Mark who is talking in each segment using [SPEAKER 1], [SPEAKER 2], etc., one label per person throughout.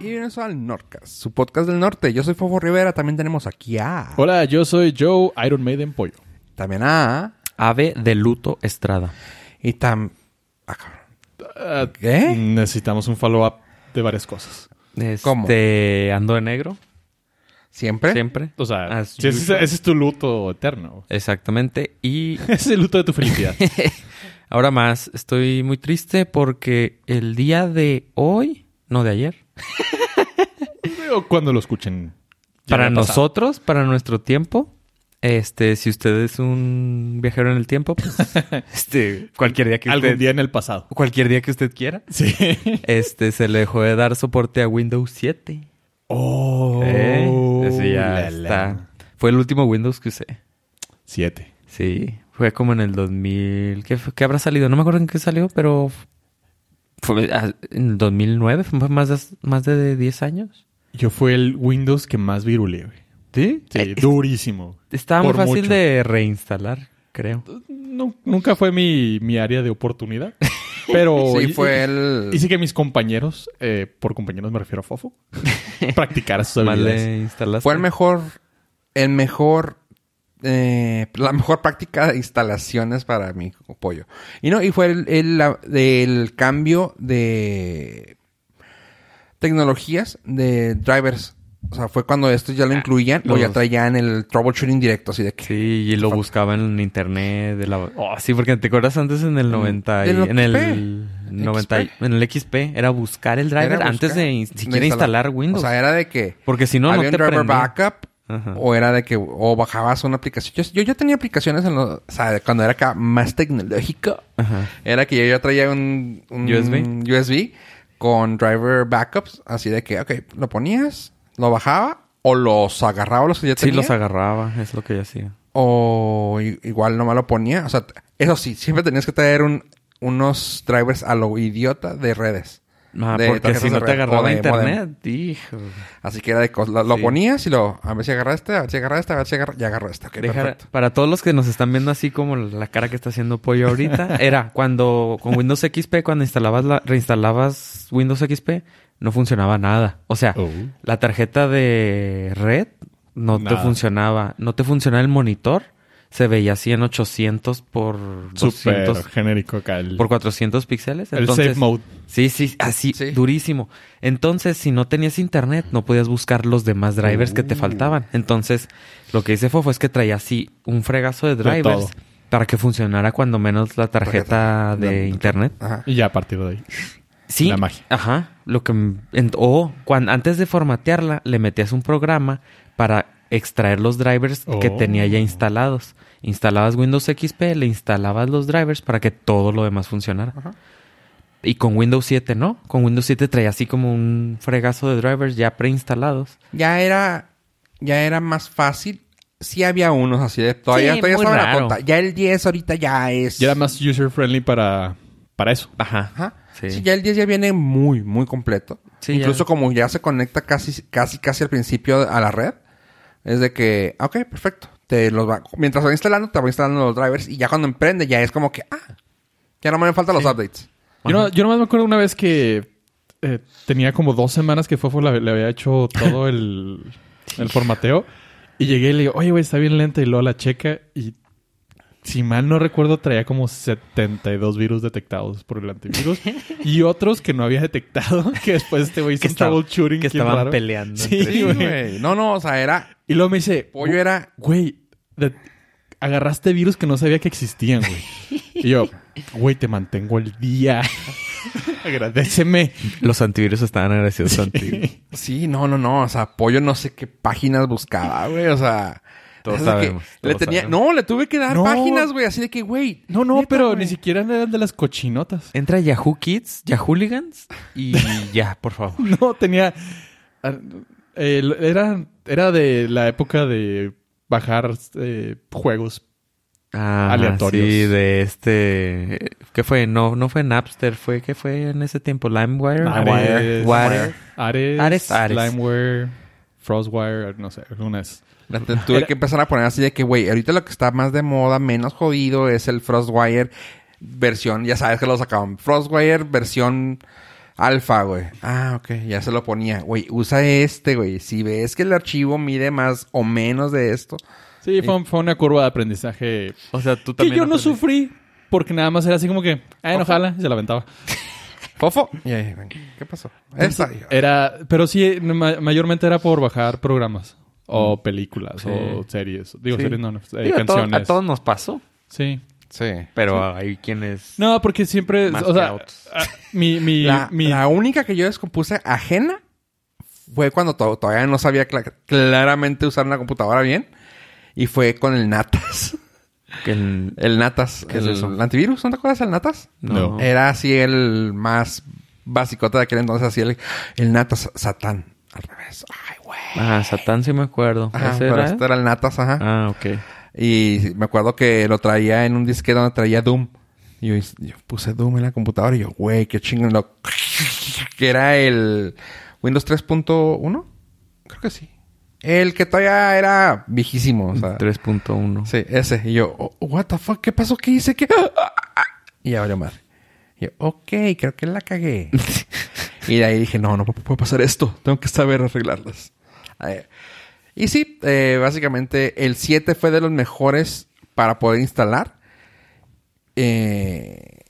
[SPEAKER 1] regreso al Nordcast, su podcast del norte. Yo soy Fofo Rivera, también tenemos aquí a...
[SPEAKER 2] Hola, yo soy Joe Iron Maiden Pollo.
[SPEAKER 1] También a...
[SPEAKER 3] Ave de luto Estrada.
[SPEAKER 1] Y tam... Ah, cabrón.
[SPEAKER 2] Ah,
[SPEAKER 1] ¿Qué?
[SPEAKER 2] Necesitamos un follow-up de varias cosas.
[SPEAKER 3] Este,
[SPEAKER 1] ¿Cómo?
[SPEAKER 3] Ando de negro,
[SPEAKER 1] ¿Siempre?
[SPEAKER 3] siempre.
[SPEAKER 2] O sea,
[SPEAKER 3] As
[SPEAKER 2] si ese, es-
[SPEAKER 3] usual.
[SPEAKER 2] ese es tu luto eterno.
[SPEAKER 3] Exactamente. Y
[SPEAKER 2] Ese es el luto de tu felicidad.
[SPEAKER 3] ahora más, estoy muy triste porque el día de hoy, no de ayer,
[SPEAKER 2] o cuando lo escuchen. Ya
[SPEAKER 3] para
[SPEAKER 2] ha pasado.
[SPEAKER 3] nosotros, para nuestro tiempo, este, si usted es un viajero en el tiempo, pues, este, cualquier día que
[SPEAKER 2] Algún
[SPEAKER 3] usted,
[SPEAKER 2] día en el pasado.
[SPEAKER 3] cualquier día que usted quiera,
[SPEAKER 2] Sí.
[SPEAKER 3] este, se le dejó de dar soporte a Windows 7.
[SPEAKER 2] Oh.
[SPEAKER 3] ¿eh? Ese ya
[SPEAKER 2] la, la.
[SPEAKER 3] está. Fue el último Windows que usé.
[SPEAKER 2] Siete.
[SPEAKER 3] Sí, fue como en el 2000. ¿Qué, fue- qué habrá salido? No me acuerdo en qué salió, pero. Fue ah, en el 2009, fue más de, más de 10 años.
[SPEAKER 2] Yo fue el Windows que más virulé, güey.
[SPEAKER 3] ¿Sí?
[SPEAKER 2] Sí, durísimo.
[SPEAKER 3] Estaba muy
[SPEAKER 2] Por
[SPEAKER 3] fácil
[SPEAKER 2] mucho.
[SPEAKER 3] de reinstalar, creo.
[SPEAKER 2] Nu- nunca fue mi, mi área de oportunidad. Pero.
[SPEAKER 3] Oh,
[SPEAKER 1] Sí,
[SPEAKER 2] y-
[SPEAKER 1] fue el...
[SPEAKER 2] Hice que mis compañeros, eh, por compañeros me refiero a Fofo, practicar sus
[SPEAKER 3] Más
[SPEAKER 2] habilidades.
[SPEAKER 3] le instalaste.
[SPEAKER 1] Fue el mejor, el mejor, eh, la mejor práctica de instalaciones para mi pollo. Y no, y fue el, el- la- del cambio de tecnologías de drivers. O sea, fue cuando esto ya lo incluían o ya
[SPEAKER 3] Ah, los-
[SPEAKER 1] traían el troubleshooting directo, así de que.
[SPEAKER 3] Sí, y lo buscaba en internet. De la... Oh, sí, porque te acuerdas antes en
[SPEAKER 1] Mm,
[SPEAKER 3] el 90. y-
[SPEAKER 1] del
[SPEAKER 3] en el
[SPEAKER 1] XP.
[SPEAKER 3] 90. y- En el XP. Era buscar el driver
[SPEAKER 1] era buscar,
[SPEAKER 3] antes de in- siquiera instalar Windows.
[SPEAKER 1] O sea, era de que.
[SPEAKER 3] porque si no, no
[SPEAKER 1] había
[SPEAKER 3] te
[SPEAKER 1] un driver
[SPEAKER 3] prendía.
[SPEAKER 1] backup
[SPEAKER 3] Ajá.
[SPEAKER 1] o era de que o bajabas una aplicación. Yo, yo ya tenía aplicaciones en los, o sea, cuando era acá más tecnológico.
[SPEAKER 3] Ajá.
[SPEAKER 1] Era que yo ya traía un, un
[SPEAKER 3] USB.
[SPEAKER 1] USB con driver backups, así de que, ok, lo ponías, lo bajaba o los agarraba los que ya
[SPEAKER 3] Sí,
[SPEAKER 1] tenía.
[SPEAKER 3] los agarraba, es lo que yo hacía.
[SPEAKER 1] O i- igual nomás lo ponía. O sea, t- eso sí, siempre tenías que traer un, unos drivers a lo idiota de redes.
[SPEAKER 3] Ah,
[SPEAKER 1] de
[SPEAKER 3] porque
[SPEAKER 1] tarjetas
[SPEAKER 3] si
[SPEAKER 1] de
[SPEAKER 3] no te
[SPEAKER 1] red o
[SPEAKER 3] agarraba
[SPEAKER 1] de modem.
[SPEAKER 3] internet, hijo.
[SPEAKER 1] Así que era de cosas. Lo, lo
[SPEAKER 3] Sí.
[SPEAKER 1] ponías y lo. A ver si agarra este, a ver si agarra este, a ver si agarra. Ya agarró este. Ok,
[SPEAKER 3] Deja-
[SPEAKER 1] perfecto.
[SPEAKER 3] para todos los que nos están viendo así como la cara que está haciendo Pollo ahorita, era cuando con Windows XP, cuando instalabas la, reinstalabas Windows XP, no funcionaba nada. O sea,
[SPEAKER 2] Oh.
[SPEAKER 3] la tarjeta de red no
[SPEAKER 2] Nada.
[SPEAKER 3] te funcionaba. No te funcionaba el monitor. Se veía así en 800 por 200
[SPEAKER 2] Súper genérico acá. El,
[SPEAKER 3] por 400 píxeles.
[SPEAKER 2] el
[SPEAKER 3] Entonces,
[SPEAKER 2] safe mode.
[SPEAKER 3] Sí, sí, así,
[SPEAKER 1] Sí.
[SPEAKER 3] durísimo. Entonces, si no tenías internet, no podías buscar los demás drivers que te faltaban. Entonces, lo que hice Fofo es que traía así un fregazo de drivers
[SPEAKER 2] todo.
[SPEAKER 3] para que funcionara cuando menos la
[SPEAKER 1] Tarjeta.
[SPEAKER 3] tarjeta de
[SPEAKER 1] La-
[SPEAKER 3] internet.
[SPEAKER 1] Ajá.
[SPEAKER 2] Y ya a partir de ahí.
[SPEAKER 3] Sí.
[SPEAKER 2] La magia.
[SPEAKER 3] Ajá. Lo que m- en- o cuando antes de formatearla le metías un programa para extraer los drivers que
[SPEAKER 2] Oh.
[SPEAKER 3] tenía ya instalados. Instalabas Windows XP, le instalabas los drivers para que todo lo demás funcionara.
[SPEAKER 1] Ajá.
[SPEAKER 3] Y con Windows 7 no, con Windows 7 traía así como un fregazo de drivers ya preinstalados.
[SPEAKER 1] Ya era. Ya era más fácil. Sí había unos así de. Todavía,
[SPEAKER 3] Sí,
[SPEAKER 1] todavía
[SPEAKER 3] muy
[SPEAKER 1] estaba la
[SPEAKER 3] raro.
[SPEAKER 1] conta. Ya el 10 ahorita ya es.
[SPEAKER 2] Y era más user friendly para, para eso.
[SPEAKER 3] Ajá.
[SPEAKER 1] Ajá. Sí.
[SPEAKER 3] Sí.
[SPEAKER 1] ya el 10 ya viene muy, muy completo.
[SPEAKER 3] Sí,
[SPEAKER 1] Incluso
[SPEAKER 3] ya.
[SPEAKER 1] como ya se conecta casi, casi, casi al principio a la red. Es de que, ok, perfecto. Te los va, mientras va instalando, te va instalando los drivers. Y ya cuando emprende, ya es como que, ah, ya no me faltan los updates.
[SPEAKER 2] Yo, no, yo nomás me acuerdo una vez que eh, tenía como dos semanas que Fofo la- le había hecho todo el, el formateo. Y llegué y le digo, oye, güey, está bien lenta. Y luego la checa y... Si mal no recuerdo, traía como 72 virus detectados por el antivirus y otros que no había detectado. Que después este güey hizo
[SPEAKER 3] Que
[SPEAKER 2] un
[SPEAKER 3] estaba-
[SPEAKER 2] troubleshooting.
[SPEAKER 3] que
[SPEAKER 2] bien
[SPEAKER 3] estaban
[SPEAKER 2] raro.
[SPEAKER 3] peleando entre
[SPEAKER 2] Sí, güey.
[SPEAKER 1] No, no, o sea, era,
[SPEAKER 2] Y luego me dice,
[SPEAKER 1] pollo era
[SPEAKER 2] güey, de- agarraste virus que no sabía que existían, güey. Y yo, güey, te mantengo el día. Agradeceme.
[SPEAKER 3] Los antivirus estaban agradecidos contigo.
[SPEAKER 1] Sí, no, no, no. O sea, Pollo no sé qué páginas buscaba, güey. O sea...
[SPEAKER 3] Todos
[SPEAKER 1] es de que
[SPEAKER 3] sabemos,
[SPEAKER 1] le
[SPEAKER 3] todos
[SPEAKER 1] tenía...
[SPEAKER 3] sabemos.
[SPEAKER 1] No, le tuve que dar
[SPEAKER 2] No.
[SPEAKER 1] páginas, güey. Así de que, güey...
[SPEAKER 2] No, no,
[SPEAKER 1] neta,
[SPEAKER 2] pero
[SPEAKER 1] güey.
[SPEAKER 2] ni siquiera eran de las cochinotas.
[SPEAKER 3] Entra Yahoo Kids, Yahooligans y ya, por favor.
[SPEAKER 2] No, tenía... ah, eh, era, era de la época de bajar eh, juegos.
[SPEAKER 3] Ah,
[SPEAKER 2] Aleatorios.
[SPEAKER 3] Sí, de este. ¿Qué fue? No, no fue Napster, fue ¿qué fue en ese tiempo? LimeWire.
[SPEAKER 2] Ares,
[SPEAKER 3] Wire.
[SPEAKER 2] Ares,
[SPEAKER 3] Ares, Ares.
[SPEAKER 2] Limeware, Frostwire, no sé, algunas.
[SPEAKER 1] Le te- Tuve que empezar a poner así de que, güey, ahorita lo que está más de moda, menos jodido, es el Frostwire versión... Ya sabes que lo sacaban. Frostwire versión Alfa, güey. Ah, ok. Ya se lo ponía. Güey, usa este, güey. Si ves que el archivo mide más o menos de esto.
[SPEAKER 2] Sí,
[SPEAKER 3] Eh,
[SPEAKER 2] fue, un- fue una curva de aprendizaje
[SPEAKER 3] O sea, tú
[SPEAKER 2] que
[SPEAKER 3] también.
[SPEAKER 2] yo no
[SPEAKER 3] aprendiste.
[SPEAKER 2] sufrí porque nada más era así como que, ay, no jala, y se la aventaba.
[SPEAKER 1] Fofo. Y ahí, güey, ¿Qué pasó? Esta.
[SPEAKER 2] Era, pero sí, ma- mayormente era por bajar programas o películas o series. Digo,
[SPEAKER 3] Mm. Sí.
[SPEAKER 2] series no, no, eh,
[SPEAKER 3] Digo, a, todo-
[SPEAKER 2] canciones.
[SPEAKER 3] a todos nos pasó.
[SPEAKER 2] Sí.
[SPEAKER 1] Sí.
[SPEAKER 3] Pero hay quienes.
[SPEAKER 2] No, porque siempre,
[SPEAKER 3] Más
[SPEAKER 2] o
[SPEAKER 3] que
[SPEAKER 2] sea,
[SPEAKER 3] a otros.
[SPEAKER 2] ah, mi, mi,
[SPEAKER 1] La,
[SPEAKER 2] mi-
[SPEAKER 1] la única que yo descompuse ajena fue cuando to- todavía no sabía cla- claramente usar una computadora bien. Y fue con el Natas.
[SPEAKER 3] que el-
[SPEAKER 1] El Natas.
[SPEAKER 3] ¿Qué es
[SPEAKER 1] el,
[SPEAKER 3] eso?
[SPEAKER 1] antivirus. ¿No Eh, te acuerdas del Natas?
[SPEAKER 2] No.
[SPEAKER 1] Era así el más basicota de aquel entonces. Así el, el Natas Satán. Al revés. Ay, güey.
[SPEAKER 3] Ah, Satán sí me acuerdo.
[SPEAKER 1] Ajá,
[SPEAKER 3] ¿Ese
[SPEAKER 1] pero
[SPEAKER 3] era?
[SPEAKER 1] este era el Natas, ajá.
[SPEAKER 3] Ah, ok.
[SPEAKER 1] Y me acuerdo que lo traía en un disque donde traía Doom. Y yo, yo puse Doom en la computadora y yo, güey, qué chingón. Lo... Que era el Windows 3.1. Creo que sí. El que todavía era viejísimo. O sea,
[SPEAKER 3] 3.1.
[SPEAKER 1] sí, ese. Y yo, oh, what the fuck, ¿qué pasó? ¿Qué hice? ¿Qué? Y ya valió madre. Y yo, ok, creo que la cagué. y de ahí dije, no, no puede pasar esto. Tengo que saber arreglarlas. A ver. Y sí, eh, básicamente el 7 fue de los mejores para poder instalar. Eh,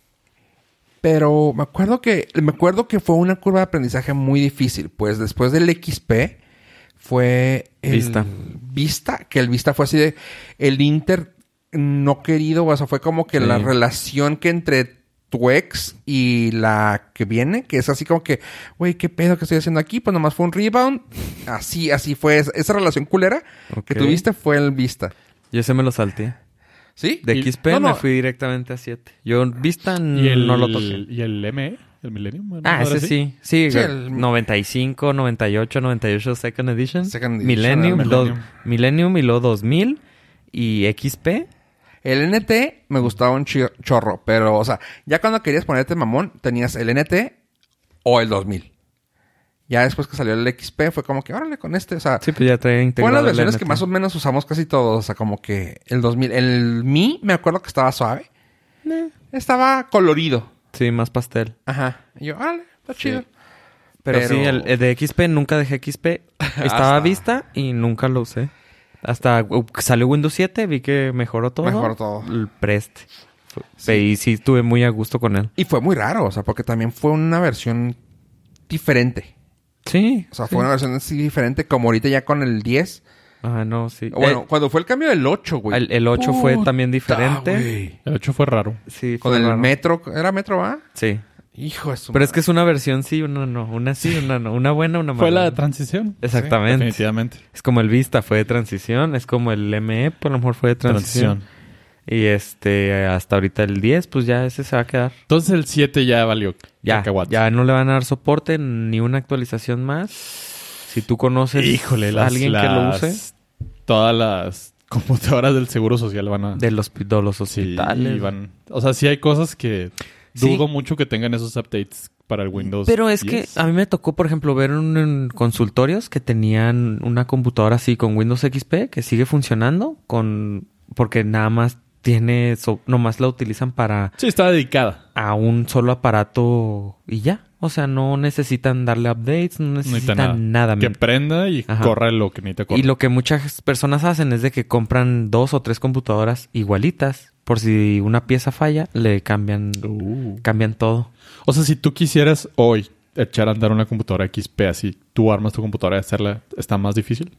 [SPEAKER 1] pero me acuerdo que me acuerdo que fue una curva de aprendizaje muy difícil. Pues después del XP fue el
[SPEAKER 3] Vista.
[SPEAKER 1] Vista, que el Vista fue así de el Inter no querido, o sea, fue como que la
[SPEAKER 3] Sí.
[SPEAKER 1] relación que entre tu ex y la que viene, que es así como que, güey, qué pedo que estoy haciendo aquí, pues nomás fue un rebound. Así, así fue. es- Esa relación culera que
[SPEAKER 3] Ok.
[SPEAKER 1] tuviste fue el Vista.
[SPEAKER 3] Yo ese me lo salté.
[SPEAKER 1] ¿Sí?
[SPEAKER 3] De
[SPEAKER 2] Y-
[SPEAKER 3] XP
[SPEAKER 1] no, no.
[SPEAKER 3] me fui directamente a 7. Yo en Vista
[SPEAKER 2] y el,
[SPEAKER 3] no lo toqué.
[SPEAKER 2] Y el ME, el Millennium. ¿no?
[SPEAKER 3] Ah,
[SPEAKER 2] Ahora
[SPEAKER 3] ese sí. Sí,
[SPEAKER 1] Sí,
[SPEAKER 3] güey.
[SPEAKER 1] el-
[SPEAKER 3] 95, 98, 98 Second Edition.
[SPEAKER 1] Second Edition,
[SPEAKER 3] Millennium,
[SPEAKER 2] era
[SPEAKER 3] dos-
[SPEAKER 2] Millennium.
[SPEAKER 3] Millennium y luego 2000 y XP.
[SPEAKER 1] El NT me gustaba un chi- chorro, pero, o sea, ya cuando querías ponerte mamón, tenías el NT o el 2000. Ya después que salió el XP fue como que, órale, con este, o sea,
[SPEAKER 3] Sí, pues ya traía integrado.
[SPEAKER 1] fueron las
[SPEAKER 3] el
[SPEAKER 1] versiones que
[SPEAKER 3] NT.
[SPEAKER 1] más o menos usamos casi todos, o sea, como que el 2000, el Mi me acuerdo que estaba suave, estaba colorido.
[SPEAKER 3] Sí, más pastel.
[SPEAKER 1] Ajá. Y yo, órale, está chido.
[SPEAKER 3] Pero,
[SPEAKER 1] Pero-
[SPEAKER 3] sí, el, el de XP nunca dejé XP. Estaba
[SPEAKER 1] Hasta-
[SPEAKER 3] a vista y nunca lo usé. Hasta uh, salió Windows 7, vi que mejoró todo.
[SPEAKER 1] Mejoró todo.
[SPEAKER 3] El Prest. Y sí, estuve muy a gusto con él.
[SPEAKER 1] Y fue muy raro, o sea, porque también fue una versión diferente.
[SPEAKER 3] Sí.
[SPEAKER 1] O sea, fue una versión así diferente, como ahorita ya con el 10.
[SPEAKER 3] Ah, no, sí.
[SPEAKER 1] Bueno,
[SPEAKER 3] Eh,
[SPEAKER 1] cuando fue el cambio del 8, güey.
[SPEAKER 3] el, el 8 fue
[SPEAKER 1] Puta,
[SPEAKER 3] también diferente.
[SPEAKER 1] güey.
[SPEAKER 2] El 8 fue raro.
[SPEAKER 3] Sí,
[SPEAKER 1] Con
[SPEAKER 3] fue
[SPEAKER 1] el
[SPEAKER 3] raro.
[SPEAKER 1] metro, ¿era metro, va?
[SPEAKER 3] Sí.
[SPEAKER 1] Hijo de su
[SPEAKER 3] Pero es que
[SPEAKER 1] madre.
[SPEAKER 3] es una versión sí, una no. Una sí, una no. Una buena, una mala.
[SPEAKER 2] Fue la transición.
[SPEAKER 3] Exactamente.
[SPEAKER 2] Definitivamente.
[SPEAKER 3] es como el Vista, fue de transición. Es como el ME, por lo mejor fue de transición.
[SPEAKER 2] Transición.
[SPEAKER 3] Y este, hasta ahorita el 10, pues ya ese se va a quedar.
[SPEAKER 2] Entonces el 7 ya valió.
[SPEAKER 3] Ya,
[SPEAKER 2] cacahuate.
[SPEAKER 3] ya no le van a dar soporte ni una actualización más. Si tú conoces
[SPEAKER 2] Híjole,
[SPEAKER 3] a
[SPEAKER 2] las,
[SPEAKER 3] alguien que lo
[SPEAKER 2] las-
[SPEAKER 3] use,
[SPEAKER 2] Todas las computadoras del Seguro Social van a...
[SPEAKER 3] de los, de los
[SPEAKER 2] sí,
[SPEAKER 3] hospitales.
[SPEAKER 2] y van- o sea, sí hay cosas que
[SPEAKER 3] Sí.
[SPEAKER 2] dudo mucho que tengan esos updates para el Windows.
[SPEAKER 3] Pero es
[SPEAKER 2] 10.
[SPEAKER 3] que a mí me tocó, por ejemplo, ver un, en consultorios que tenían una computadora así con Windows XP que sigue funcionando con porque nada más tiene so- nomás la utilizan para
[SPEAKER 2] Sí, está dedicada.
[SPEAKER 3] a un solo aparato y ya. O sea, no necesitan darle updates, no
[SPEAKER 2] No necesita
[SPEAKER 3] necesitan
[SPEAKER 2] nada.
[SPEAKER 3] nada.
[SPEAKER 2] que prenda y
[SPEAKER 3] Ajá.
[SPEAKER 2] corra lo que necesita correr.
[SPEAKER 3] Y lo que muchas personas hacen es de que compran dos o tres computadoras igualitas. Por si una pieza falla, le cambian,
[SPEAKER 2] Uh.
[SPEAKER 3] cambian todo.
[SPEAKER 2] O sea, si tú quisieras hoy echar a andar una computadora XP así, tú armas tu computadora y hacerla, ¿está más difícil?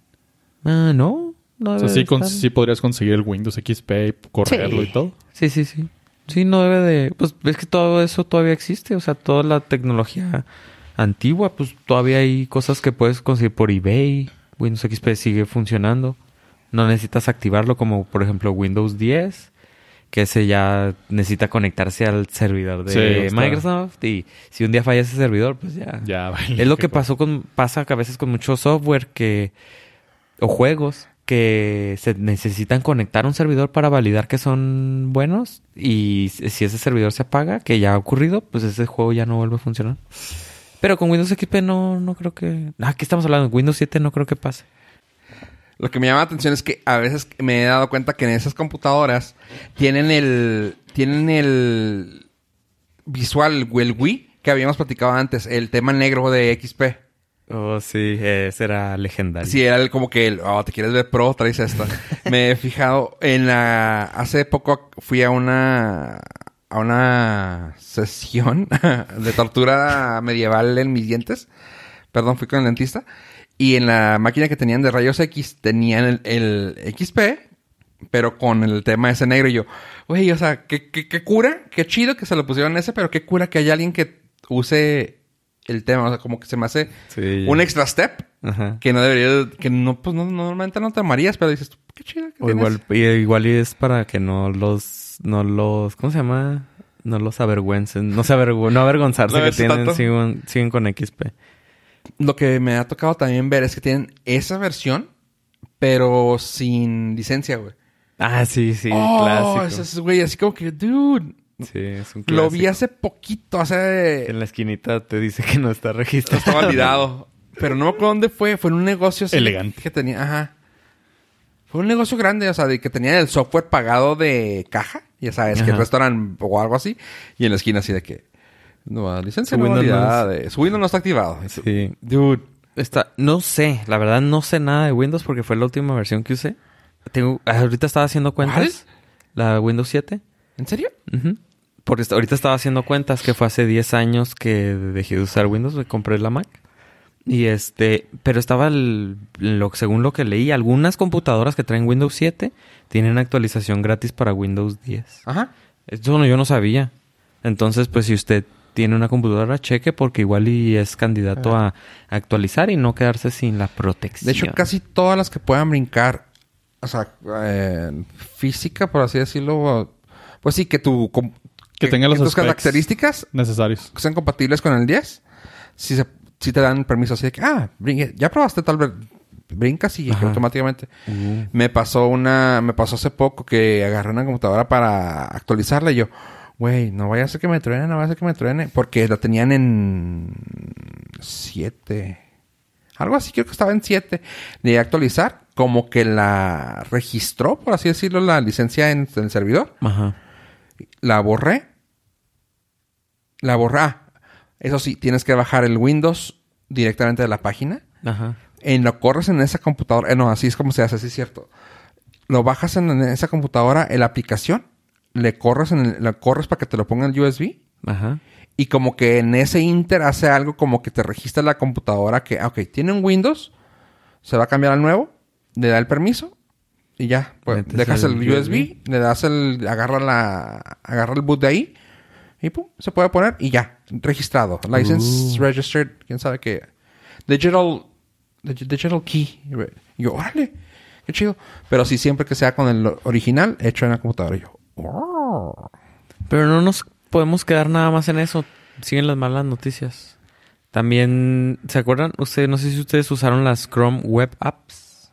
[SPEAKER 3] Ah, no. no
[SPEAKER 2] O
[SPEAKER 3] debe
[SPEAKER 2] sea, sí,
[SPEAKER 3] de
[SPEAKER 2] con-
[SPEAKER 3] estar.
[SPEAKER 2] sí podrías conseguir el Windows XP y correrlo
[SPEAKER 3] Sí.
[SPEAKER 2] y todo.
[SPEAKER 3] Sí, sí, sí. Sí, no debe de... Pues es que todo eso todavía existe. O sea, toda la tecnología antigua, pues todavía hay cosas que puedes conseguir por eBay. Windows XP sigue funcionando. No necesitas activarlo como, por ejemplo, Windows 10, que ese ya necesita conectarse al servidor
[SPEAKER 2] Sí,
[SPEAKER 3] de
[SPEAKER 2] está.
[SPEAKER 3] Microsoft. Y si un día falla ese servidor, pues ya...
[SPEAKER 2] Ya, vale.
[SPEAKER 3] Es lo que pasó con, pasa a veces con mucho software que, o juegos que se necesitan conectar a un servidor para validar que son buenos y si si ese servidor se apaga, que ya ha ocurrido, pues ese juego ya no vuelve a funcionar. Pero con Windows XP no, no creo que... Ah, ¿qué estamos hablando? Windows 7 no creo que pase.
[SPEAKER 1] Lo que me llama la atención es que a veces me he dado cuenta que en esas computadoras tienen el... Tienen el visual, güey, el Wii, que habíamos platicado antes, el tema negro de XP.
[SPEAKER 3] Oh, sí, ese era legendario.
[SPEAKER 1] Si era el- como que, el, "Oh, te quieres ver pro, traes esta. Me he fijado en la... Hace poco fui a una... A una sesión de tortura medieval en mis dientes. Perdón, fui con el dentista. Y en la máquina que tenían de rayos X tenían el, el XP, pero con el tema ese negro. Y yo, güey, o sea, ¿qué, qué, qué cura, qué chido que se lo pusieron ese, pero qué cura que haya alguien que use el tema. O sea, como que se me hace
[SPEAKER 3] Sí.
[SPEAKER 1] un extra step
[SPEAKER 3] Ajá.
[SPEAKER 1] que no debería, que no, pues no, normalmente no te amarías, pero dices, tú, qué chido que
[SPEAKER 3] O
[SPEAKER 1] tienes.
[SPEAKER 3] igual, y- igual y es para que no los, no los, ¿cómo se llama? No los avergüencen, no se avergü- no avergonzarse
[SPEAKER 1] No
[SPEAKER 3] que
[SPEAKER 1] ves
[SPEAKER 3] tienen,
[SPEAKER 1] tanto.
[SPEAKER 3] siguen, siguen con XP.
[SPEAKER 1] Lo que me ha tocado también ver es que tienen esa versión, pero sin licencia, güey.
[SPEAKER 3] Ah, sí, sí,
[SPEAKER 1] oh,
[SPEAKER 3] clásico.
[SPEAKER 1] esos güey, así como que, dude,
[SPEAKER 3] Sí, es un clásico.
[SPEAKER 1] lo vi hace poquito, hace...
[SPEAKER 3] En la esquinita te dice que no está registrado.
[SPEAKER 1] Está validado. pero no me acuerdo dónde fue, fue en un negocio... así
[SPEAKER 2] Elegante.
[SPEAKER 1] Que tenía, ajá. Fue un negocio grande, o sea, de que tenía el software pagado de caja, ya sabes, que
[SPEAKER 3] Ajá.
[SPEAKER 1] el restaurante o algo así, y en la esquina así de que... No, licencia
[SPEAKER 3] Su
[SPEAKER 1] no
[SPEAKER 3] Windows no
[SPEAKER 1] validada, de- su Windows no está activado. Y tú,
[SPEAKER 3] Sí. Dude. Está, no sé, la verdad no sé nada de Windows porque fue la última versión que usé. Tengo, ahorita estaba haciendo cuentas. La Windows 7.
[SPEAKER 1] ¿En serio?
[SPEAKER 3] Ujú. Porque est- ahorita estaba haciendo cuentas que fue hace 10 años que dejé de usar Windows, me compré la Mac. Y este, pero estaba el- lo, según lo que leí, algunas computadoras que traen Windows 7 tienen actualización gratis para Windows 10.
[SPEAKER 1] Ajá.
[SPEAKER 3] Eso no, yo no sabía. Entonces, pues si usted tiene una computadora, cheque porque igual y es candidato a actualizar y no quedarse sin la protección.
[SPEAKER 1] De hecho, casi todas las que puedan brincar, o sea, eh, física, por así decirlo, o- pues sí, que tu... com-
[SPEAKER 2] Que tenga los
[SPEAKER 1] tus
[SPEAKER 2] specs.
[SPEAKER 1] características
[SPEAKER 2] Necesarios.
[SPEAKER 1] sean compatibles con el 10, si, se- si te dan permiso así de que, ah, brinque- ya probaste tal vez, brincas y
[SPEAKER 3] Ajá.
[SPEAKER 1] automáticamente. Me pasó una, me pasó hace poco que agarré una computadora para actualizarla y yo, güey, no vaya a ser que me truene, no vaya a ser que me truene, porque la tenían en 7. Algo así, creo que estaba en 7. De actualizar, como que la registró, por así decirlo, la licencia en, en el servidor.
[SPEAKER 3] Ajá.
[SPEAKER 1] La borré. La borré. Ah, eso sí, tienes que bajar el Windows directamente de la página
[SPEAKER 3] Ajá.
[SPEAKER 1] en lo corres en esa computadora. eh, no, así es como se hace, sí es cierto. Lo bajas en, en esa computadora, en la aplicación, le corres en el- la corres para que te lo ponga el USB.
[SPEAKER 3] Ajá.
[SPEAKER 1] Y como que en ese inter hace algo como que te registra la computadora que, ah, ok, tiene un Windows, se va a cambiar al nuevo, le da el permiso y ya. Pues,
[SPEAKER 3] Metes
[SPEAKER 1] dejas
[SPEAKER 3] el
[SPEAKER 1] el, USB, le das el, agarra la, agarra el boot de ahí y pum, se puede poner y ya, registrado. License registered, quién sabe qué. Digital, dig- digital key. Y yo, órale, qué chido. Pero sí, siempre que sea con el original, hecho en la computadora. Y yo, "Oh".
[SPEAKER 3] Pero no nos podemos quedar nada más en eso. Siguen las malas noticias. También, ¿se acuerdan? Ustedes, no sé si ustedes usaron las Chrome Web Apps.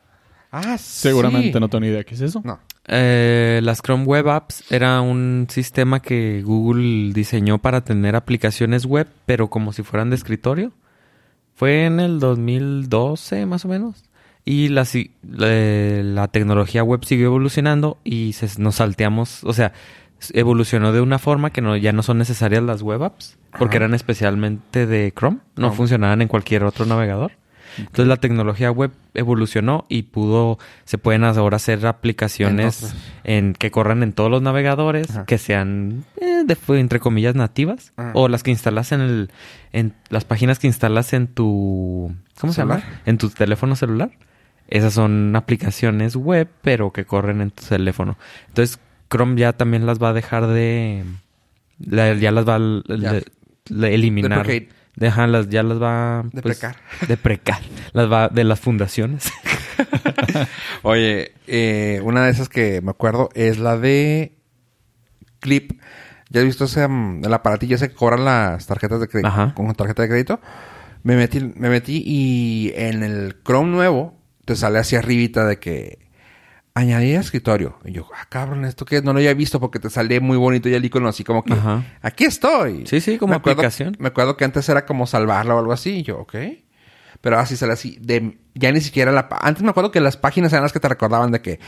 [SPEAKER 1] Ah,
[SPEAKER 2] Seguramente
[SPEAKER 1] sí.
[SPEAKER 2] no tengo ni idea qué es eso.
[SPEAKER 1] No.
[SPEAKER 3] Eh, las Chrome Web Apps era un sistema que Google diseñó para tener aplicaciones web, pero como si fueran de escritorio. Fue en el 2012, más o menos. Y la, si- eh, la tecnología web siguió evolucionando y se- nos salteamos, o sea, s- evolucionó de una forma que no, ya no son necesarias las web apps, porque
[SPEAKER 1] Ajá.
[SPEAKER 3] eran especialmente de Chrome, no
[SPEAKER 1] Chrome.
[SPEAKER 3] funcionaban en cualquier otro navegador. Entonces la tecnología web evolucionó y pudo, se pueden ahora hacer aplicaciones
[SPEAKER 1] Entonces.
[SPEAKER 3] en que corran en todos los navegadores,
[SPEAKER 1] Ajá.
[SPEAKER 3] que sean eh, de- entre comillas nativas,
[SPEAKER 1] Ajá.
[SPEAKER 3] o las que instalas en el, en las páginas que instalas en tu ¿cómo se llama?
[SPEAKER 1] ¿Celular?
[SPEAKER 3] En tu teléfono celular. Esas son aplicaciones web, pero que corren en tu teléfono. Entonces, Chrome ya también las va a dejar de. la- ya las va a l-
[SPEAKER 1] Ya.
[SPEAKER 3] de- de eliminar.
[SPEAKER 1] Deprecate.
[SPEAKER 3] Deja, las, ya las va.
[SPEAKER 1] Deprecar.
[SPEAKER 3] deprecar. Las va de las fundaciones.
[SPEAKER 1] Oye, eh, una de esas que me acuerdo es la de Clip. ¿Ya has visto ese, mm, el aparatillo ese que cobran las tarjetas de crédito?
[SPEAKER 3] Ajá.
[SPEAKER 1] Con tarjeta de crédito. Me metí, me metí y en el Chrome nuevo te sale hacia arribita de que añadir a escritorio. Y yo, ah, cabrón, ¿esto qué es? No lo había visto porque te salía muy bonito ya el icono así como que,
[SPEAKER 3] Ajá.
[SPEAKER 1] aquí estoy.
[SPEAKER 3] Sí, sí, como
[SPEAKER 1] Me acuerdo-
[SPEAKER 3] aplicación.
[SPEAKER 1] me acuerdo que antes era como salvarla o algo así. Y yo, ok. Pero así sale así. De, ya ni siquiera la... pa- Antes me acuerdo que las páginas eran las que te recordaban de que...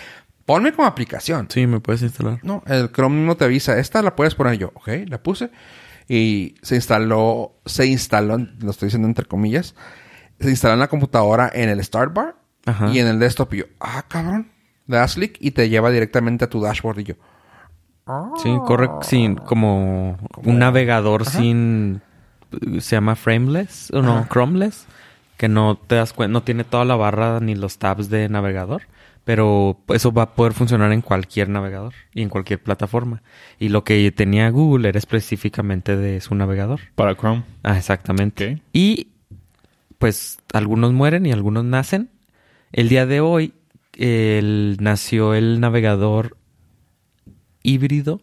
[SPEAKER 1] Ponme como aplicación.
[SPEAKER 3] Sí, me puedes instalar.
[SPEAKER 1] No, el Chrome no te avisa. Esta la puedes poner yo. Ok, la puse. y se instaló, se instaló, lo estoy diciendo entre comillas, se instaló en la computadora en el Start Bar
[SPEAKER 3] Ajá.
[SPEAKER 1] y en el desktop. Y yo, ah, cabrón, le das clic y te lleva directamente a tu dashboard. Y yo,
[SPEAKER 3] Sí, corre sin como un navegador sin se llama frameless o no,
[SPEAKER 1] Ajá.
[SPEAKER 3] chromeless, que no te das cuenta, no tiene toda la barra ni los tabs de navegador, pero eso va a poder funcionar en cualquier navegador y en cualquier plataforma. Y lo que tenía Google era específicamente de su navegador.
[SPEAKER 2] Para Chrome.
[SPEAKER 3] Ah, exactamente.
[SPEAKER 2] Ok.
[SPEAKER 3] Y pues algunos mueren y algunos nacen. El día de hoy el- nació el navegador híbrido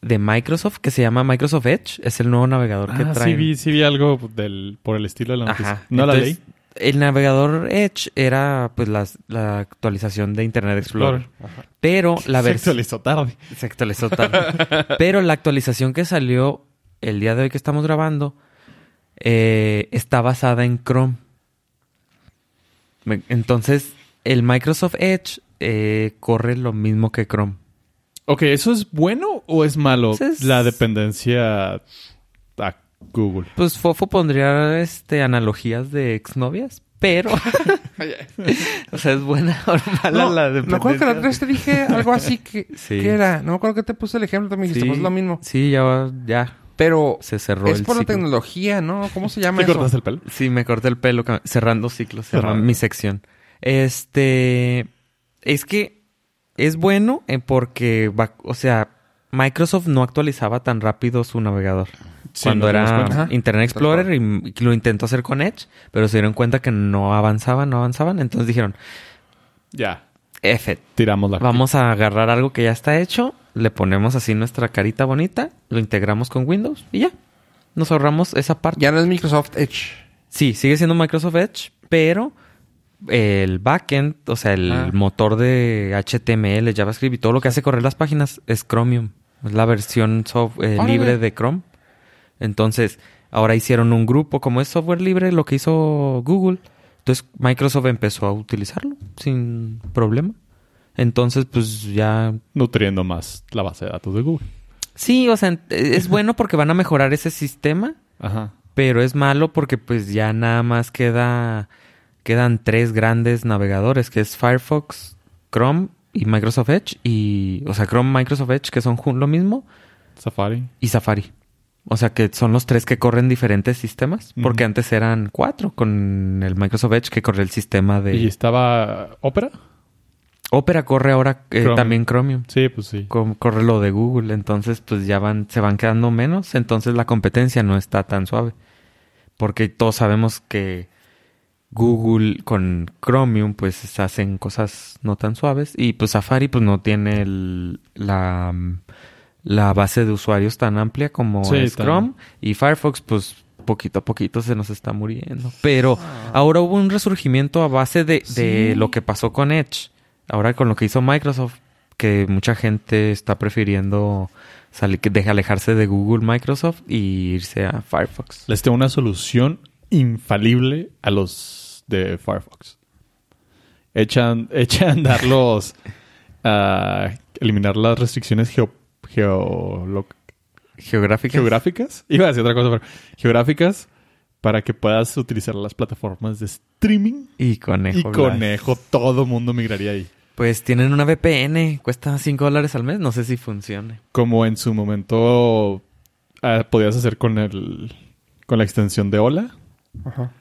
[SPEAKER 3] de Microsoft que se llama Microsoft Edge. Es el nuevo navegador que
[SPEAKER 2] Ah,
[SPEAKER 3] trae.
[SPEAKER 2] sí vi, sí vi algo del, por el estilo de la noticia.
[SPEAKER 3] Ajá.
[SPEAKER 2] No la
[SPEAKER 3] Entonces,
[SPEAKER 2] leí.
[SPEAKER 3] El navegador Edge era pues las- la actualización de Internet Explorer.
[SPEAKER 2] Ajá.
[SPEAKER 3] Pero la
[SPEAKER 2] Se
[SPEAKER 3] versión...
[SPEAKER 2] actualizó tarde.
[SPEAKER 3] Se actualizó tarde. Pero la actualización que salió el día de hoy que estamos grabando eh, está basada en Chrome. Me- Entonces, el Microsoft Edge eh, corre lo mismo que Chrome.
[SPEAKER 2] Ok, ¿eso es bueno o es malo?
[SPEAKER 3] Eso es-
[SPEAKER 2] La dependencia a Google.
[SPEAKER 3] Pues Fofo pondría este, analogías de exnovias, pero... o sea, es buena o mala
[SPEAKER 1] No,
[SPEAKER 3] la
[SPEAKER 1] me acuerdo que
[SPEAKER 3] dependencia.
[SPEAKER 1] la otra vez te dije algo así que,
[SPEAKER 3] Sí.
[SPEAKER 1] que era. No me acuerdo que te puse el ejemplo, me dijiste,
[SPEAKER 3] Sí,
[SPEAKER 1] pues es lo mismo.
[SPEAKER 3] Sí, ya, ya
[SPEAKER 1] Pero
[SPEAKER 3] se cerró
[SPEAKER 1] es
[SPEAKER 3] el
[SPEAKER 1] por la
[SPEAKER 3] ciclo.
[SPEAKER 1] tecnología, ¿no? ¿Cómo se llama
[SPEAKER 2] ¿Te
[SPEAKER 1] eso?
[SPEAKER 2] cortaste el pelo?
[SPEAKER 3] Sí, me corté el pelo ca- cerrando ciclos, cerrando
[SPEAKER 2] Cerrando.
[SPEAKER 3] mi sección. Este es que es bueno eh, porque va- o sea, Microsoft no actualizaba tan rápido su navegador.
[SPEAKER 2] Sí, nos
[SPEAKER 3] cuando
[SPEAKER 2] dimos
[SPEAKER 3] era
[SPEAKER 2] cuenta.
[SPEAKER 1] Ajá.
[SPEAKER 3] Internet Explorer y, y lo intentó hacer con Edge, pero se dieron cuenta que no avanzaban, no avanzaban, entonces dijeron,
[SPEAKER 2] Ya,
[SPEAKER 3] F, it,
[SPEAKER 2] tiramos la...
[SPEAKER 3] vamos a agarrar algo que ya está hecho, le ponemos así nuestra carita bonita, lo integramos con Windows y ya. Nos ahorramos esa parte.
[SPEAKER 1] Ya no es Microsoft Edge.
[SPEAKER 3] Sí, sigue siendo Microsoft Edge, pero el backend, o sea, el
[SPEAKER 1] Ah.
[SPEAKER 3] motor de HTML, JavaScript y todo lo que hace correr las páginas es Chromium. Es la versión sof- eh,
[SPEAKER 1] Órale.
[SPEAKER 3] libre de Chrome. Entonces, ahora hicieron un grupo. Como es software libre, lo que hizo Google. Entonces, Microsoft empezó a utilizarlo sin problema. Entonces, pues ya
[SPEAKER 2] Nutriendo más la base de datos de Google.
[SPEAKER 3] Sí, o sea, ent- es bueno porque van a mejorar ese sistema,
[SPEAKER 2] Ajá.
[SPEAKER 3] pero es malo porque pues ya nada más queda quedan tres grandes navegadores, que es Firefox, Chrome y Microsoft Edge y o sea, Chrome, Microsoft Edge que son jun- lo mismo
[SPEAKER 2] Safari.
[SPEAKER 3] y Safari. O sea, que son los tres que corren diferentes sistemas, porque
[SPEAKER 2] Ujú.
[SPEAKER 3] antes eran cuatro con el Microsoft Edge que corre el sistema de
[SPEAKER 2] ¿Y estaba Opera?
[SPEAKER 3] Opera corre ahora eh,
[SPEAKER 2] Chromium.
[SPEAKER 3] también Chromium.
[SPEAKER 2] Sí, pues sí.
[SPEAKER 3] com- corre lo de Google, entonces pues ya van, se van quedando menos, entonces la competencia no está tan suave. Porque todos sabemos que Google con Chromium pues hacen cosas no tan suaves y pues Safari pues no tiene el- la, la base de usuarios tan amplia como
[SPEAKER 2] Sí,
[SPEAKER 3] es
[SPEAKER 2] tan-
[SPEAKER 3] Chrome y Firefox pues poquito a poquito se nos está muriendo. Pero ahora hubo un resurgimiento a base de, de
[SPEAKER 1] Sí.
[SPEAKER 3] lo que pasó con Edge. Ahora con lo que hizo Microsoft, que mucha gente está prefiriendo salir, que deja alejarse de Google, Microsoft y irse a Firefox.
[SPEAKER 2] Les tengo una solución infalible a los de Firefox. Echan, echan a andar los... a eliminar las restricciones geo, geolo-
[SPEAKER 3] Geográfica.
[SPEAKER 2] geográficas. Iba a decir otra cosa, pero... Geográficas para que puedas utilizar las plataformas de streaming.
[SPEAKER 3] y conejo.
[SPEAKER 2] Y
[SPEAKER 3] Blas.
[SPEAKER 2] conejo, todo mundo migraría ahí.
[SPEAKER 3] Pues tienen una VPN, cuesta 5 dólares al mes, no sé si funcione.
[SPEAKER 2] como en su momento ah, podías hacer con el con la extensión de Hola,
[SPEAKER 1] Ajá.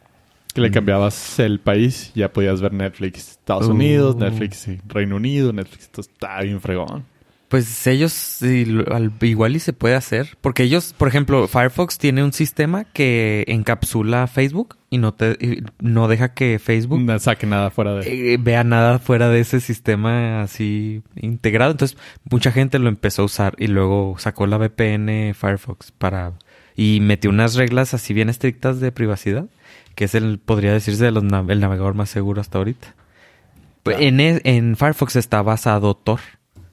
[SPEAKER 2] que le cambiabas el país, ya podías ver Netflix Estados
[SPEAKER 3] Uh.
[SPEAKER 2] Unidos, Netflix eh, Reino Unido, Netflix esto está bien fregón.
[SPEAKER 3] Pues ellos sí, lo- al- igual y se puede hacer, porque ellos, por ejemplo, Firefox tiene un sistema que encapsula Facebook y no te y no deja que Facebook
[SPEAKER 2] No saque nada fuera de
[SPEAKER 3] eh, vea nada fuera de ese sistema así integrado. Entonces, mucha gente lo empezó a usar y luego sacó la VPN Firefox para y metió unas reglas así bien estrictas de privacidad, que es el podría decirse de los nav- el navegador más seguro hasta ahorita. Pues, En, e- en Firefox está basado Tor.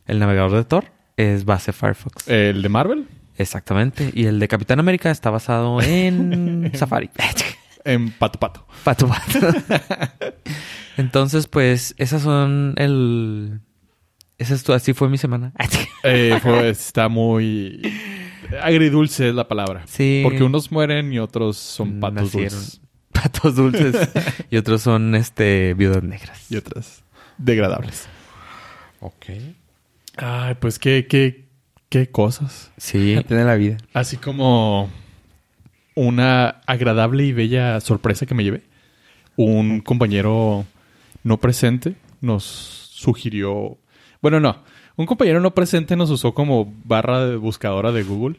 [SPEAKER 3] El navegador de Tor es base Firefox.
[SPEAKER 2] el de Marvel
[SPEAKER 3] Exactamente. Y el de Capitán América está basado en Safari.
[SPEAKER 2] en Pato Pato.
[SPEAKER 3] Pato pato. Entonces, pues, esas son el. Esa es tu- así fue mi semana.
[SPEAKER 2] Eh, fue- está muy agridulce es la palabra.
[SPEAKER 3] Sí.
[SPEAKER 2] Porque unos mueren y otros son patos
[SPEAKER 3] Nacieron
[SPEAKER 2] dulces.
[SPEAKER 3] Patos dulces. y otros son este viudas negras.
[SPEAKER 2] Y otras degradables.
[SPEAKER 1] Ok.
[SPEAKER 2] Ay, pues qué, qué, qué cosas.
[SPEAKER 3] Sí.
[SPEAKER 1] Tiene la vida.
[SPEAKER 2] Así como una agradable y bella sorpresa que me llevé. Un compañero no presente nos sugirió. Bueno, no. Un compañero no presente nos usó como barra de buscadora de Google.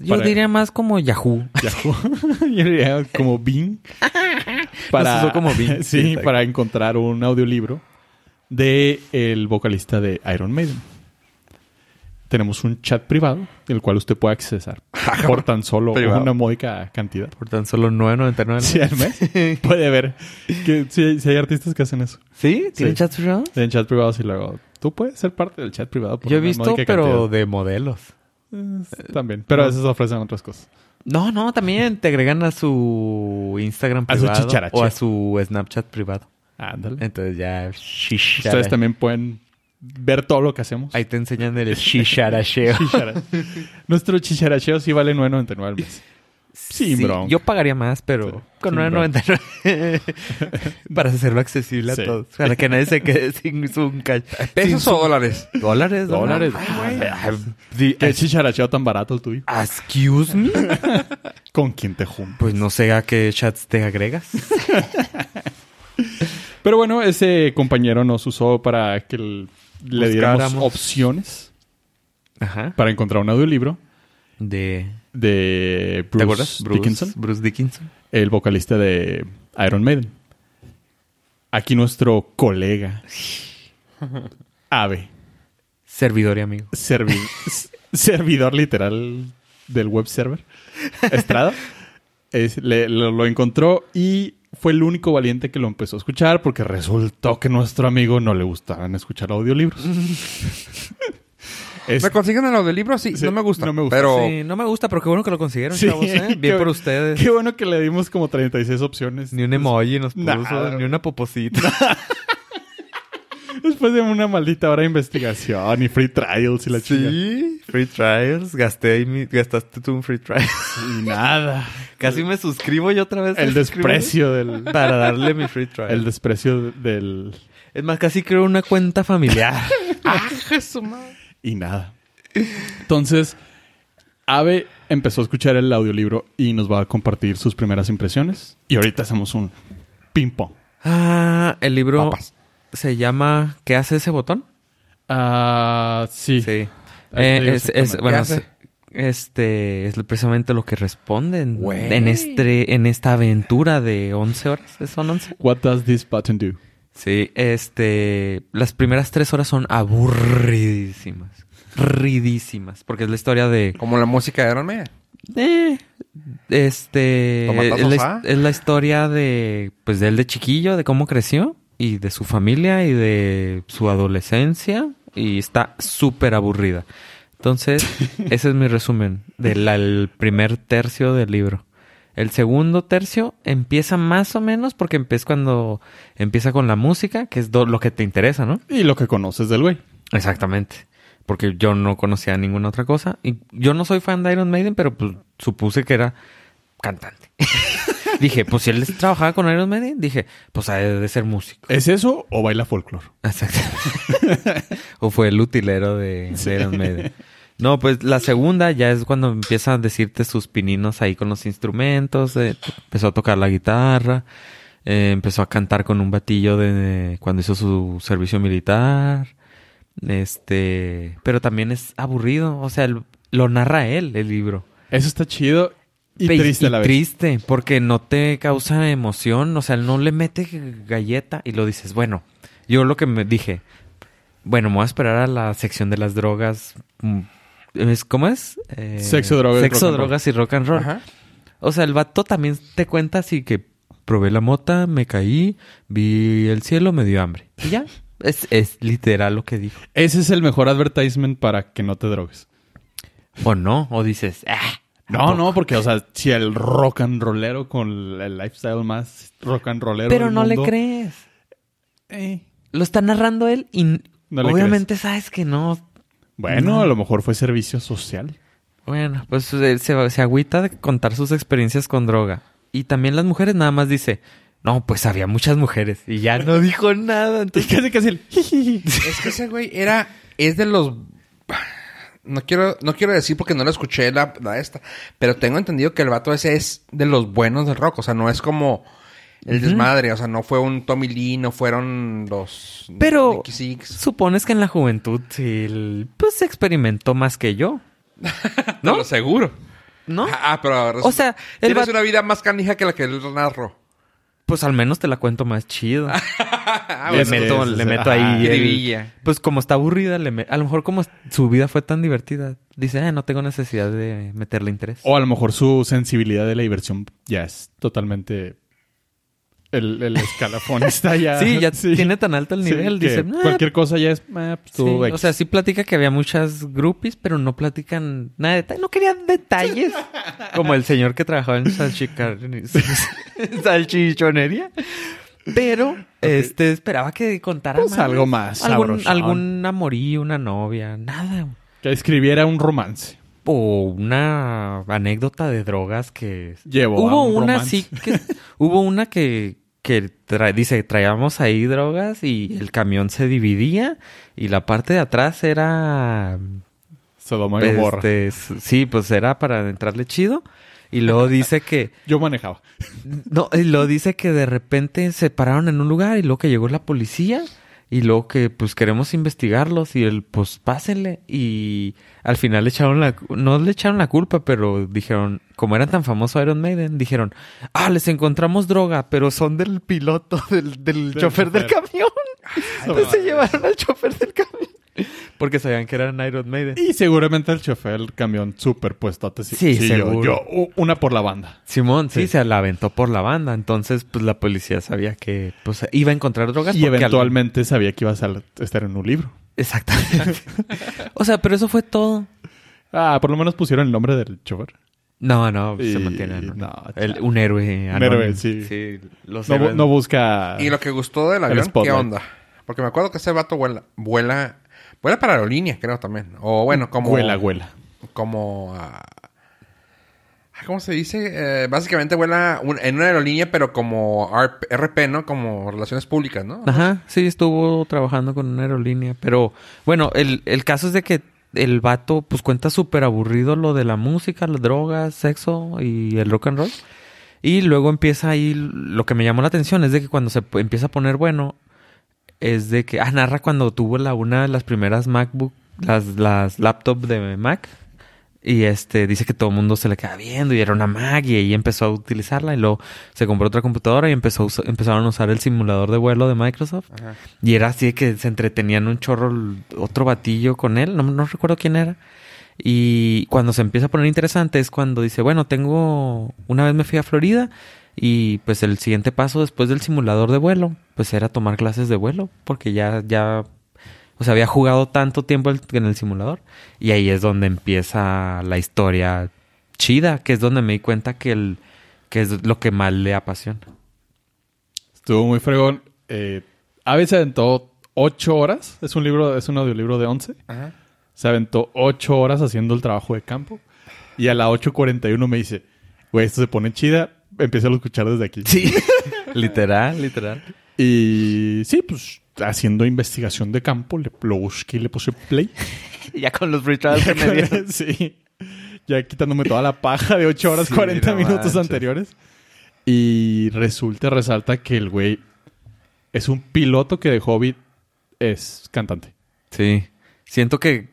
[SPEAKER 3] Yo
[SPEAKER 2] Para-
[SPEAKER 3] diría más como Yahoo.
[SPEAKER 2] Yahoo. Yo diría como Bing.
[SPEAKER 3] Nos usó como Bing. Sí,
[SPEAKER 2] sí,
[SPEAKER 3] exacto.
[SPEAKER 2] para encontrar un audiolibro de el vocalista de Iron Maiden. Tenemos un chat privado, el cual usted puede accesar
[SPEAKER 3] Ah,
[SPEAKER 2] por tan solo
[SPEAKER 1] Privado.
[SPEAKER 2] una módica cantidad.
[SPEAKER 3] Por tan solo 9.99.
[SPEAKER 2] Sí, al mes. Puede ver que si hay, sí hay artistas que hacen eso.
[SPEAKER 3] ¿Sí? ¿Tienen
[SPEAKER 2] Sí.
[SPEAKER 3] chats privados?
[SPEAKER 2] En chat privado y luego tú puedes ser parte del chat privado. por
[SPEAKER 3] Yo he
[SPEAKER 2] una
[SPEAKER 3] visto,
[SPEAKER 2] módica
[SPEAKER 3] pero
[SPEAKER 2] cantidad.
[SPEAKER 3] de modelos.
[SPEAKER 2] Eh, También. Pero a veces ofrecen otras cosas.
[SPEAKER 3] No, no, también te agregan a su Instagram
[SPEAKER 2] A su
[SPEAKER 3] privado
[SPEAKER 2] chicharache.
[SPEAKER 3] o a su Snapchat privado.
[SPEAKER 2] Ándale.
[SPEAKER 3] Entonces ya
[SPEAKER 2] Ustedes
[SPEAKER 3] shishara-
[SPEAKER 2] también pueden ver todo lo que hacemos.
[SPEAKER 3] Ahí te enseñan el chicharacheo.
[SPEAKER 2] Chichara- Nuestro chicharacheo sí vale 9.99 al mes. Sí, bro.
[SPEAKER 3] Yo pagaría más, pero con
[SPEAKER 2] Sin
[SPEAKER 3] 9.99 para hacerlo accesible
[SPEAKER 2] Sí.
[SPEAKER 3] a todos, para que nadie se quede sin su cash.
[SPEAKER 1] ¿Pesos o dólares?
[SPEAKER 3] Dólares, Ah,
[SPEAKER 2] Dólares.
[SPEAKER 3] Sí,
[SPEAKER 2] ¿Qué chicharacheo tan barato el tuyo?
[SPEAKER 3] Excuse me.
[SPEAKER 2] ¿Con quién te junto?
[SPEAKER 3] Pues no sé a qué chats te agregas.
[SPEAKER 2] Pero bueno, ese compañero nos usó para que l- le diéramos
[SPEAKER 3] Buscáramos.
[SPEAKER 2] opciones
[SPEAKER 3] Ajá.
[SPEAKER 2] para encontrar un audiolibro
[SPEAKER 3] De
[SPEAKER 2] de
[SPEAKER 3] ¿Te
[SPEAKER 2] Bruce
[SPEAKER 3] acuerdas?
[SPEAKER 2] Dickinson,
[SPEAKER 3] Bruce Dickinson.
[SPEAKER 2] el vocalista de Iron Maiden. Aquí nuestro colega, Ave,
[SPEAKER 3] Servidor y amigo.
[SPEAKER 2] servi- s- servidor literal del web server, Estrada, es- le- lo, lo encontró y fue el único valiente que lo empezó a escuchar porque resultó que nuestro amigo no le gustaban escuchar audiolibros. Es-
[SPEAKER 1] ¿Me consiguen el audiolibro? Sí,
[SPEAKER 2] Sí,
[SPEAKER 1] no me gusta.
[SPEAKER 2] no me gusta.
[SPEAKER 1] Pero
[SPEAKER 3] Sí, no me gusta, pero qué bueno que lo consiguieron,
[SPEAKER 2] Sí,
[SPEAKER 3] chavos, ¿eh? Bien
[SPEAKER 2] qué-
[SPEAKER 3] por ustedes.
[SPEAKER 2] Qué bueno que le dimos como 36 opciones.
[SPEAKER 3] Ni un emoji nos puso,
[SPEAKER 2] Nah.
[SPEAKER 3] ni una poposita.
[SPEAKER 2] Después de una maldita hora de investigación y free trials y la chica.
[SPEAKER 3] Sí, free trials. Gasté, mi- gastaste tú un free trial.
[SPEAKER 2] Y nada.
[SPEAKER 3] Casi me suscribo yo otra vez.
[SPEAKER 2] El
[SPEAKER 3] suscribo
[SPEAKER 2] desprecio del...
[SPEAKER 3] Para darle mi free trial.
[SPEAKER 2] El desprecio del...
[SPEAKER 3] Es más, casi creo una cuenta familiar.
[SPEAKER 2] Y nada. Entonces, Ave empezó a escuchar el audiolibro y nos va a compartir sus primeras impresiones. Y ahorita hacemos un ping-pong.
[SPEAKER 3] ah, el libro
[SPEAKER 1] Papas.
[SPEAKER 3] se llama ¿Qué hace ese botón?
[SPEAKER 2] Ah, sí.
[SPEAKER 3] Sí.
[SPEAKER 2] Ahí
[SPEAKER 3] Eh,
[SPEAKER 2] te digo
[SPEAKER 3] es, es-
[SPEAKER 2] exactamente.
[SPEAKER 3] bueno,
[SPEAKER 1] ¿Qué
[SPEAKER 3] es-
[SPEAKER 1] hace?
[SPEAKER 3] este es precisamente lo que responden
[SPEAKER 1] Güey.
[SPEAKER 3] en este en esta aventura de 11 horas. ¿Son 11?
[SPEAKER 2] What does this button do?
[SPEAKER 3] Sí, este, las primeras tres horas son aburridísimas, ridísimas, porque es la historia de,
[SPEAKER 1] como la música de Iron Maiden.
[SPEAKER 3] eh, este,
[SPEAKER 1] ¿Tomatazos,
[SPEAKER 3] es
[SPEAKER 1] ah?
[SPEAKER 3] la, es la historia de, pues de él de chiquillo, de cómo creció y de su familia y de su adolescencia y está súper aburrida. Entonces, ese es mi resumen del al primer tercio del libro. El segundo tercio empieza más o menos porque empieza cuando empieza con la música, que es do- lo que te interesa, ¿no?
[SPEAKER 2] Y lo que conoces del güey.
[SPEAKER 3] Exactamente. Porque yo no conocía ninguna otra cosa. Y yo no soy fan de Iron Maiden, pero pues, supuse que era cantante. dije, pues si él trabajaba con Iron Maiden, dije, pues ha de ser músico.
[SPEAKER 2] ¿Es eso o baila folclore?
[SPEAKER 3] Exactamente. o fue el utilero de, de Iron Maiden. No, pues la segunda ya es cuando empieza a decirte sus pininos ahí con los instrumentos. eh, empezó a tocar la guitarra. eh, empezó a cantar con un batillo de, cuando hizo su servicio militar. Este, pero también es aburrido. O sea, el- lo narra él, el libro.
[SPEAKER 2] Eso está chido y
[SPEAKER 3] Pe-
[SPEAKER 2] triste a la vez.
[SPEAKER 3] triste, porque no te causa emoción, o sea, no le mete galleta y lo dices, bueno, yo lo que me dije, bueno, me voy a esperar a la sección de las drogas. mm, es- ¿Cómo es? Eh,
[SPEAKER 2] Sexo, drogas,
[SPEAKER 3] Sexo,
[SPEAKER 2] rock and roll.
[SPEAKER 3] drogas y rock and roll. O sea, el vato también te cuenta así que probé la mota, me caí, vi el cielo, me dio hambre. Y ya, es, es literal lo que dijo.
[SPEAKER 2] Ese es el mejor advertisement para que no te drogues.
[SPEAKER 3] O no, o dices, ah,
[SPEAKER 2] No, no, porque, o sea, si el rock and rollero con el lifestyle más rock and rollero.
[SPEAKER 3] pero
[SPEAKER 2] del
[SPEAKER 3] no le
[SPEAKER 2] mundo,
[SPEAKER 3] crees.
[SPEAKER 2] eh,
[SPEAKER 3] Lo está narrando él y
[SPEAKER 2] No le
[SPEAKER 3] obviamente sabes que no.
[SPEAKER 2] bueno, a lo mejor fue servicio social.
[SPEAKER 3] Bueno, pues eh, se, se agüita de contar sus experiencias con droga. Y también las mujeres nada más dice, no, pues había muchas mujeres. Y ya no dijo nada.
[SPEAKER 2] Y
[SPEAKER 3] Entonces,
[SPEAKER 2] casi casi el jijiji.
[SPEAKER 1] Es que ese güey era. Es de los. No quiero, no quiero decir porque no lo escuché la, la esta. Pero tengo entendido que el vato ese es de los buenos del rock. O sea, no es como el desmadre. O sea, no fue un Tommy Lee, no fueron los.
[SPEAKER 3] Pero-
[SPEAKER 1] Nicky Six.
[SPEAKER 3] supones que en la juventud él, pues experimentó más que yo,
[SPEAKER 1] No, lo seguro.
[SPEAKER 3] ¿no?
[SPEAKER 1] Ah, pero.
[SPEAKER 3] O sea, el
[SPEAKER 1] Tienes
[SPEAKER 3] vato-
[SPEAKER 1] una vida más canija que la que él narro.
[SPEAKER 3] Pues al menos te la cuento más chido.
[SPEAKER 1] Ah,
[SPEAKER 3] le
[SPEAKER 2] bueno,
[SPEAKER 3] meto,
[SPEAKER 2] sí, sí,
[SPEAKER 3] le
[SPEAKER 2] sí.
[SPEAKER 3] meto
[SPEAKER 2] Ajá.
[SPEAKER 3] ahí. el-
[SPEAKER 1] Jiribilla.
[SPEAKER 3] pues como está aburrida, le me- a lo mejor como su vida fue tan divertida, dice, "Ah, no tengo necesidad de meterle interés.
[SPEAKER 2] O a lo mejor su sensibilidad de la diversión ya es totalmente. El, el escalafón está ya.
[SPEAKER 3] sí, ya tiene tan alto el
[SPEAKER 2] Sí,
[SPEAKER 3] nivel,
[SPEAKER 2] que
[SPEAKER 3] dice. "Ah,
[SPEAKER 2] Cualquier cosa ya es. ah, pues,
[SPEAKER 3] sí".
[SPEAKER 2] tú,
[SPEAKER 3] O
[SPEAKER 2] X.
[SPEAKER 3] sea, sí platica que había muchas groupies, pero no platican nada de detalle. No querían detalles. como el señor que trabajaba en salchicar- salchichonería. Pero este esperaba que contara
[SPEAKER 2] Pues, algo más
[SPEAKER 3] Algún,
[SPEAKER 2] sabrosón.
[SPEAKER 3] algún amorío, una novia, nada.
[SPEAKER 2] que escribiera un romance.
[SPEAKER 3] o una anécdota de drogas que
[SPEAKER 2] Llevó a
[SPEAKER 3] hubo
[SPEAKER 2] un
[SPEAKER 3] una
[SPEAKER 2] romance.
[SPEAKER 3] sí que hubo una que que tra- dice traíamos ahí drogas y el camión se dividía y la parte de atrás era
[SPEAKER 2] Sodoma y Gomorra.
[SPEAKER 3] este, s- sí pues era para entrarle chido y luego dice que
[SPEAKER 2] Yo manejaba.
[SPEAKER 3] no y luego dice que de repente se pararon en un lugar y luego que llegó la policía y luego que pues queremos investigarlos y el pues pásenle y al final le echaron la cu- no le echaron la culpa pero dijeron como eran tan famosos Iron Maiden dijeron ah les encontramos droga pero son del piloto del, del
[SPEAKER 2] Del
[SPEAKER 3] chofer del
[SPEAKER 2] chofer.
[SPEAKER 3] camión entonces pues, se llevaron al chofer del camión porque sabían que eran Iron Maiden
[SPEAKER 2] Y seguramente el chofer del camión súper puestote. Sí,
[SPEAKER 3] Sí,
[SPEAKER 2] yo-
[SPEAKER 3] seguro.
[SPEAKER 2] Yo, u- una por la banda.
[SPEAKER 3] Simón sí,
[SPEAKER 2] Sí.
[SPEAKER 3] se la aventó por la banda entonces pues la policía sabía que pues iba a encontrar drogas
[SPEAKER 2] Y
[SPEAKER 3] porque al-
[SPEAKER 2] eventualmente sabía que ibas a estar en un libro.
[SPEAKER 3] Exactamente. o sea, pero eso fue todo.
[SPEAKER 2] Ah, por lo menos pusieron el nombre del chofer.
[SPEAKER 3] No, no,
[SPEAKER 2] Y-
[SPEAKER 3] se mantiene. ¿no?
[SPEAKER 2] no,
[SPEAKER 3] El-
[SPEAKER 2] chale.
[SPEAKER 3] un héroe. anónimo.
[SPEAKER 2] héroe, sí.
[SPEAKER 3] los
[SPEAKER 2] No, bu-
[SPEAKER 3] héroes.
[SPEAKER 2] no busca.
[SPEAKER 1] Y lo que gustó del
[SPEAKER 2] Ah. El
[SPEAKER 1] avión, ¿qué
[SPEAKER 2] spotlight.
[SPEAKER 1] onda? Porque me acuerdo que ese vato vuela, vuela, vuela para aerolínea, creo también. O bueno, como.
[SPEAKER 2] Huela, huela.
[SPEAKER 1] Como. ah, ah, ¿Cómo se dice? Eh, básicamente vuela un- en una aerolínea, pero como RP, RP, ¿no? Como relaciones públicas, ¿no?
[SPEAKER 3] Ajá, sí, estuvo trabajando con una aerolínea. Pero bueno, el, el caso es de que el vato pues cuenta súper aburrido lo de la música, las drogas, sexo y el rock and roll. Y luego empieza ahí, lo que me llamó la atención es de que cuando se p- empieza a poner bueno, es de que, ah, narra cuando tuvo la una de las primeras MacBook, las, las laptop de Mac. Y este, dice que todo el mundo se le queda viendo y era una Mac y ahí empezó a utilizarla y luego se compró otra computadora y empezó a usa- empezaron a usar el simulador de vuelo de Microsoft.
[SPEAKER 1] Ajá.
[SPEAKER 3] Y era así de que se entretenían un chorro el- otro batillo con él, no, no recuerdo quién era. Y cuando se empieza a poner interesante es cuando dice, bueno, tengo, una vez me fui a Florida y pues el siguiente paso después del simulador de vuelo, pues era tomar clases de vuelo, porque ya, ya, o sea, había jugado tanto tiempo el- en el simulador. Y ahí es donde empieza la historia chida, que es donde me di cuenta que, el, que es lo que más le apasiona.
[SPEAKER 2] Estuvo muy fregón. Eh, Abe se aventó ocho horas. Es un libro, es un audiolibro de once.
[SPEAKER 1] Ajá.
[SPEAKER 2] Se aventó ocho horas haciendo el trabajo de campo. Y a la 8.41 me dice, güey, esto se pone chida. Empiezo a escuchar desde aquí.
[SPEAKER 3] Sí, literal, literal.
[SPEAKER 2] Y sí, pues haciendo investigación de campo, le lo busqué y le puse play.
[SPEAKER 3] Ya con los rituales que me dieron.
[SPEAKER 2] sí. Ya quitándome toda la paja de 8 horas
[SPEAKER 3] Sí,
[SPEAKER 2] 40
[SPEAKER 3] no
[SPEAKER 2] minutos
[SPEAKER 3] manches.
[SPEAKER 2] anteriores. Y resulta, resalta que el güey es un piloto que de hobby es cantante.
[SPEAKER 3] Sí. Siento que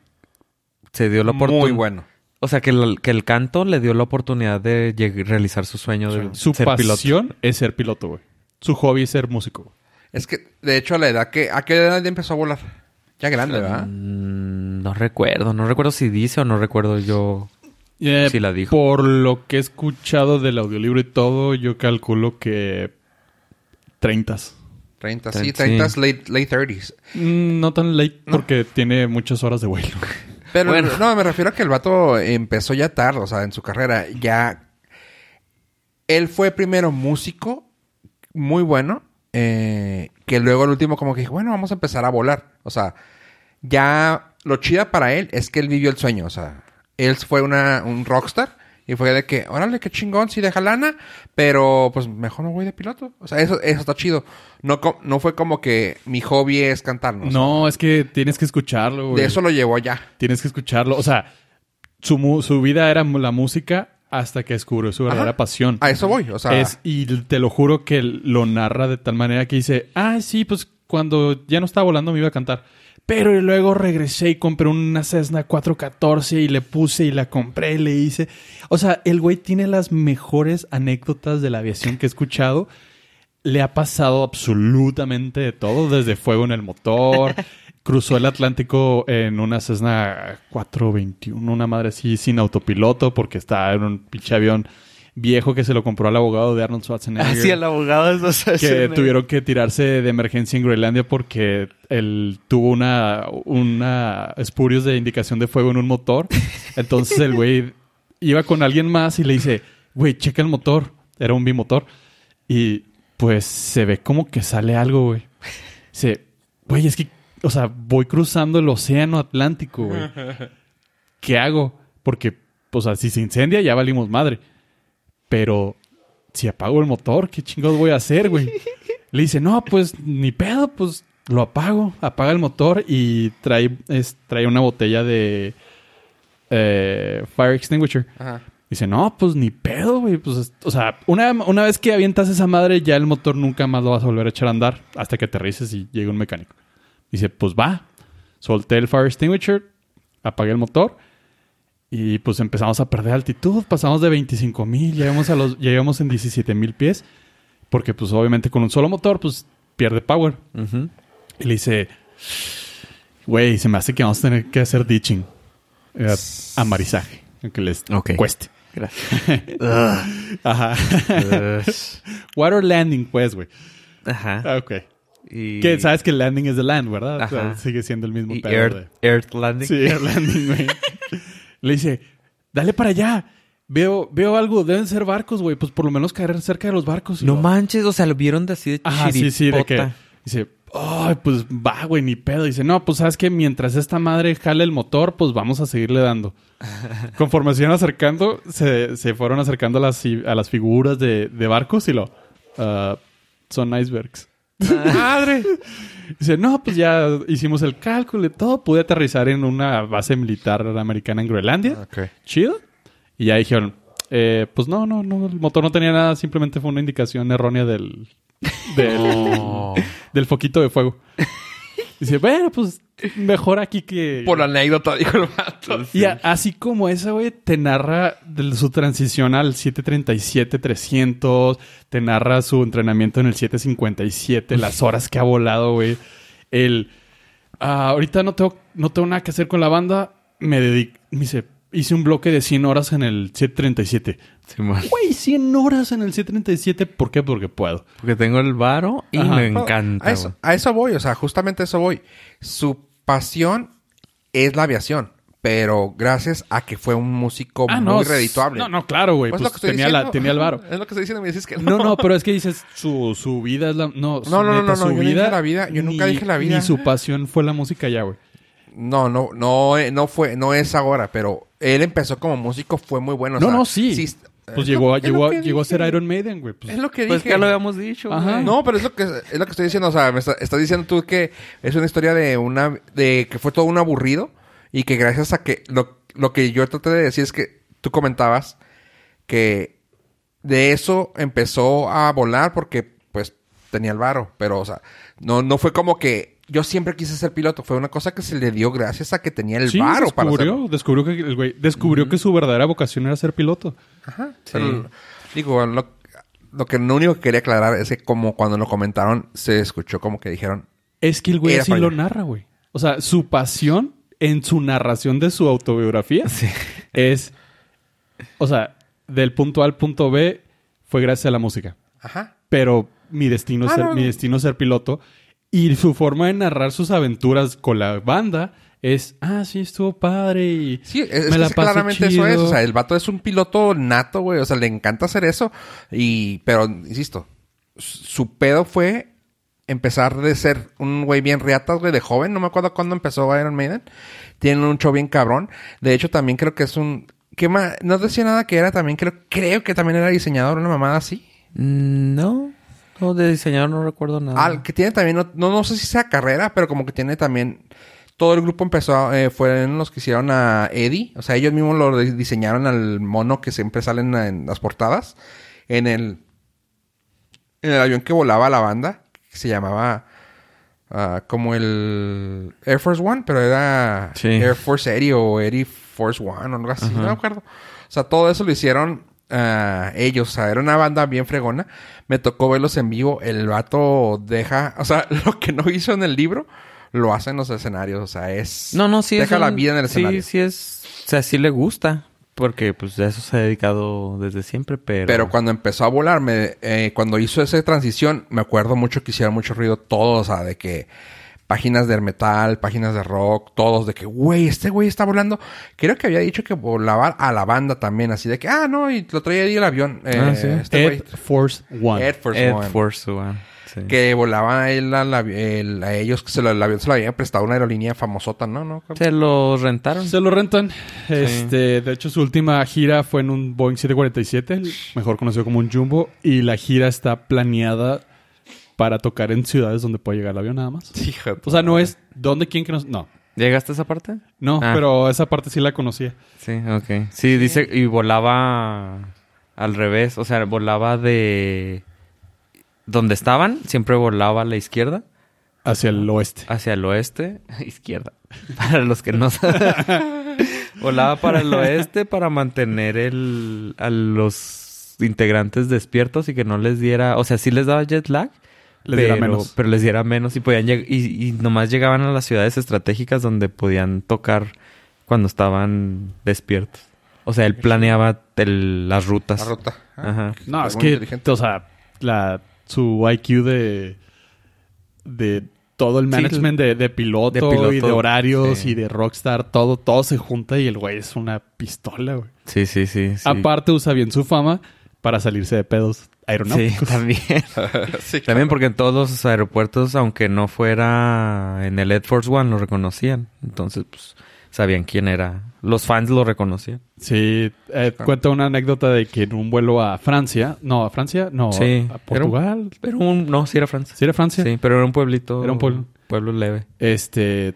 [SPEAKER 3] se dio la oportunidad.
[SPEAKER 1] Muy bueno.
[SPEAKER 3] O sea, que el, que el canto le dio la oportunidad de lleg- realizar su sueño de
[SPEAKER 2] Su
[SPEAKER 3] ser piloto.
[SPEAKER 2] pasión es ser piloto, güey. Su hobby es ser músico. güey.
[SPEAKER 1] Es que, de hecho, a la edad que. ¿A qué edad ya empezó a volar? Ya grande, ¿verdad?
[SPEAKER 3] Mm, No recuerdo, no recuerdo si dice o no recuerdo yo.
[SPEAKER 2] Eh,
[SPEAKER 3] Sí la dijo.
[SPEAKER 2] Por lo que he escuchado del audiolibro y todo, yo calculo que 30.
[SPEAKER 1] 30, sí,
[SPEAKER 3] Sí.
[SPEAKER 1] 30, late, late 30s.
[SPEAKER 2] Mm, No tan late porque tiene muchas horas de vuelo.
[SPEAKER 1] Pero
[SPEAKER 3] Bueno.
[SPEAKER 1] no, me refiero a que el vato empezó ya tarde, o sea, en su carrera. Ya. Él fue primero músico, muy bueno, eh, que luego el último, como que dijo, bueno, vamos a empezar a volar. O sea, ya lo chida para él es que él vivió el sueño, o sea. él fue una, un rockstar y fue de que, órale, qué chingón, sí deja lana, pero pues mejor no voy de piloto. O sea, eso, eso está chido. No, co- no fue como que mi hobby es cantar, ¿no? O sea,
[SPEAKER 2] No, es que tienes que escucharlo, güey.
[SPEAKER 1] de eso lo llevó allá.
[SPEAKER 2] Tienes que escucharlo. O sea, su, mu- su vida era mu- la música hasta que descubrió su verdadera
[SPEAKER 1] Ajá.
[SPEAKER 2] pasión.
[SPEAKER 1] A eso voy, o sea,
[SPEAKER 2] Es- y te lo juro que lo narra de tal manera que dice, ah, sí, pues cuando ya no estaba volando me iba a cantar. Pero luego regresé y compré una Cessna 414 y le puse y la compré y le hice. O sea, el güey tiene las mejores anécdotas de la aviación que he escuchado. Le ha pasado absolutamente de todo, desde fuego en el motor. Cruzó el Atlántico en una Cessna 421, una madre así, sin autopiloto, porque estaba en un pinche avión viejo que se lo compró al abogado de Arnold Schwarzenegger
[SPEAKER 3] Así Ah, el abogado de esos-
[SPEAKER 2] que tuvieron que tirarse de emergencia en Groenlandia porque él tuvo una, una espurios de indicación de fuego en un motor. Entonces el güey iba con alguien más y le dice, güey, checa el motor. Era un bimotor. Y pues se ve como que sale algo, güey. Dice, güey, es que, o sea, voy cruzando el océano Atlántico, güey. ¿Qué hago? Porque, o sea, si se incendia ya valimos madre. Pero si apago el motor, ¿qué chingados voy a hacer, güey? Le dice, no, pues ni pedo, pues lo apago. Apaga el motor y trae, es- trae una botella de eh, fire extinguisher.
[SPEAKER 1] ajá.
[SPEAKER 2] Dice, no, pues ni pedo, güey. Pues, es- o sea, una, una vez que avientas esa madre, ya el motor nunca más lo vas a volver a echar a andar hasta que aterrices y llegue un mecánico. Dice, pues va. Solté el fire extinguisher, apagué el motor y pues empezamos a perder altitud. Pasamos de 25 mil, llegamos, a los- llegamos en 17 mil pies. Porque pues obviamente con un solo motor, pues pierde power.
[SPEAKER 3] Ujú.
[SPEAKER 2] Y le dice, güey, se me hace que vamos a tener que hacer ditching. eh, amarizaje, aunque les
[SPEAKER 3] Ok.
[SPEAKER 2] cueste.
[SPEAKER 3] Gracias.
[SPEAKER 2] Ajá. Water landing, pues, güey.
[SPEAKER 3] Ajá.
[SPEAKER 2] Ah, Ok.
[SPEAKER 3] Y,
[SPEAKER 2] Que sabes que landing es the land, ¿verdad? O sea,
[SPEAKER 3] Ajá.
[SPEAKER 2] sigue siendo el mismo
[SPEAKER 3] y
[SPEAKER 2] pedo. de-
[SPEAKER 3] Earth, Earth Landing.
[SPEAKER 2] Sí, air landing, güey. Le dice, dale para allá. Veo, veo algo, deben ser barcos, güey. Pues por lo menos caer cerca de los barcos. Y
[SPEAKER 3] No
[SPEAKER 2] yo,
[SPEAKER 3] manches, o sea, lo vieron de así de
[SPEAKER 2] Ajá, sí, sí, de que.
[SPEAKER 3] chiripota.
[SPEAKER 2] Dice, ay, pues va, güey, ni pedo. Dice, no, pues sabes que mientras esta madre jale el motor, pues vamos a seguirle dando. Conforme se iban acercando, se, se fueron acercando a las, a las figuras de, de barcos y lo. ah, son icebergs. ¡Madre! Dice, no, pues ya hicimos el cálculo y todo. Pude aterrizar en una base militar americana en Groenlandia
[SPEAKER 1] Ok.
[SPEAKER 2] chido. Y ya dijeron, eh, pues no, no, no, el motor no tenía nada, simplemente fue una indicación errónea del, del,
[SPEAKER 3] Oh,
[SPEAKER 2] del foquito de fuego. Dice, bueno, pues mejor aquí que...
[SPEAKER 1] Por la anécdota, dijo el vato.
[SPEAKER 2] Y a- así como esa, güey, te narra de su transición al 737-300, te narra su entrenamiento en el 757, las horas que ha volado, güey. El, ah, ahorita no tengo, no tengo nada que hacer con la banda, me dedico, me dice, hice un bloque de 100 horas en el 737.
[SPEAKER 3] Simón.
[SPEAKER 2] Güey, 100 horas en el 737, ¿por qué? Porque puedo.
[SPEAKER 3] Porque tengo el varo y
[SPEAKER 2] Ajá. Oh,
[SPEAKER 3] me
[SPEAKER 1] Pero
[SPEAKER 3] encanta.
[SPEAKER 1] A
[SPEAKER 3] güey.
[SPEAKER 1] eso, a eso voy, o sea, justamente a eso voy. Su pasión es la aviación, pero gracias a que fue un músico muy
[SPEAKER 2] s-
[SPEAKER 1] redituable.
[SPEAKER 2] Ah, No, no, claro, güey.
[SPEAKER 1] Pues
[SPEAKER 2] pues tenía, la, tenía el varo.
[SPEAKER 1] Es lo que estoy diciendo, me dices que
[SPEAKER 2] No, no, pero es que dices su, su vida es la. No, su-
[SPEAKER 1] No, no, no, no,
[SPEAKER 2] neta,
[SPEAKER 1] no,
[SPEAKER 2] su
[SPEAKER 1] yo no dije la vida, yo nunca dije la vida.
[SPEAKER 2] Ni su pasión fue la música ya, güey.
[SPEAKER 1] No, no, no, eh, no fue, no es ahora, pero él empezó como músico, fue muy bueno. o
[SPEAKER 2] No,
[SPEAKER 1] sea,
[SPEAKER 2] no, sí.
[SPEAKER 1] es
[SPEAKER 2] Pues
[SPEAKER 1] lo-
[SPEAKER 2] llegó, a-
[SPEAKER 1] es lo
[SPEAKER 2] llegó, a-
[SPEAKER 1] que
[SPEAKER 2] llegó a
[SPEAKER 1] dije.
[SPEAKER 2] ser Iron Maiden, güey. Pues,
[SPEAKER 1] Es lo que
[SPEAKER 3] Pues
[SPEAKER 1] dije.
[SPEAKER 3] ya lo habíamos dicho. güey.
[SPEAKER 2] Ajá.
[SPEAKER 1] No, pero es lo que es lo que estoy diciendo, o sea, me está- estás diciendo tú que es una historia de una de que fue todo un aburrido y que gracias a que lo, lo que yo traté de decir es que tú comentabas que de eso empezó a volar porque pues tenía el varo, pero o sea, no no fue como que yo siempre quise ser piloto, fue una cosa que se le dio gracias a que tenía el
[SPEAKER 2] Sí,
[SPEAKER 1] varo para
[SPEAKER 2] descubrió,
[SPEAKER 1] hacerlo.
[SPEAKER 2] descubrió que el güey descubrió que su verdadera vocación era ser piloto.
[SPEAKER 1] Ajá. Pero, digo, lo, lo que lo único que quería aclarar es que como cuando lo comentaron se escuchó como que dijeron
[SPEAKER 2] Es que el güey
[SPEAKER 1] Era
[SPEAKER 2] así
[SPEAKER 1] para
[SPEAKER 2] lo
[SPEAKER 1] allá.
[SPEAKER 2] narra, güey. O sea, su pasión en su narración de su autobiografía es. O sea, del punto A al punto B fue gracias a la música.
[SPEAKER 1] Ajá.
[SPEAKER 2] pero mi destino, es
[SPEAKER 1] Ah,
[SPEAKER 2] ser,
[SPEAKER 1] no,
[SPEAKER 2] mi
[SPEAKER 1] no.
[SPEAKER 2] destino es ser piloto. Y su forma de narrar sus aventuras con la banda es, ah, sí, estuvo padre y
[SPEAKER 1] Sí, es,
[SPEAKER 2] me
[SPEAKER 1] es
[SPEAKER 2] la
[SPEAKER 1] que
[SPEAKER 2] pasé
[SPEAKER 1] claramente eso
[SPEAKER 2] chido".
[SPEAKER 1] es. O sea, el vato es un piloto nato, güey. O sea, le encanta hacer eso. Y, pero, insisto, su su pedo fue empezar de ser un güey bien riatas, güey, de joven. No me acuerdo cuándo empezó Iron Maiden. Tienen un show bien cabrón. De hecho, también creo que es un... ¿Qué más? No decía nada que era también, creo, creo que también era diseñador, una mamada así.
[SPEAKER 3] Mm, No. No, de diseñador no recuerdo nada.
[SPEAKER 1] Al que tiene también, no, no, no sé si sea carrera, pero como que tiene también. Todo el grupo empezó, eh, fueron los que hicieron a Eddie. O sea, ellos mismos lo di- diseñaron al mono que siempre salen en las portadas. En el, en el avión que volaba la banda, que se llamaba ah, como el Air Force One, pero era
[SPEAKER 3] Sí.
[SPEAKER 1] Air Force Eddie o Eddie Force One o algo así, no me acuerdo. O sea, todo eso lo hicieron ah, ellos. O sea, era una banda bien fregona. Me tocó verlos en vivo. El vato deja, o sea, lo que no hizo en el libro, lo hace en los escenarios. O sea, es.
[SPEAKER 3] No, no, sí es
[SPEAKER 1] Deja la
[SPEAKER 3] un-
[SPEAKER 1] vida en el escenario.
[SPEAKER 3] Sí, sí es... O sea, sí le gusta. Porque, pues, a eso se ha dedicado desde siempre, pero...
[SPEAKER 1] Pero cuando empezó a volar, me- eh, cuando hizo esa transición, me acuerdo mucho que hicieron mucho ruido todos, o sea, de que páginas de metal, páginas de rock, todos de que, güey, este güey está volando. Creo que había dicho que volaba a la banda también, así de que, ah, no, y lo traía ahí el avión. eh,
[SPEAKER 3] Ah, sí.
[SPEAKER 1] Este güey.
[SPEAKER 2] Ed Force One.
[SPEAKER 1] Air Force
[SPEAKER 3] Air
[SPEAKER 1] One.
[SPEAKER 3] Force One, sí.
[SPEAKER 1] Que volaba él al avi- el- a ellos, que se lo, el avión se lo habían prestado una aerolínea famosota, ¿no? ¿No?
[SPEAKER 3] Se lo rentaron.
[SPEAKER 2] Se lo rentan. Este, de hecho, su última gira fue en un Boeing 747, el mejor conocido como un Jumbo, y la gira está planeada para tocar en ciudades donde puede llegar el avión nada más.
[SPEAKER 1] Hijo de-
[SPEAKER 2] O sea, no es dónde quién que nos no.
[SPEAKER 3] ¿Llegaste a esa parte?
[SPEAKER 2] No,
[SPEAKER 3] Ah.
[SPEAKER 2] pero esa parte sí la conocía.
[SPEAKER 3] Sí, ok. Sí, dice... Y volaba al revés. O sea, volaba de... Donde estaban, siempre volaba a la izquierda.
[SPEAKER 2] Hacia el oeste.
[SPEAKER 3] hacia el oeste, izquierda, para los que no saben. Volaba para el oeste para mantener el, a los integrantes despiertos y que no les diera, o sea, sí les daba jet lag,
[SPEAKER 2] Les diera
[SPEAKER 3] pero-
[SPEAKER 2] menos.
[SPEAKER 3] pero les diera menos y podían lleg- y, y nomás llegaban a las ciudades estratégicas donde podían tocar cuando estaban despiertos. O sea, él planeaba el- las rutas.
[SPEAKER 1] La ruta.
[SPEAKER 3] Ajá.
[SPEAKER 2] No,
[SPEAKER 1] Pero
[SPEAKER 2] es
[SPEAKER 1] muy
[SPEAKER 2] que,
[SPEAKER 1] inteligente.
[SPEAKER 2] o sea, la, su IQ de, de todo el
[SPEAKER 3] Sí,
[SPEAKER 2] management de, de piloto,
[SPEAKER 3] de piloto,
[SPEAKER 2] y de horarios
[SPEAKER 3] sí.
[SPEAKER 2] y de rockstar, todo, todo se junta y el güey es una pistola, güey.
[SPEAKER 3] Sí, sí, sí. sí.
[SPEAKER 2] Aparte usa bien su fama para salirse de pedos
[SPEAKER 3] Sí,
[SPEAKER 2] aeronáuticos.
[SPEAKER 3] también.
[SPEAKER 1] Sí, claro.
[SPEAKER 3] También porque en todos los aeropuertos, aunque no fuera en el Air Force One, lo reconocían. Entonces, pues, sabían quién era. Los fans lo reconocían.
[SPEAKER 2] Sí, eh, cuenta una anécdota de que en un vuelo a Francia, no, a Francia, no,
[SPEAKER 3] Sí.
[SPEAKER 2] a Portugal.
[SPEAKER 3] Pero un... No, sí era Francia.
[SPEAKER 2] ¿Sí era Francia?
[SPEAKER 3] Sí, pero era un pueblito...
[SPEAKER 2] Era un pueblo.
[SPEAKER 3] Pueblo leve.
[SPEAKER 2] Este,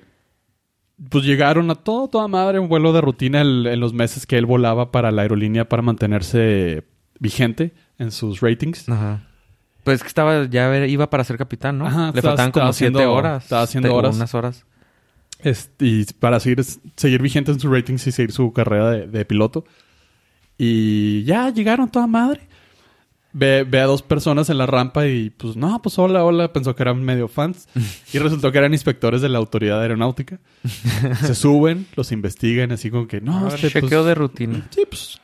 [SPEAKER 2] pues llegaron a todo, toda madre, un vuelo de rutina el- en los meses que él volaba para la aerolínea para mantenerse vigente en sus ratings.
[SPEAKER 3] Ajá. Pues que estaba... Ya era- iba para ser capitán, ¿no?
[SPEAKER 2] Ajá,
[SPEAKER 3] Le
[SPEAKER 2] estaba-
[SPEAKER 3] faltaban como
[SPEAKER 2] estaba
[SPEAKER 3] siete
[SPEAKER 2] haciendo-
[SPEAKER 3] horas.
[SPEAKER 2] estaba haciendo
[SPEAKER 3] te-
[SPEAKER 2] horas.
[SPEAKER 3] Unas horas.
[SPEAKER 2] Este, y para seguir, seguir vigente en sus ratings y seguir su carrera de, de piloto. Y ya llegaron toda madre. Ve, ve a dos personas en la rampa y pues no, pues hola, hola. Pensó que eran medio fans. y resultó que eran inspectores de la autoridad aeronáutica. Se suben, los investigan así como que no,
[SPEAKER 3] A ver,
[SPEAKER 2] este, pues,
[SPEAKER 3] chequeo de rutina.
[SPEAKER 2] Sí, pues.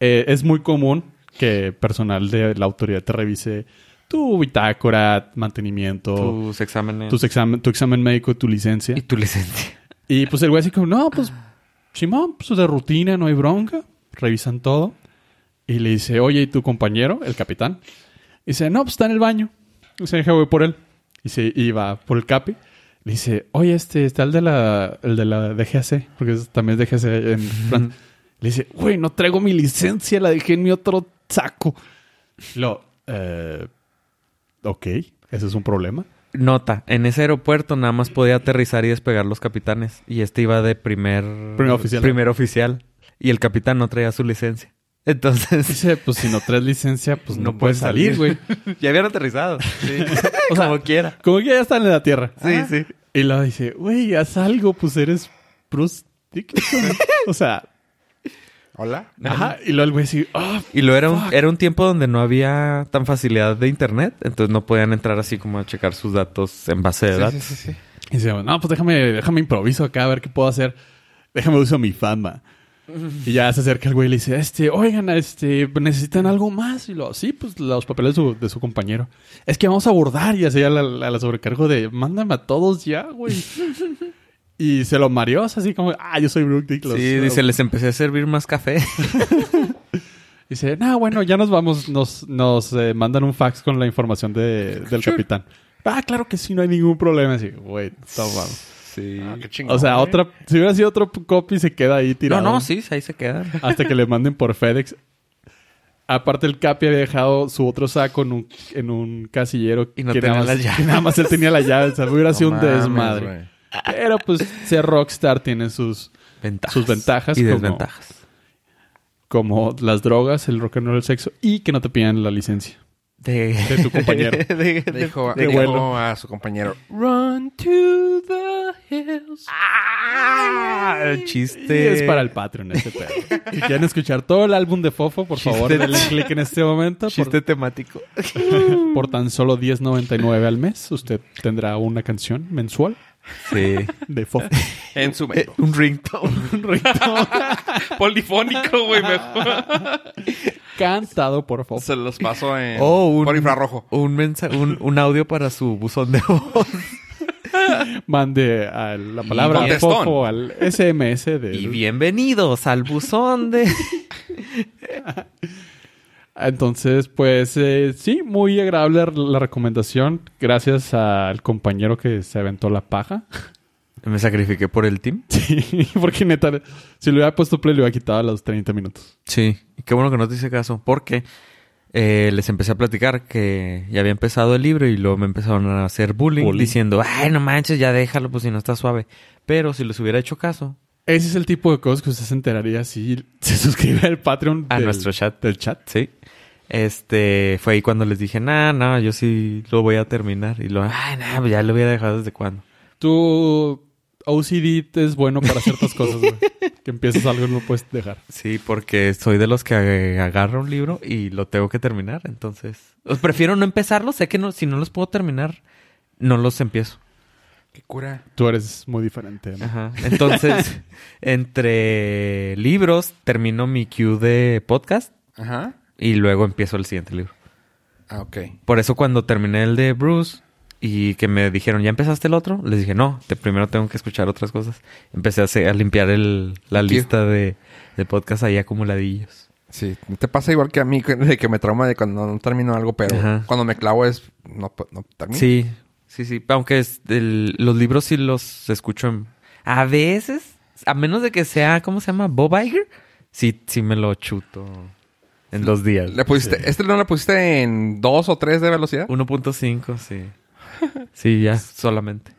[SPEAKER 2] eh, es muy común que personal de la autoridad te revise tu bitácora, mantenimiento,
[SPEAKER 3] Tus exámenes.
[SPEAKER 2] tus examen, tu examen médico, tu licencia.
[SPEAKER 3] Y tu licencia.
[SPEAKER 2] Y pues el güey así como, no, pues, Simón, pues de rutina, no hay bronca. Revisan todo. Y le dice, oye, ¿y tu compañero, el capitán? Y dice, no, pues está en el baño. Y se deja, voy por él. Y se iba por el capi. Le dice, oye, este, está el de la, el de la DGAC, porque es- también es DGAC en Francia. Le dice, güey, no traigo mi licencia, la dejé en mi otro saco. Lo, eh, ok, ese es un problema.
[SPEAKER 3] Nota. En ese aeropuerto nada más podía aterrizar y despegar los capitanes. Y este iba de primer...
[SPEAKER 2] Primer oficial. ¿eh?
[SPEAKER 3] Primer oficial. Y el capitán no traía su licencia. Entonces...
[SPEAKER 2] Dice, pues si no traes licencia, pues no, puedes salir, güey.
[SPEAKER 3] ya habían aterrizado. Sí.
[SPEAKER 2] O sea,
[SPEAKER 3] Como quiera.
[SPEAKER 2] Como que ya están en la Tierra.
[SPEAKER 3] Sí, sí.
[SPEAKER 2] Y luego dice, güey, haz algo, pues eres Bruce Dickinson. o sea,
[SPEAKER 1] Hola.
[SPEAKER 2] ajá. Y luego el güey así, ah,
[SPEAKER 3] Y lo era un, era un tiempo donde no había tan facilidad de internet. Entonces no podían entrar así como a checar sus datos en base de
[SPEAKER 1] Sí,
[SPEAKER 3] datos.
[SPEAKER 1] sí, sí, sí.
[SPEAKER 2] y dice, no, pues déjame, déjame improviso acá, a ver qué puedo hacer. Déjame uso mi fama. Y ya se acerca el güey y le dice, este, oigan, este, ¿necesitan algo más? Y lo, sí, pues los papeles de su, de su compañero. Es que vamos a abordar y hacía la, la, la sobrecargo de, mándame a todos ya, güey. y se lo mareó, o sea, así como, ah, yo soy Brooke Dickinson.
[SPEAKER 3] Sí, dice, les empecé a servir más café.
[SPEAKER 2] Dice, no, bueno, ya nos vamos, nos, nos eh, mandan un fax con la información de, del capitán. ah, claro que sí, no hay ningún problema. Así, güey, toma.
[SPEAKER 1] Sí. Ah, qué chingón, ¿eh?
[SPEAKER 2] O sea,
[SPEAKER 1] güey.
[SPEAKER 2] otra, si hubiera sido otro copy, se queda ahí
[SPEAKER 3] No,
[SPEAKER 2] tirado.
[SPEAKER 3] no, sí, ahí se quedan.
[SPEAKER 2] Hasta que le manden por FedEx. Aparte, el Capi había dejado su otro saco en un, en un casillero.
[SPEAKER 3] Y no
[SPEAKER 2] que
[SPEAKER 3] tenía
[SPEAKER 2] nada más,
[SPEAKER 3] las llaves.
[SPEAKER 2] que nada más él tenía la llave. O sea, hubiera sido
[SPEAKER 1] No
[SPEAKER 2] un
[SPEAKER 1] mames,
[SPEAKER 2] desmadre.
[SPEAKER 1] güey.
[SPEAKER 2] Pero pues ser rockstar tiene sus,
[SPEAKER 3] Ventajas.
[SPEAKER 2] Sus ventajas
[SPEAKER 3] Y
[SPEAKER 2] como-
[SPEAKER 3] desventajas.
[SPEAKER 2] como las drogas, el rock and roll, el sexo y que no te pidan la licencia.
[SPEAKER 3] De,
[SPEAKER 2] De tu compañero.
[SPEAKER 3] de- de-
[SPEAKER 1] Le dijo,
[SPEAKER 2] de
[SPEAKER 1] le dijo
[SPEAKER 2] vuelo.
[SPEAKER 1] a su compañero.
[SPEAKER 3] Run to the hills. Ah,
[SPEAKER 2] Y
[SPEAKER 3] chiste.
[SPEAKER 2] es para el Patreon ese pedo. Este- Si quieren escuchar todo el álbum de Fofo, por favor,
[SPEAKER 3] Chiste.
[SPEAKER 2] denle clic en este momento.
[SPEAKER 3] chiste temático.
[SPEAKER 2] Por, por tan solo 10.99 al mes, usted tendrá una canción mensual
[SPEAKER 3] Sí.
[SPEAKER 2] de Fofo.
[SPEAKER 1] En su
[SPEAKER 3] Eh, un ringtone.
[SPEAKER 1] Polifónico, güey, mejor.
[SPEAKER 2] Cantado por Fofo.
[SPEAKER 1] Se los paso en...
[SPEAKER 3] Oh, un-
[SPEAKER 1] Por infrarrojo.
[SPEAKER 3] Un, mensa- un, un audio para su buzón de voz.
[SPEAKER 2] Mande a la palabra de
[SPEAKER 1] Contestón.
[SPEAKER 2] Fofo al SMS de...
[SPEAKER 3] Y bienvenidos al buzón de...
[SPEAKER 2] Entonces, pues eh, sí, muy agradable la recomendación. Gracias al compañero que se aventó la paja.
[SPEAKER 3] Me sacrifiqué por el team.
[SPEAKER 2] Sí, porque neta, si le hubiera puesto play, le hubiera quitado a los 30 minutos.
[SPEAKER 3] Sí, y qué bueno que no te hice caso, porque eh, les empecé a platicar que ya había empezado el libro y luego me empezaron a hacer bullying,
[SPEAKER 2] Bullying.
[SPEAKER 3] diciendo, ay, no manches, ya déjalo, pues si no está suave. Pero si les hubiera hecho caso
[SPEAKER 2] Ese es el tipo de cosas que usted se enteraría si se suscribe al Patreon
[SPEAKER 3] a
[SPEAKER 2] del-
[SPEAKER 3] nuestro chat,
[SPEAKER 2] del chat.
[SPEAKER 3] sí, este, fue ahí cuando les dije, nah, no, yo sí lo voy a terminar. Y luego, ay, nah, pues, ya lo hubiera dejado desde cuando.
[SPEAKER 2] Tu OCD es bueno para ciertas cosas, güey. Que empiezas algo y no lo puedes dejar.
[SPEAKER 3] Sí, porque soy de los que ag- agarra un libro y lo tengo que terminar, entonces. Os prefiero no empezarlo, sé que no, si no los puedo terminar, no los empiezo.
[SPEAKER 1] Qué cura.
[SPEAKER 2] Tú eres muy diferente. ¿no?
[SPEAKER 3] Ajá. Entonces, entre libros, termino mi queue de podcast
[SPEAKER 1] Ajá.
[SPEAKER 3] y luego empiezo el siguiente libro.
[SPEAKER 1] Ah, ok.
[SPEAKER 3] Por eso cuando terminé el de Bruce y que me dijeron, ¿ya empezaste el otro? Les dije, no, te, primero tengo que escuchar otras cosas. Empecé a, hacer- a limpiar el- la
[SPEAKER 1] Queue.
[SPEAKER 3] lista de, de podcasts ahí acumuladillos.
[SPEAKER 1] Sí, te pasa igual que a mí, que- de que me trauma de cuando no termino algo, pero
[SPEAKER 3] Ajá.
[SPEAKER 1] cuando me clavo es... No, pu- no termino.
[SPEAKER 3] Sí, sí, sí. Aunque es el- los libros sí los escucho en- a veces, a menos de que sea, ¿cómo se llama? Bob Iger. Sí, sí me lo chuto en dos días.
[SPEAKER 1] ¿Le pusiste, ¿Este no lo pusiste en dos o tres de velocidad?
[SPEAKER 3] 1.5, sí. Sí, ya, solamente.